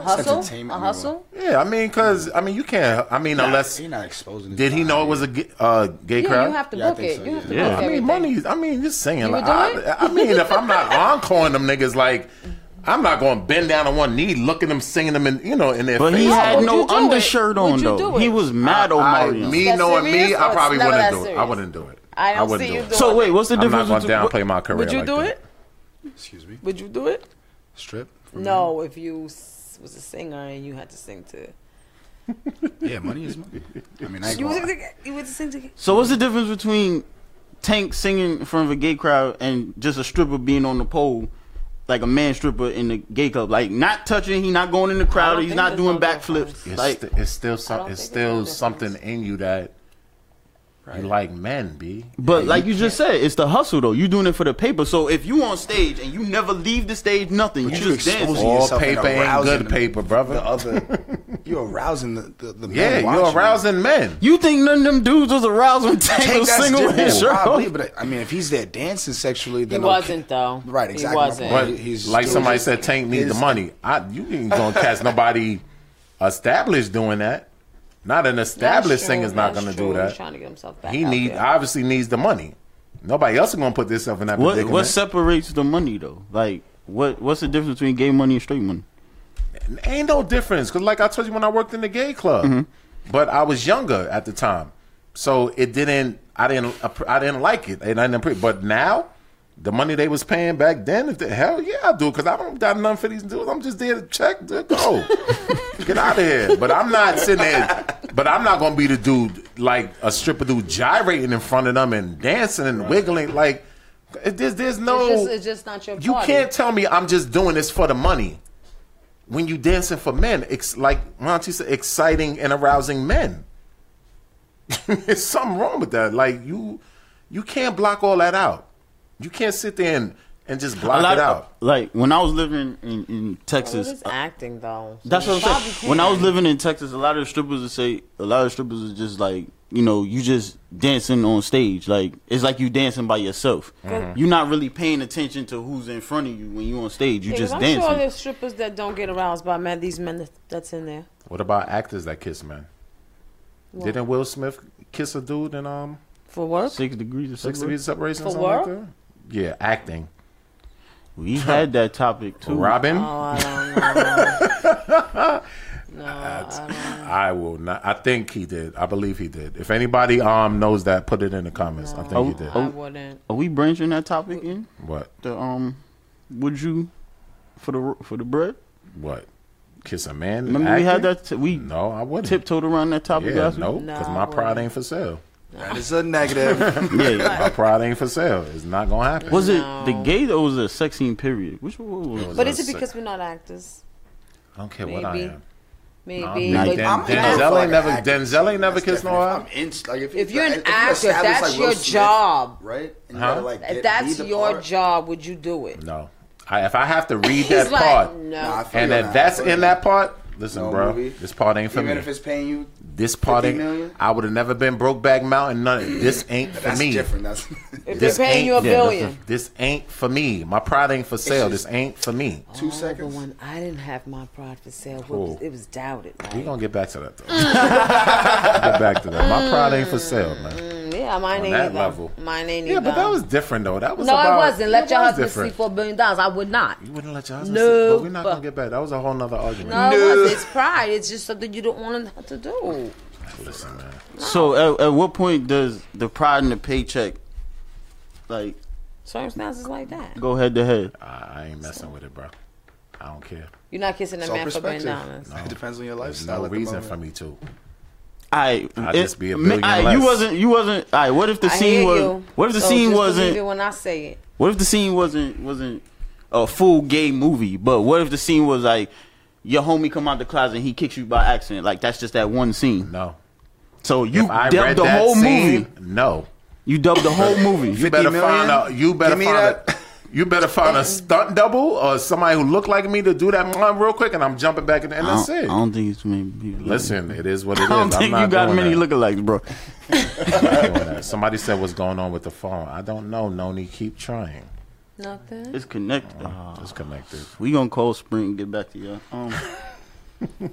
Speaker 3: hustle?
Speaker 6: entertainment
Speaker 3: A
Speaker 6: we want.
Speaker 3: hustle?
Speaker 5: Yeah, I mean, cause I mean, you can't. I mean, unless
Speaker 6: he not exposing. his
Speaker 5: did he know it
Speaker 6: body.
Speaker 5: was a g- uh, gay
Speaker 3: Yeah,
Speaker 5: crowd?
Speaker 3: you have to
Speaker 6: Yeah, I
Speaker 3: book
Speaker 6: think
Speaker 3: it.
Speaker 6: so,
Speaker 3: You have to
Speaker 5: Yeah,
Speaker 3: book
Speaker 5: I mean,
Speaker 3: everything.
Speaker 5: money. I mean, just singing.
Speaker 3: would
Speaker 5: like,
Speaker 3: do
Speaker 5: I,
Speaker 3: it?
Speaker 5: I mean, if I'm not encoring them niggas, like I'm not going to bend down on one knee, looking them, singing them, in you know, in their
Speaker 4: but he
Speaker 5: face.
Speaker 4: had
Speaker 3: would you
Speaker 4: no
Speaker 3: do it?
Speaker 4: undershirt
Speaker 3: Would you
Speaker 4: on
Speaker 3: do
Speaker 4: though.
Speaker 3: it?
Speaker 4: He was mad,
Speaker 5: I,
Speaker 4: Omarion.
Speaker 5: me
Speaker 3: That's
Speaker 5: knowing me,
Speaker 3: serious or
Speaker 5: I
Speaker 3: it's
Speaker 5: probably
Speaker 3: never
Speaker 5: wouldn't
Speaker 3: that
Speaker 5: do it. I
Speaker 3: serious?
Speaker 5: wouldn't do it.
Speaker 3: I don't
Speaker 5: wouldn't
Speaker 3: see you
Speaker 5: do it.
Speaker 3: doing
Speaker 4: So wait, what's the
Speaker 5: I'm not
Speaker 4: difference?
Speaker 5: going to
Speaker 4: between-
Speaker 5: downplay my career.
Speaker 3: Would you
Speaker 5: like
Speaker 3: do
Speaker 5: that.
Speaker 3: it?
Speaker 6: Excuse me.
Speaker 3: Would you do it?
Speaker 6: Strip.
Speaker 3: No, if you s- was a singer and you had to sing to.
Speaker 6: Yeah, money is money. I mean, I ain't
Speaker 3: You was,
Speaker 6: gonna lie.
Speaker 3: a- you was a singer.
Speaker 4: So what's the difference between Tank singing in front of a gay crowd and just a stripper being on the pole, like a man stripper in the gay club, like not touching, he not going in the
Speaker 3: I
Speaker 4: crowd,
Speaker 3: don't
Speaker 4: he's
Speaker 3: think
Speaker 4: not
Speaker 3: there's
Speaker 4: doing
Speaker 3: no
Speaker 4: backflips.
Speaker 3: difference.
Speaker 5: It's,
Speaker 4: Like
Speaker 5: st- it's still
Speaker 3: I
Speaker 5: some,
Speaker 3: don't think
Speaker 5: it's
Speaker 3: it's
Speaker 5: still
Speaker 3: no
Speaker 5: something
Speaker 3: difference.
Speaker 5: in you that you like men, b.
Speaker 4: But like you just said, it's the hustle though. You doing it for the paper. So if you on stage and you never leave the stage, nothing.
Speaker 6: But
Speaker 4: you,
Speaker 6: you
Speaker 4: just dance.
Speaker 6: exposing
Speaker 4: All-
Speaker 5: All
Speaker 6: yourself and
Speaker 5: paper ain't
Speaker 6: arousing
Speaker 5: good
Speaker 6: them.
Speaker 5: paper, brother.
Speaker 6: the other. You're arousing the the, the
Speaker 5: yeah,
Speaker 6: man
Speaker 5: you're
Speaker 6: watching
Speaker 5: arousing men.
Speaker 4: You think none of them dudes was aroused when Tank
Speaker 6: Tank,
Speaker 4: was
Speaker 6: that's
Speaker 4: singing with his
Speaker 6: different.
Speaker 4: shirt
Speaker 6: Probably,
Speaker 4: off?
Speaker 6: but I mean, if he's there dancing sexually,
Speaker 3: He
Speaker 6: then okay.
Speaker 3: wasn't though.
Speaker 6: Right,
Speaker 3: He
Speaker 6: exactly my
Speaker 3: wasn't.
Speaker 6: point.
Speaker 5: But
Speaker 6: He's
Speaker 5: like
Speaker 6: still
Speaker 5: somebody
Speaker 6: just-
Speaker 5: said, Tank need the
Speaker 6: his-
Speaker 5: money. I you ain't gonna catch nobody established doling that. Not an established
Speaker 3: That's
Speaker 5: singer's
Speaker 3: true,
Speaker 5: not
Speaker 3: that's
Speaker 5: gonna
Speaker 3: true.
Speaker 5: do
Speaker 3: He's
Speaker 5: that.
Speaker 3: trying to get himself back
Speaker 5: He
Speaker 3: out
Speaker 5: need
Speaker 3: there.
Speaker 5: obviously needs the money. Nobody else is gonna put themselves in that
Speaker 4: What
Speaker 5: predicament.
Speaker 4: what separates the money though? Like what what's the difference between gay money and straight money?
Speaker 5: Ain't no difference because, like I told you, when I worked in the gay club, but I was younger at the time, so it didn't. I didn't. I didn't like it, and I didn't. Pre- but now, the money they was paying back then, if the hell yeah, I do because I don't got nothing for these dudes. I'm just there to check, to go, get out of here. But I'm not sitting there. But I'm not gonna be the dude like a stripper dude gyrating in front of them and dancing and wiggling like. it- There's, there's no.
Speaker 3: It's just, it's just not your.
Speaker 5: You
Speaker 3: party.
Speaker 5: can't tell me I'm just doing this for the money. When you dancing for men, it's like Monty said, exciting and arousing men. There's something wrong with that. Like you, you can't block all that out. You can't sit there and, and just block it out.
Speaker 4: Like when I was living in, in
Speaker 3: Well, it
Speaker 4: Texas,
Speaker 3: is acting though. So
Speaker 4: That's
Speaker 3: you
Speaker 4: what I'm
Speaker 3: probably
Speaker 4: saying. When I was
Speaker 3: can.
Speaker 4: living in Texas, a lot of the strippers would say, a lot of strippers is just like, you know, you just dancing on stage. Like it's like you dancing by yourself.
Speaker 3: Mm-hmm.
Speaker 4: You're not really paying attention to who's in front of you when you on stage. You
Speaker 3: Yeah, 'cause
Speaker 4: just
Speaker 3: I'm
Speaker 4: dancing.
Speaker 3: sure there's strippers that don't get aroused by men. These men that, that's in there.
Speaker 5: What about actors that kiss men? Didn't Will Smith kiss a dude in um
Speaker 3: For work?
Speaker 4: Six degrees of
Speaker 5: Six
Speaker 4: separation.
Speaker 5: Degrees of Separation or
Speaker 3: For
Speaker 5: something like
Speaker 3: work?
Speaker 5: that? Yeah, acting.
Speaker 4: We had that topic too.
Speaker 5: Robin,
Speaker 3: Oh, I don't know. no, I don't.
Speaker 5: I will not. I think he did. I believe he did. If anybody um knows that, put it in the comments. I think
Speaker 4: Oh,
Speaker 5: he did.
Speaker 3: I wouldn't.
Speaker 4: Are we branching that topic in?
Speaker 5: What?
Speaker 4: The um, would you for the for the bread?
Speaker 5: What? Kiss a man? and
Speaker 4: Remember we had
Speaker 5: acting?
Speaker 4: that. T- we
Speaker 5: No, I wouldn't.
Speaker 4: tiptoed around that topic
Speaker 5: yeah,
Speaker 4: last
Speaker 5: no,
Speaker 4: week.
Speaker 5: because
Speaker 3: No,
Speaker 5: my
Speaker 3: I
Speaker 5: pride
Speaker 3: wouldn't.
Speaker 5: ain't for sale.
Speaker 6: That is a negative.
Speaker 4: Yeah.
Speaker 5: My pride ain't for sale. It's not gonna happen.
Speaker 4: Was
Speaker 3: No.
Speaker 4: it the gay or was it a sex scene period? Which one was it?
Speaker 5: was
Speaker 3: But
Speaker 5: a
Speaker 3: is
Speaker 5: sick-
Speaker 3: it because we're not actors?
Speaker 5: I don't care what I
Speaker 3: Maybe.
Speaker 5: am.
Speaker 3: Maybe.
Speaker 5: I'm
Speaker 3: but
Speaker 5: Den-
Speaker 6: I'm-
Speaker 5: Denzel
Speaker 6: I'm
Speaker 5: ain't never.
Speaker 6: fucking
Speaker 5: Denzel ain't never kissed no
Speaker 6: I'm
Speaker 5: eye.
Speaker 6: in, like, if,
Speaker 3: If you're an
Speaker 6: if
Speaker 3: actor,
Speaker 6: established
Speaker 3: that's
Speaker 6: Will
Speaker 3: your job.
Speaker 6: right? And you
Speaker 5: Huh?
Speaker 6: gotta, like,
Speaker 3: if
Speaker 6: get- be
Speaker 3: that's
Speaker 6: the
Speaker 3: your
Speaker 6: part.
Speaker 3: job, would you do it?
Speaker 5: No, I, if I have to read
Speaker 3: He's
Speaker 5: that
Speaker 3: like,
Speaker 5: part,
Speaker 3: no.
Speaker 6: Nah, I feel
Speaker 5: and
Speaker 6: you
Speaker 5: if
Speaker 6: on
Speaker 5: that's
Speaker 6: I feel
Speaker 5: in
Speaker 6: you.
Speaker 5: that part, Listen,
Speaker 6: No
Speaker 5: bro,
Speaker 6: movie.
Speaker 5: this part ain't for
Speaker 6: Even
Speaker 5: me.
Speaker 6: if it's paying you,
Speaker 5: this part
Speaker 6: 50
Speaker 5: ain't.
Speaker 6: million?
Speaker 5: I would have never been Brokeback Mountain. None. of- This ain't for
Speaker 6: that's
Speaker 5: me.
Speaker 6: different. That's
Speaker 3: If they're paying
Speaker 5: ain't-
Speaker 3: you a
Speaker 5: yeah, that's
Speaker 3: billion.
Speaker 5: the- This ain't for me. My pride ain't for sale.
Speaker 6: just-
Speaker 5: this ain't for me.
Speaker 6: two
Speaker 3: Oh,
Speaker 6: seconds.
Speaker 3: The one I didn't have my pride for sale. What
Speaker 5: Cool.
Speaker 3: was, it was doubted. Like,
Speaker 5: We're gonna get back to that though. get back to that. My pride ain't for sale, man.
Speaker 3: mm, yeah, mine
Speaker 5: on
Speaker 3: ain't
Speaker 5: that
Speaker 3: either.
Speaker 5: level.
Speaker 3: Mine ain't
Speaker 5: Yeah,
Speaker 3: either.
Speaker 5: but that was different though. That was
Speaker 3: no,
Speaker 5: about,
Speaker 3: it wasn't. Let
Speaker 5: it
Speaker 3: your
Speaker 5: was
Speaker 3: husband
Speaker 5: different.
Speaker 3: see four billion dollars. I would not.
Speaker 5: You wouldn't let your husband
Speaker 3: No,
Speaker 5: see, but we're not
Speaker 3: but-
Speaker 5: gonna get back. That was a whole nother argument.
Speaker 3: No, it wasn't. It's pride. It's just something you don't want to do.
Speaker 5: Listen, man.
Speaker 4: So at, at what point does the pride in the paycheck like
Speaker 3: Circumstances like that.
Speaker 4: go head to head?
Speaker 5: I, I ain't messing with it, bro. I don't care.
Speaker 3: You're not kissing a
Speaker 6: It's all
Speaker 3: man for being
Speaker 6: perspective.
Speaker 3: dollars.
Speaker 6: It depends on your
Speaker 5: There's
Speaker 6: lifestyle.
Speaker 5: no
Speaker 6: at the
Speaker 5: reason
Speaker 6: moment.
Speaker 5: for me to.
Speaker 4: I
Speaker 5: I'd just be a billion
Speaker 4: you
Speaker 5: less.
Speaker 4: wasn't you wasn't all right, what if the
Speaker 3: I
Speaker 4: scene
Speaker 3: hear
Speaker 4: was
Speaker 3: you.
Speaker 4: what if the
Speaker 3: So
Speaker 4: scene
Speaker 3: just believe it
Speaker 4: wasn't
Speaker 3: when I say it.
Speaker 4: what if the scene wasn't wasn't a full gay movie, but what if the scene was like your homie come out the closet and he kicks you by accident? Like that's just that one scene.
Speaker 5: No.
Speaker 4: So you
Speaker 5: If I
Speaker 4: dubbed
Speaker 5: read
Speaker 4: the
Speaker 5: that
Speaker 4: whole
Speaker 5: scene,
Speaker 4: movie.
Speaker 5: No.
Speaker 4: You dubbed the whole movie.
Speaker 5: You better
Speaker 6: million?
Speaker 5: find out. You better
Speaker 6: Give me
Speaker 5: find
Speaker 6: that.
Speaker 5: a You better find a stunt double or somebody who looked like me to do that mom real quick, and I'm jumping back in, and
Speaker 4: I
Speaker 5: that's
Speaker 4: don't, I
Speaker 5: it.
Speaker 4: don't think it's too many people.
Speaker 5: Listen, it is what it
Speaker 4: I
Speaker 5: is.
Speaker 4: don't
Speaker 5: I'm
Speaker 4: think
Speaker 5: not
Speaker 4: you got
Speaker 5: doing
Speaker 4: many
Speaker 5: that.
Speaker 4: lookalikes, bro.
Speaker 5: I'm not doing that. Somebody said, "What's going on with the phone?" I don't know. Noni, keep trying.
Speaker 3: Nothing.
Speaker 4: It's connected.
Speaker 5: Just connected.
Speaker 4: We gonna call Spring and get back to you. Um,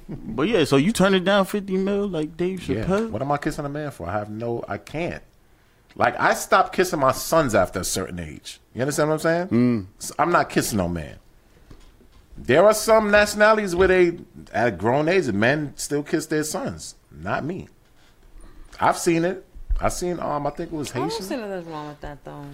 Speaker 4: but yeah, so you turn it down fifty mil like Dave
Speaker 5: Yeah.
Speaker 4: Chappelle.
Speaker 5: What am I kissing a man for? I have no. I can't. Like I stopped kissing my sons after a certain age. You understand what I'm saying? Mm. I'm not kissing no man. There are some nationalities where they at grown age men still kiss their sons. Not me. I've seen it. I seen um. I think it was
Speaker 3: I don't see
Speaker 5: Haitian.
Speaker 3: nothing wrong with that though.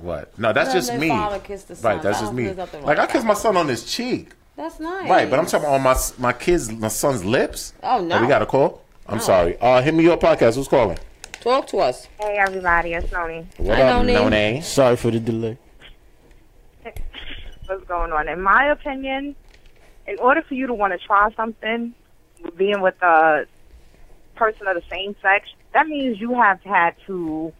Speaker 5: What? No, that's
Speaker 3: Let
Speaker 5: just
Speaker 3: their
Speaker 5: me.
Speaker 3: father kiss the
Speaker 5: Right.
Speaker 3: son.
Speaker 5: That's
Speaker 3: I
Speaker 5: just
Speaker 3: don't
Speaker 5: me.
Speaker 3: feel nothing wrong
Speaker 5: Like I
Speaker 3: with
Speaker 5: kissed
Speaker 3: that.
Speaker 5: my son on his cheek.
Speaker 3: That's nice.
Speaker 5: Right, but I'm talking on my my kids, my son's lips.
Speaker 3: Oh, no. Oh.
Speaker 5: we got a call. I'm sorry. Uh, hit me your podcast. Who's calling?
Speaker 3: Talk to us.
Speaker 7: Hey everybody, it's Noni.
Speaker 5: What
Speaker 3: Hi,
Speaker 5: up,
Speaker 3: Noni.
Speaker 5: Noni?
Speaker 10: Sorry for the delay.
Speaker 7: what's going on. In my opinion, in order for you to want to try something, being with a person of the same sex, that means you have had to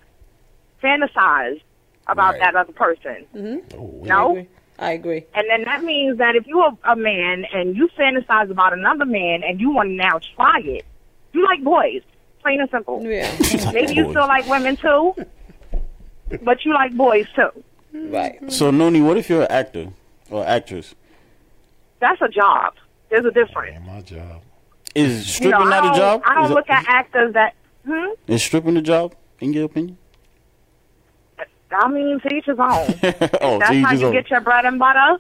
Speaker 7: fantasize about
Speaker 6: Right.
Speaker 7: that other person.
Speaker 5: Oh,
Speaker 7: No?
Speaker 3: I agree.
Speaker 7: And then that means that if you're a man and you fantasize about another man and you want to now try it, you like boys, plain and simple.
Speaker 3: Yeah.
Speaker 7: Maybe you still like women too, but you like boys too.
Speaker 3: right.
Speaker 10: So Noni, what if you're an actor or actress?
Speaker 7: That's a job. There's a difference.
Speaker 5: man, my job.
Speaker 10: Is
Speaker 7: You know,
Speaker 10: stripping
Speaker 7: I
Speaker 10: not
Speaker 7: don't,
Speaker 10: a job?
Speaker 7: I
Speaker 10: Is
Speaker 7: don't
Speaker 10: it-
Speaker 7: look at actors that. Hmm?
Speaker 10: Is stripping a job in your opinion?
Speaker 7: I mean, to each his own.
Speaker 10: oh,
Speaker 7: That's
Speaker 10: so you
Speaker 7: how
Speaker 10: just
Speaker 7: you
Speaker 10: don't-
Speaker 7: get your bread and butter.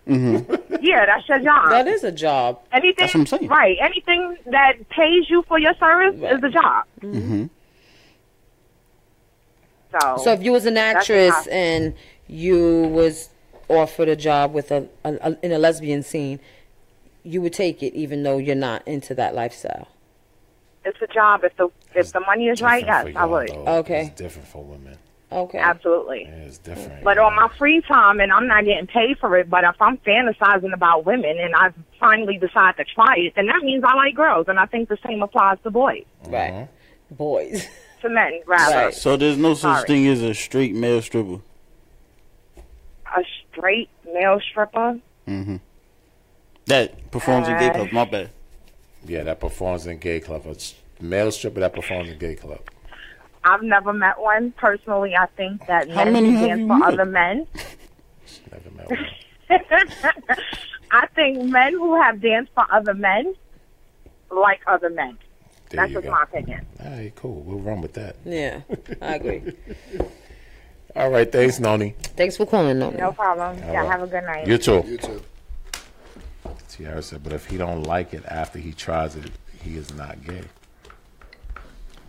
Speaker 7: Yeah, that's your job.
Speaker 3: That is a job.
Speaker 7: anything,
Speaker 10: that's what I'm saying.
Speaker 7: Right. Anything that pays you for your service is the job.
Speaker 10: Mm-hmm.
Speaker 7: So,
Speaker 3: So if you was an
Speaker 7: Oh. That's
Speaker 3: actress
Speaker 7: not-
Speaker 3: and you was offered a job with a, a, a in a lesbian scene, you would take it even though you're not into that lifestyle.
Speaker 7: it's a job. If the if the money is right, yes,
Speaker 5: Different for
Speaker 7: I
Speaker 5: y'all,
Speaker 7: would.
Speaker 5: though.
Speaker 3: Okay.
Speaker 5: It's different for women.
Speaker 3: Okay.
Speaker 7: Absolutely.
Speaker 5: Yeah, It's different.
Speaker 7: But on my free time, and I'm not getting paid for it, but if I'm fantasizing about women and I finally decide to try it, then that means I like girls. And I think the same applies to boys,
Speaker 3: Right. Boys.
Speaker 7: to men, rather.
Speaker 3: Right.
Speaker 10: So there's no such
Speaker 7: Sorry.
Speaker 10: thing as a straight male stripper.
Speaker 7: a straight male stripper.
Speaker 10: That performs in gay
Speaker 7: Uh,
Speaker 10: clubs. My bad.
Speaker 5: yeah, that performs in gay club. A s- male stripper that performs in gay club.
Speaker 7: I've never met one personally. I think that
Speaker 10: How
Speaker 7: men
Speaker 10: many
Speaker 7: who
Speaker 10: have
Speaker 7: dance
Speaker 10: you
Speaker 7: for
Speaker 10: met?
Speaker 7: other men.
Speaker 5: Never met one.
Speaker 7: I think men who have danced for other men like other men.
Speaker 5: There
Speaker 7: That's
Speaker 5: you
Speaker 7: just
Speaker 5: go.
Speaker 7: my opinion.
Speaker 5: All right, cool. We'll run with that.
Speaker 3: Yeah. I agree.
Speaker 5: All right, thanks, Noni.
Speaker 3: Thanks for calling. Noni.
Speaker 7: No problem.
Speaker 5: right.
Speaker 7: Yeah, have a good night.
Speaker 5: You too.
Speaker 6: You too.
Speaker 5: Tiara said, but if he don't like it after he tries it, he is not gay.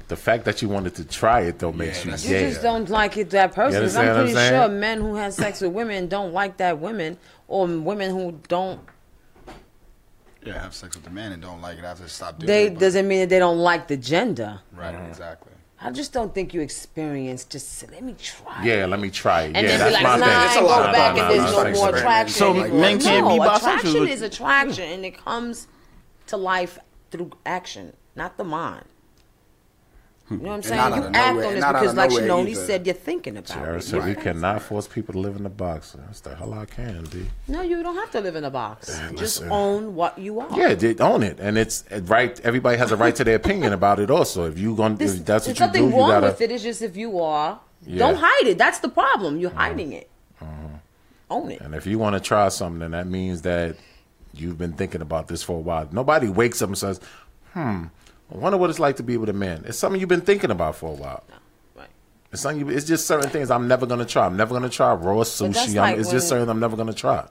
Speaker 5: The fact that you wanted to try it though makes
Speaker 6: that's-
Speaker 5: you
Speaker 3: You
Speaker 5: gay.
Speaker 3: just don't like it that person. 'cause I'm
Speaker 5: understand what I'm
Speaker 3: pretty
Speaker 5: saying?
Speaker 3: sure men who have sex with women don't like that women, or women who don't.
Speaker 6: Yeah, have sex with the man and don't like it after stop doing
Speaker 3: They
Speaker 6: it. but-
Speaker 3: doesn't mean that they don't like the gender.
Speaker 6: Right, exactly.
Speaker 3: I just don't think you experience. Just let me try.
Speaker 5: Yeah, let me try it.
Speaker 3: And
Speaker 5: yeah,
Speaker 3: then be
Speaker 5: that's
Speaker 3: like,
Speaker 5: my
Speaker 3: nah,
Speaker 5: thing.
Speaker 3: I
Speaker 6: It's a
Speaker 3: ain't
Speaker 6: lot
Speaker 3: go
Speaker 6: of
Speaker 3: back
Speaker 6: things.
Speaker 3: if there's
Speaker 6: Nah,
Speaker 3: no
Speaker 6: nah,
Speaker 3: more
Speaker 6: nah, nah.
Speaker 3: attraction.
Speaker 4: So men can't
Speaker 3: no,
Speaker 4: be bisexual.
Speaker 3: attraction is attraction, and it comes to life through action, not the mind. You know what I'm
Speaker 6: And
Speaker 3: saying?
Speaker 6: not
Speaker 3: You
Speaker 6: out of
Speaker 3: act
Speaker 6: nowhere-
Speaker 3: on
Speaker 6: and
Speaker 3: this
Speaker 6: not out
Speaker 3: because,
Speaker 6: of
Speaker 3: like
Speaker 6: nowhere
Speaker 3: Shinoni
Speaker 6: either.
Speaker 3: said, you're thinking about
Speaker 5: Tiara
Speaker 3: it.
Speaker 5: said we cannot force people to live in a box. That's the hell I can be.
Speaker 3: No, you don't have to live in a box. Just
Speaker 5: listen.
Speaker 3: own what you are.
Speaker 5: Yeah, they own it, and it's it right. Everybody has a right to their opinion about it. Also, if you gonna,
Speaker 3: This-
Speaker 5: if that's what
Speaker 3: there's
Speaker 5: you do.
Speaker 3: nothing
Speaker 5: You
Speaker 3: wrong
Speaker 5: gotta.
Speaker 3: with it. It's just if you are,
Speaker 5: Yeah. Uh-huh.
Speaker 3: don't hide it. That's the problem. You're hiding it. Own it.
Speaker 5: And if you want to try something, then that means that you've been thinking about this for a while. Nobody wakes up and says, "Hmm, I wonder what it's like to be with a man." It's something you've been thinking about for a while.
Speaker 3: Right.
Speaker 5: It's something. You, it's just certain things I'm never gonna try. I'm never gonna try raw
Speaker 3: that's
Speaker 5: sushi.
Speaker 3: like
Speaker 5: I'm, it's
Speaker 3: when-
Speaker 5: just certain I'm never gonna try.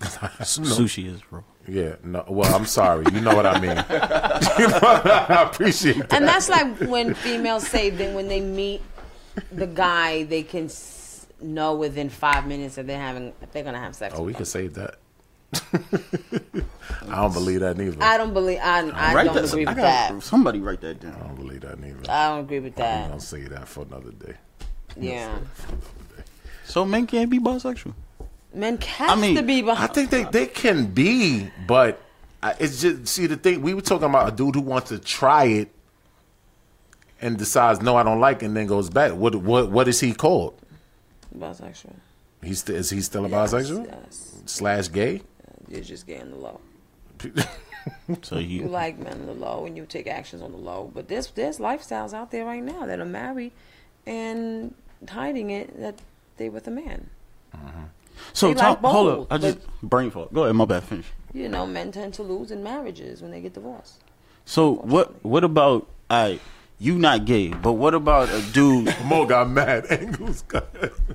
Speaker 4: Sushi is bro.
Speaker 5: Yeah. No. Well, I'm sorry. You know what I mean. You know what I- I appreciate that.
Speaker 3: And that's like when females say that when they meet the guy, they can s- know within five minutes that they're having they're gonna have sex.
Speaker 5: Oh, we
Speaker 3: with
Speaker 5: can
Speaker 3: them.
Speaker 5: save that. I don't believe that neither.
Speaker 3: I
Speaker 5: I
Speaker 3: don't believe. I, I
Speaker 11: Write
Speaker 3: don't
Speaker 11: that-
Speaker 3: agree
Speaker 11: I
Speaker 3: with
Speaker 11: gotta-
Speaker 3: that.
Speaker 11: Somebody write that down.
Speaker 5: don't believe that neither.
Speaker 3: I don't agree with
Speaker 5: I'm
Speaker 3: that.
Speaker 5: gonna say that for another day.
Speaker 3: Yeah,
Speaker 4: So men can't be bisexual.
Speaker 3: men have
Speaker 11: mean,
Speaker 3: to be
Speaker 5: I
Speaker 3: behind.
Speaker 5: think they, they can be, but I- it's just see the thing we were talking about a dude who wants to try it and decides no I don't like it and then goes back. What what what is he called?
Speaker 3: bisexual.
Speaker 5: He's st- is he still a
Speaker 3: Yes,
Speaker 5: bisexual
Speaker 3: Yes,
Speaker 5: slash gay?
Speaker 3: you're just getting the low.
Speaker 4: So he
Speaker 3: You like men on the low, and you take actions on the low. But there's there's lifestyles out there right now that are married and hiding it that they with a man.
Speaker 4: So
Speaker 3: They
Speaker 4: Tom,
Speaker 3: like
Speaker 4: hold
Speaker 3: bold,
Speaker 4: up. I
Speaker 3: but-
Speaker 4: just brain fog. Go ahead, my bad. Finish.
Speaker 3: You know, men tend to lose in marriages when they get divorced.
Speaker 4: So what? What about I? You not gay, but what about a dude?
Speaker 5: Mo got mad angles.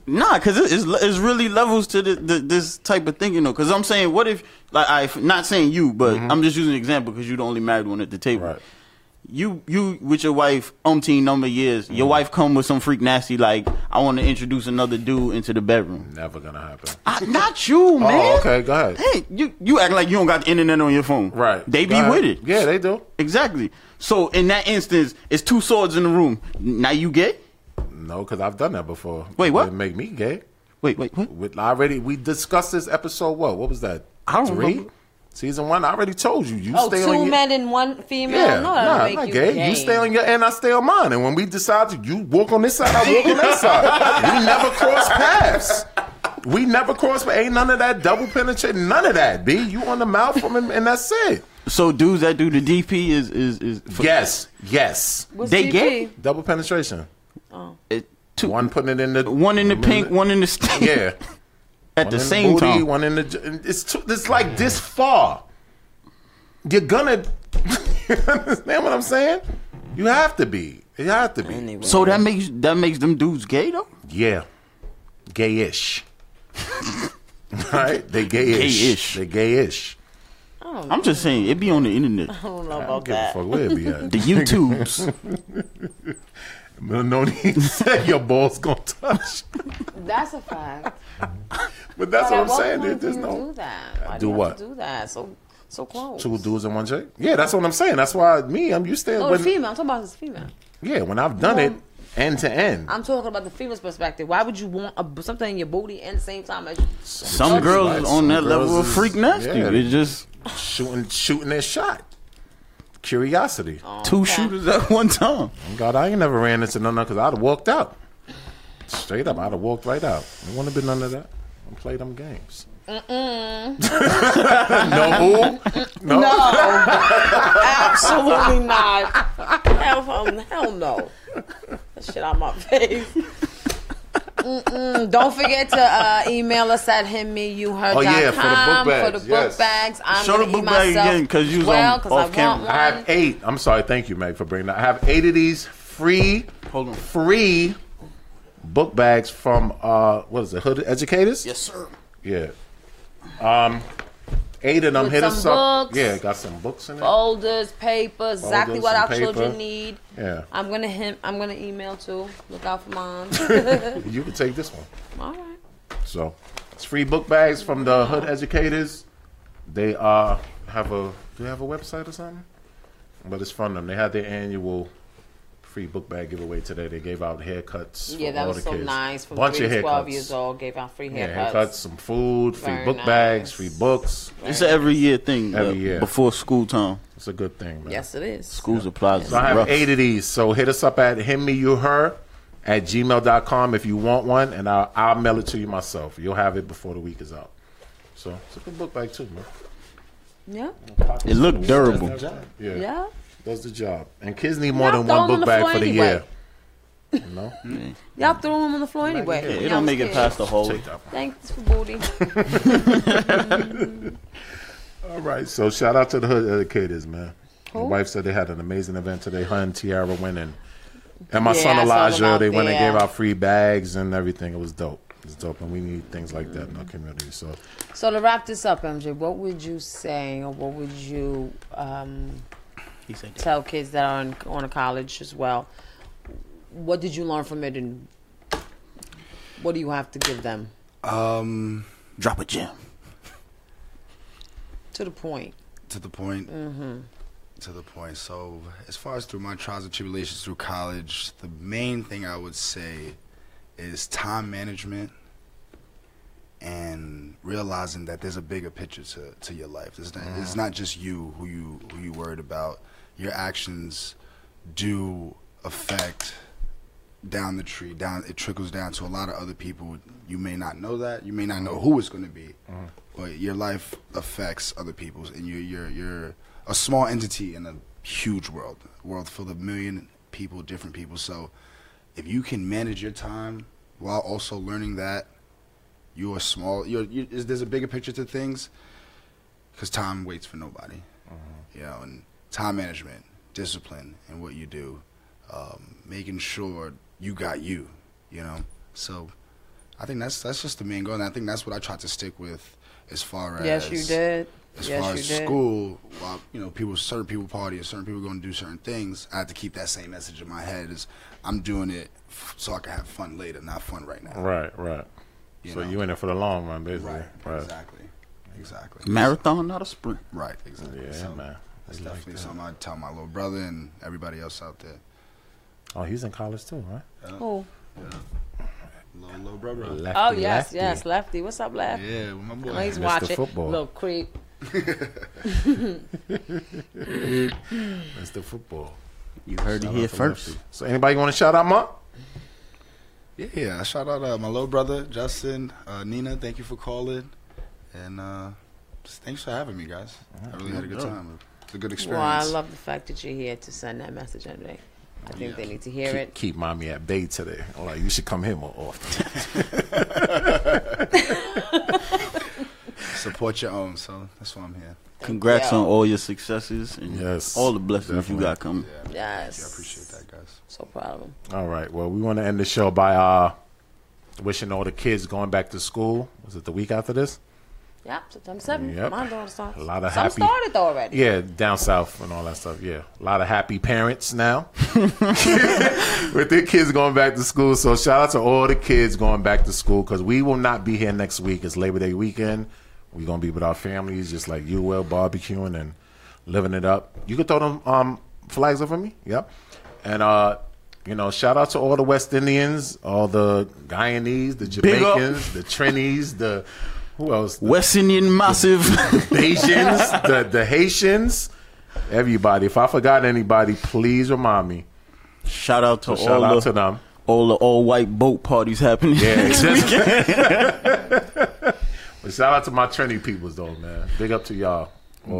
Speaker 4: nah, because it's, it's really levels to the, the, this type of thinking though. Because I'm saying, what if like I not saying you, but I'm just using an example because you're the only married one at the table.
Speaker 5: Mm-hmm. Right.
Speaker 4: You you with your wife umpteen number of years.
Speaker 5: Mm-hmm.
Speaker 4: Your wife come with some freak nasty like I want to introduce another dude into the bedroom.
Speaker 5: Never gonna happen.
Speaker 4: I, not you, man.
Speaker 5: Oh, okay, go ahead.
Speaker 4: Hey, you you act like you don't got the internet on your phone.
Speaker 5: Right.
Speaker 4: They be
Speaker 5: Go ahead.
Speaker 4: with it.
Speaker 5: Yeah, they do.
Speaker 4: Exactly. So in that instance, it's two swords in the room. Now you gay?
Speaker 5: No, because I've done that before.
Speaker 4: Wait, what?
Speaker 5: It make me gay.
Speaker 4: Wait, wait, what?
Speaker 5: With I already we discussed this episode. What? What was that?
Speaker 4: I don't
Speaker 5: Three?
Speaker 4: remember.
Speaker 5: Season one. I already told you. You
Speaker 3: Oh,
Speaker 5: stay
Speaker 3: two
Speaker 5: on your,
Speaker 3: men and one female.
Speaker 5: Yeah,
Speaker 3: no,
Speaker 5: nah,
Speaker 3: that'll
Speaker 5: I'm
Speaker 3: make
Speaker 5: not
Speaker 3: you
Speaker 5: gay. You stay on your end, I stay on mine. And when we decide to, you walk on this side, I walk on that side. We never cross paths. We never cross. pa- Ain't none of that double penetration. None of that. B, you on the mouth from him, and that's it.
Speaker 4: So dudes that do the DP is is is
Speaker 5: Yes, yes.
Speaker 3: What's
Speaker 4: They
Speaker 3: DP?
Speaker 4: gay?
Speaker 5: Double penetration.
Speaker 4: it- two, one,
Speaker 5: One putting it in the
Speaker 4: in the pink, one in the stink
Speaker 5: yeah.
Speaker 4: at
Speaker 5: One
Speaker 4: the
Speaker 5: in
Speaker 4: same
Speaker 5: booty,
Speaker 4: time.
Speaker 5: One in the. j- It's too, it's like this far. You're gonna. you understand what I'm saying? You have to be. You have to be.
Speaker 4: So that makes that makes them dudes gay though.
Speaker 5: Yeah. Gayish. right? They gayish.
Speaker 4: Gayish.
Speaker 5: They gayish.
Speaker 4: I'm just saying it be on the internet,
Speaker 3: I don't know
Speaker 5: I don't
Speaker 3: about
Speaker 5: give a
Speaker 3: that.
Speaker 5: fuck where it be at.
Speaker 4: the YouTubes.
Speaker 5: No, no need to say your balls gonna touch.
Speaker 3: That's a fact.
Speaker 5: But
Speaker 3: But
Speaker 5: that's what
Speaker 3: at
Speaker 5: I'm
Speaker 3: what
Speaker 5: saying. There-
Speaker 3: point do
Speaker 5: There's
Speaker 3: you
Speaker 5: no
Speaker 3: do that? Why
Speaker 5: Do
Speaker 3: do, you
Speaker 5: what?
Speaker 3: Have to do that so so close.
Speaker 5: two dudes and one chick. Yeah, that's what I'm saying. That's why me, I'm used to it.
Speaker 3: Oh, the
Speaker 5: When,
Speaker 3: female. I'm talking about this female.
Speaker 5: yeah, when I've done it end to end.
Speaker 3: I'm talking about the female's perspective. Why would you want a, something in your booty and same time as you?
Speaker 4: Some girls
Speaker 5: Like,
Speaker 4: is on
Speaker 5: some
Speaker 4: that level
Speaker 5: girls
Speaker 4: of freak
Speaker 5: is-
Speaker 4: nasty.
Speaker 5: yeah.
Speaker 4: It's just
Speaker 5: Shooting shooting their shot. Curiosity.
Speaker 3: Oh,
Speaker 4: two shooters at one time.
Speaker 5: God, I ain't never ran into none of because I'd have walked out. Straight up, I'd have walked right out. It wouldn't have been none of that. I play them games. no, no,
Speaker 3: Absolutely not. Hell, hell, hell no. That shit out my face. Mm-mm. Don't forget to uh, email us at himmeyouher.com
Speaker 5: Oh, yeah, for the book bags,
Speaker 3: For the book
Speaker 5: yes.
Speaker 3: bags. I'm
Speaker 4: Show
Speaker 3: gonna
Speaker 4: the book
Speaker 3: eat
Speaker 4: bag
Speaker 3: myself
Speaker 4: again, 'cause you was
Speaker 3: well,
Speaker 4: on-
Speaker 3: 'cause
Speaker 4: off
Speaker 3: I want
Speaker 4: camera.
Speaker 3: one.
Speaker 5: I have eight. I'm sorry. Thank you, Meg, for bringing that. I have eight of these free,
Speaker 4: Hold on.
Speaker 5: free book bags from uh, what is it? Hood Educators.
Speaker 4: Yes, sir.
Speaker 5: Yeah. Um, eight of them
Speaker 3: With
Speaker 5: hit
Speaker 3: some
Speaker 5: us up.
Speaker 3: books.
Speaker 5: Yeah, got some books in it.
Speaker 3: folders, paper, exactly
Speaker 5: Folders
Speaker 3: what
Speaker 5: and
Speaker 3: our children
Speaker 5: paper.
Speaker 3: need.
Speaker 5: Yeah,
Speaker 3: I'm gonna him. I'm gonna email too. Look out for mine.
Speaker 5: you can take this one.
Speaker 3: All right.
Speaker 5: So it's free book bags from the Hood Educators. They uh have a do they have a website or something? But it's from them. They had their annual free book bag giveaway today. They gave out haircuts.
Speaker 3: Yeah,
Speaker 5: for
Speaker 3: that
Speaker 5: all
Speaker 3: was
Speaker 5: the
Speaker 3: so
Speaker 5: kids.
Speaker 3: nice. From
Speaker 5: Bunch
Speaker 3: three
Speaker 5: of
Speaker 3: to
Speaker 5: haircuts.
Speaker 3: twelve years old, gave out free haircuts.
Speaker 5: Yeah, haircuts, some food, free
Speaker 3: Very
Speaker 5: book bags,
Speaker 3: nice.
Speaker 5: free books.
Speaker 4: It's an every year thing.
Speaker 5: Every
Speaker 4: uh,
Speaker 5: year.
Speaker 4: Before school time.
Speaker 5: It's a good thing, man.
Speaker 3: Yes, it is.
Speaker 4: Schools applies.
Speaker 5: So I have eight of these. So hit us up at him, me, you, her at gmail.com if you want one, and I'll, I'll mail it to you myself. You'll have it before the week is out. So it's a good book bag, too, man.
Speaker 3: Yeah,
Speaker 4: It looked durable.
Speaker 5: Yeah.
Speaker 3: yeah.
Speaker 5: Does the job. And kids need more
Speaker 3: Y'all
Speaker 5: than
Speaker 3: throw
Speaker 5: one
Speaker 3: 'em on
Speaker 5: book
Speaker 3: the
Speaker 5: bag
Speaker 3: floor
Speaker 5: for the
Speaker 3: anyway.
Speaker 5: year. You know?
Speaker 3: Y'all throw them on the floor anyway.
Speaker 5: yeah, it
Speaker 4: It
Speaker 3: Y'all
Speaker 4: don't make it
Speaker 3: scared.
Speaker 4: past the hallway.
Speaker 5: Take that one.
Speaker 3: Thanks for booty.
Speaker 5: All right. So shout out to the hood educators, man.
Speaker 3: Who?
Speaker 5: My wife said they had an amazing event today. Her and Tiara went in. And my
Speaker 3: Yeah, I saw
Speaker 5: son
Speaker 3: them
Speaker 5: Elijah,
Speaker 3: out
Speaker 5: they went and
Speaker 3: there.
Speaker 5: gave out free bags and everything. It was dope. It was dope. And we need things like that in our community. So
Speaker 3: so to wrap this up, MJ, what would you say or what would you um,
Speaker 4: He said that.
Speaker 3: tell kids that are in, going to college as well? What did you learn from it, and what do you have to give them
Speaker 6: Um,
Speaker 4: Drop a gem.
Speaker 3: to the point?
Speaker 6: to the point. To the point. So, as far as through my trials and tribulations through college, the main thing I would say is time management and realizing that there's a bigger picture to, to your life. It's not, it's not just you who you who you worried about. Your actions do affect down the tree. Down it trickles down to a lot of other people. You may not know that. You may not know who it's going to be, but your life affects other people's, and you're you're you're a small entity in a huge world. A world full of million people, different people. So, if you can manage your time while also learning that you are small, you're, you is there's a bigger picture to things, because time waits for nobody. You know, and time management, discipline, and what you do um, making sure you got you, you know. So, I think that's that's just the main goal, and I think that's what I tried to stick with as far as
Speaker 3: Yes, you did.
Speaker 6: As
Speaker 3: Yes,
Speaker 6: far
Speaker 3: you
Speaker 6: as
Speaker 3: did.
Speaker 6: school, while you know, people certain people party, or certain people going to do certain things, I have to keep that same message in my head: is I'm doing it f- so I can have fun later, not fun right now.
Speaker 5: Right, right.
Speaker 6: You
Speaker 5: so
Speaker 6: know.
Speaker 5: you in it for the long run, basically.
Speaker 6: Right,
Speaker 5: Right.
Speaker 6: exactly, exactly.
Speaker 4: Marathon, not a sprint.
Speaker 6: Right, exactly.
Speaker 5: Yeah,
Speaker 6: so
Speaker 5: man.
Speaker 6: That's
Speaker 5: We like
Speaker 6: definitely
Speaker 5: that.
Speaker 6: something I tell my little brother and everybody else out there.
Speaker 5: Oh, he's in college too, right?
Speaker 3: Oh,
Speaker 6: Little little brother.
Speaker 5: Lefty,
Speaker 3: oh yes,
Speaker 5: lefty.
Speaker 3: yes, Lefty. What's up, Lefty?
Speaker 6: Yeah, with my boy.
Speaker 3: Oh, he's
Speaker 5: Mr.
Speaker 3: watching.
Speaker 5: Football.
Speaker 3: Little creep.
Speaker 5: That's the football.
Speaker 4: You heard it
Speaker 5: Shout
Speaker 4: here
Speaker 5: out to
Speaker 4: first.
Speaker 5: Lefty. So anybody want to shout out, Mark?
Speaker 6: Yeah, yeah. I shout out uh, my little brother Justin, uh, Nina. Thank you for calling, and uh, just thanks for having me, guys. I really had a good time. It's a good
Speaker 3: Well, I
Speaker 6: experience.
Speaker 3: love the fact that you're here to send that message anyway. I think they need to hear
Speaker 5: Keep,
Speaker 3: it.
Speaker 5: keep mommy at bay today. I'm like, you should come here more often.
Speaker 6: Support your own, so that's why I'm here.
Speaker 4: Congrats
Speaker 3: you.
Speaker 4: on all your successes and
Speaker 5: Yes,
Speaker 4: all the blessings
Speaker 5: definitely.
Speaker 4: you got coming.
Speaker 3: Yes.
Speaker 6: I appreciate that, guys.
Speaker 3: So proud of him.
Speaker 5: all right. Well, we want to end the show by uh, wishing all the kids going back to school. Was it the week after this?
Speaker 3: Yep, September 7th.
Speaker 5: Yep.
Speaker 3: My daughter starts.
Speaker 5: A lot of
Speaker 3: Some
Speaker 5: happy-
Speaker 3: started already.
Speaker 5: Yeah, down south and all that stuff. Yeah, a lot of happy parents now with their kids going back to school. So shout out to all the kids going back to school because we will not be here next week. It's Labor Day weekend. We're gonna be with our families, just like you will, barbecuing and living it up. You can throw them um, flags over me. Yep, and uh. You know, shout out to all the West Indians, all the Guyanese, the
Speaker 4: Big up.
Speaker 5: Jamaicans, the Trinis, the who else? The
Speaker 4: West Indian Massive.
Speaker 5: Haitians, the, the Haitians, everybody. If I forgot anybody, please remind me.
Speaker 4: shout out to
Speaker 5: Shout
Speaker 4: all
Speaker 5: out
Speaker 4: the,
Speaker 5: to them.
Speaker 4: all the all white boat parties happening.
Speaker 5: Yeah, just- But shout out to my Trinity peoples though, man. Big up to y'all. All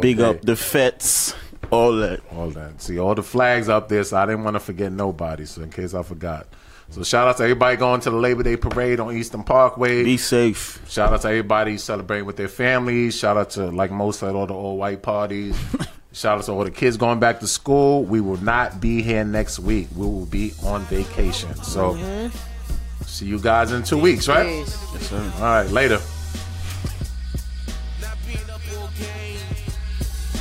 Speaker 4: Big
Speaker 5: day,
Speaker 4: up the fets, all that.
Speaker 5: all that. See all the flags up there, so I didn't want to forget nobody. So in case I forgot. So shout out to everybody going to the Labor Day parade on Eastern Parkway.
Speaker 4: Be safe.
Speaker 5: Shout out to everybody celebrating with their families. Shout out to like most at all the all white parties. Shout out to all the kids going back to school. We will not be here next week. We will be on vacation. So see you guys in two weeks, right?
Speaker 4: Yes, sir.
Speaker 5: All right, later.
Speaker 1: Not being up all game.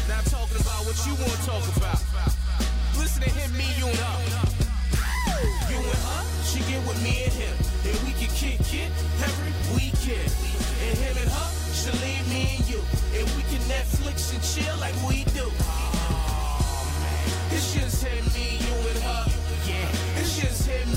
Speaker 1: Not talking about what you want to talk about. Listen to him, me, you and her. You and her, she get with me and him. And we can kick it every weekend. And him and her, she leave me and you. And we can Netflix and chill like we do. It's just him, me, you and her. Yeah.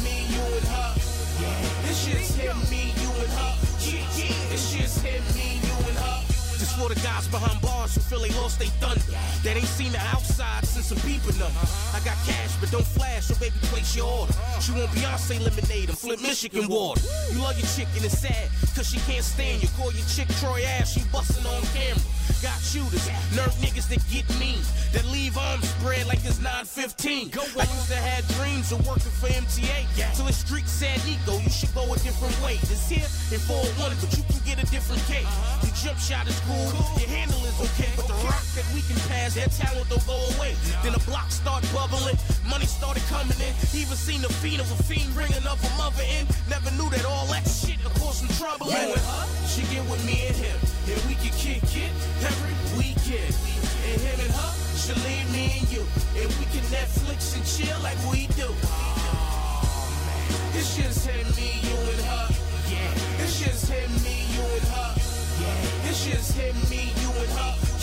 Speaker 1: for the guys behind bars who feel they lost they thunder. That ain't seen the outside since I'm beeping them. I got cash, but don't flash, so baby, place your order. She want Beyonce lemonade and flip Michigan water. You love your chicken, it's sad, cause she can't stand you. Call your chick Troy ass, she bustin' on camera. Got shooters, nerd niggas that get mean, that leave arms spread like it's 915. I used to have dreams of working for MTA. Till the street said, Nico, you should go a different way. This here and 401, but you can get a different case. Your jump shot is cool, your handle is okay, but the rock that we can pass, that talent don't go away. Then the block start bubbling, money started coming in. Even seen the feet of a fiend ringing up a mother in. Never knew that all that shit would cause some trouble. You and her, she get with me and him, and we can kick it every weekend. And him and her, she leave me and you, and we can Netflix and chill like we do. It's just him, me, you, and her. Yeah. It's just him, me, you, and her. Yeah. It's just him, me, you, and her.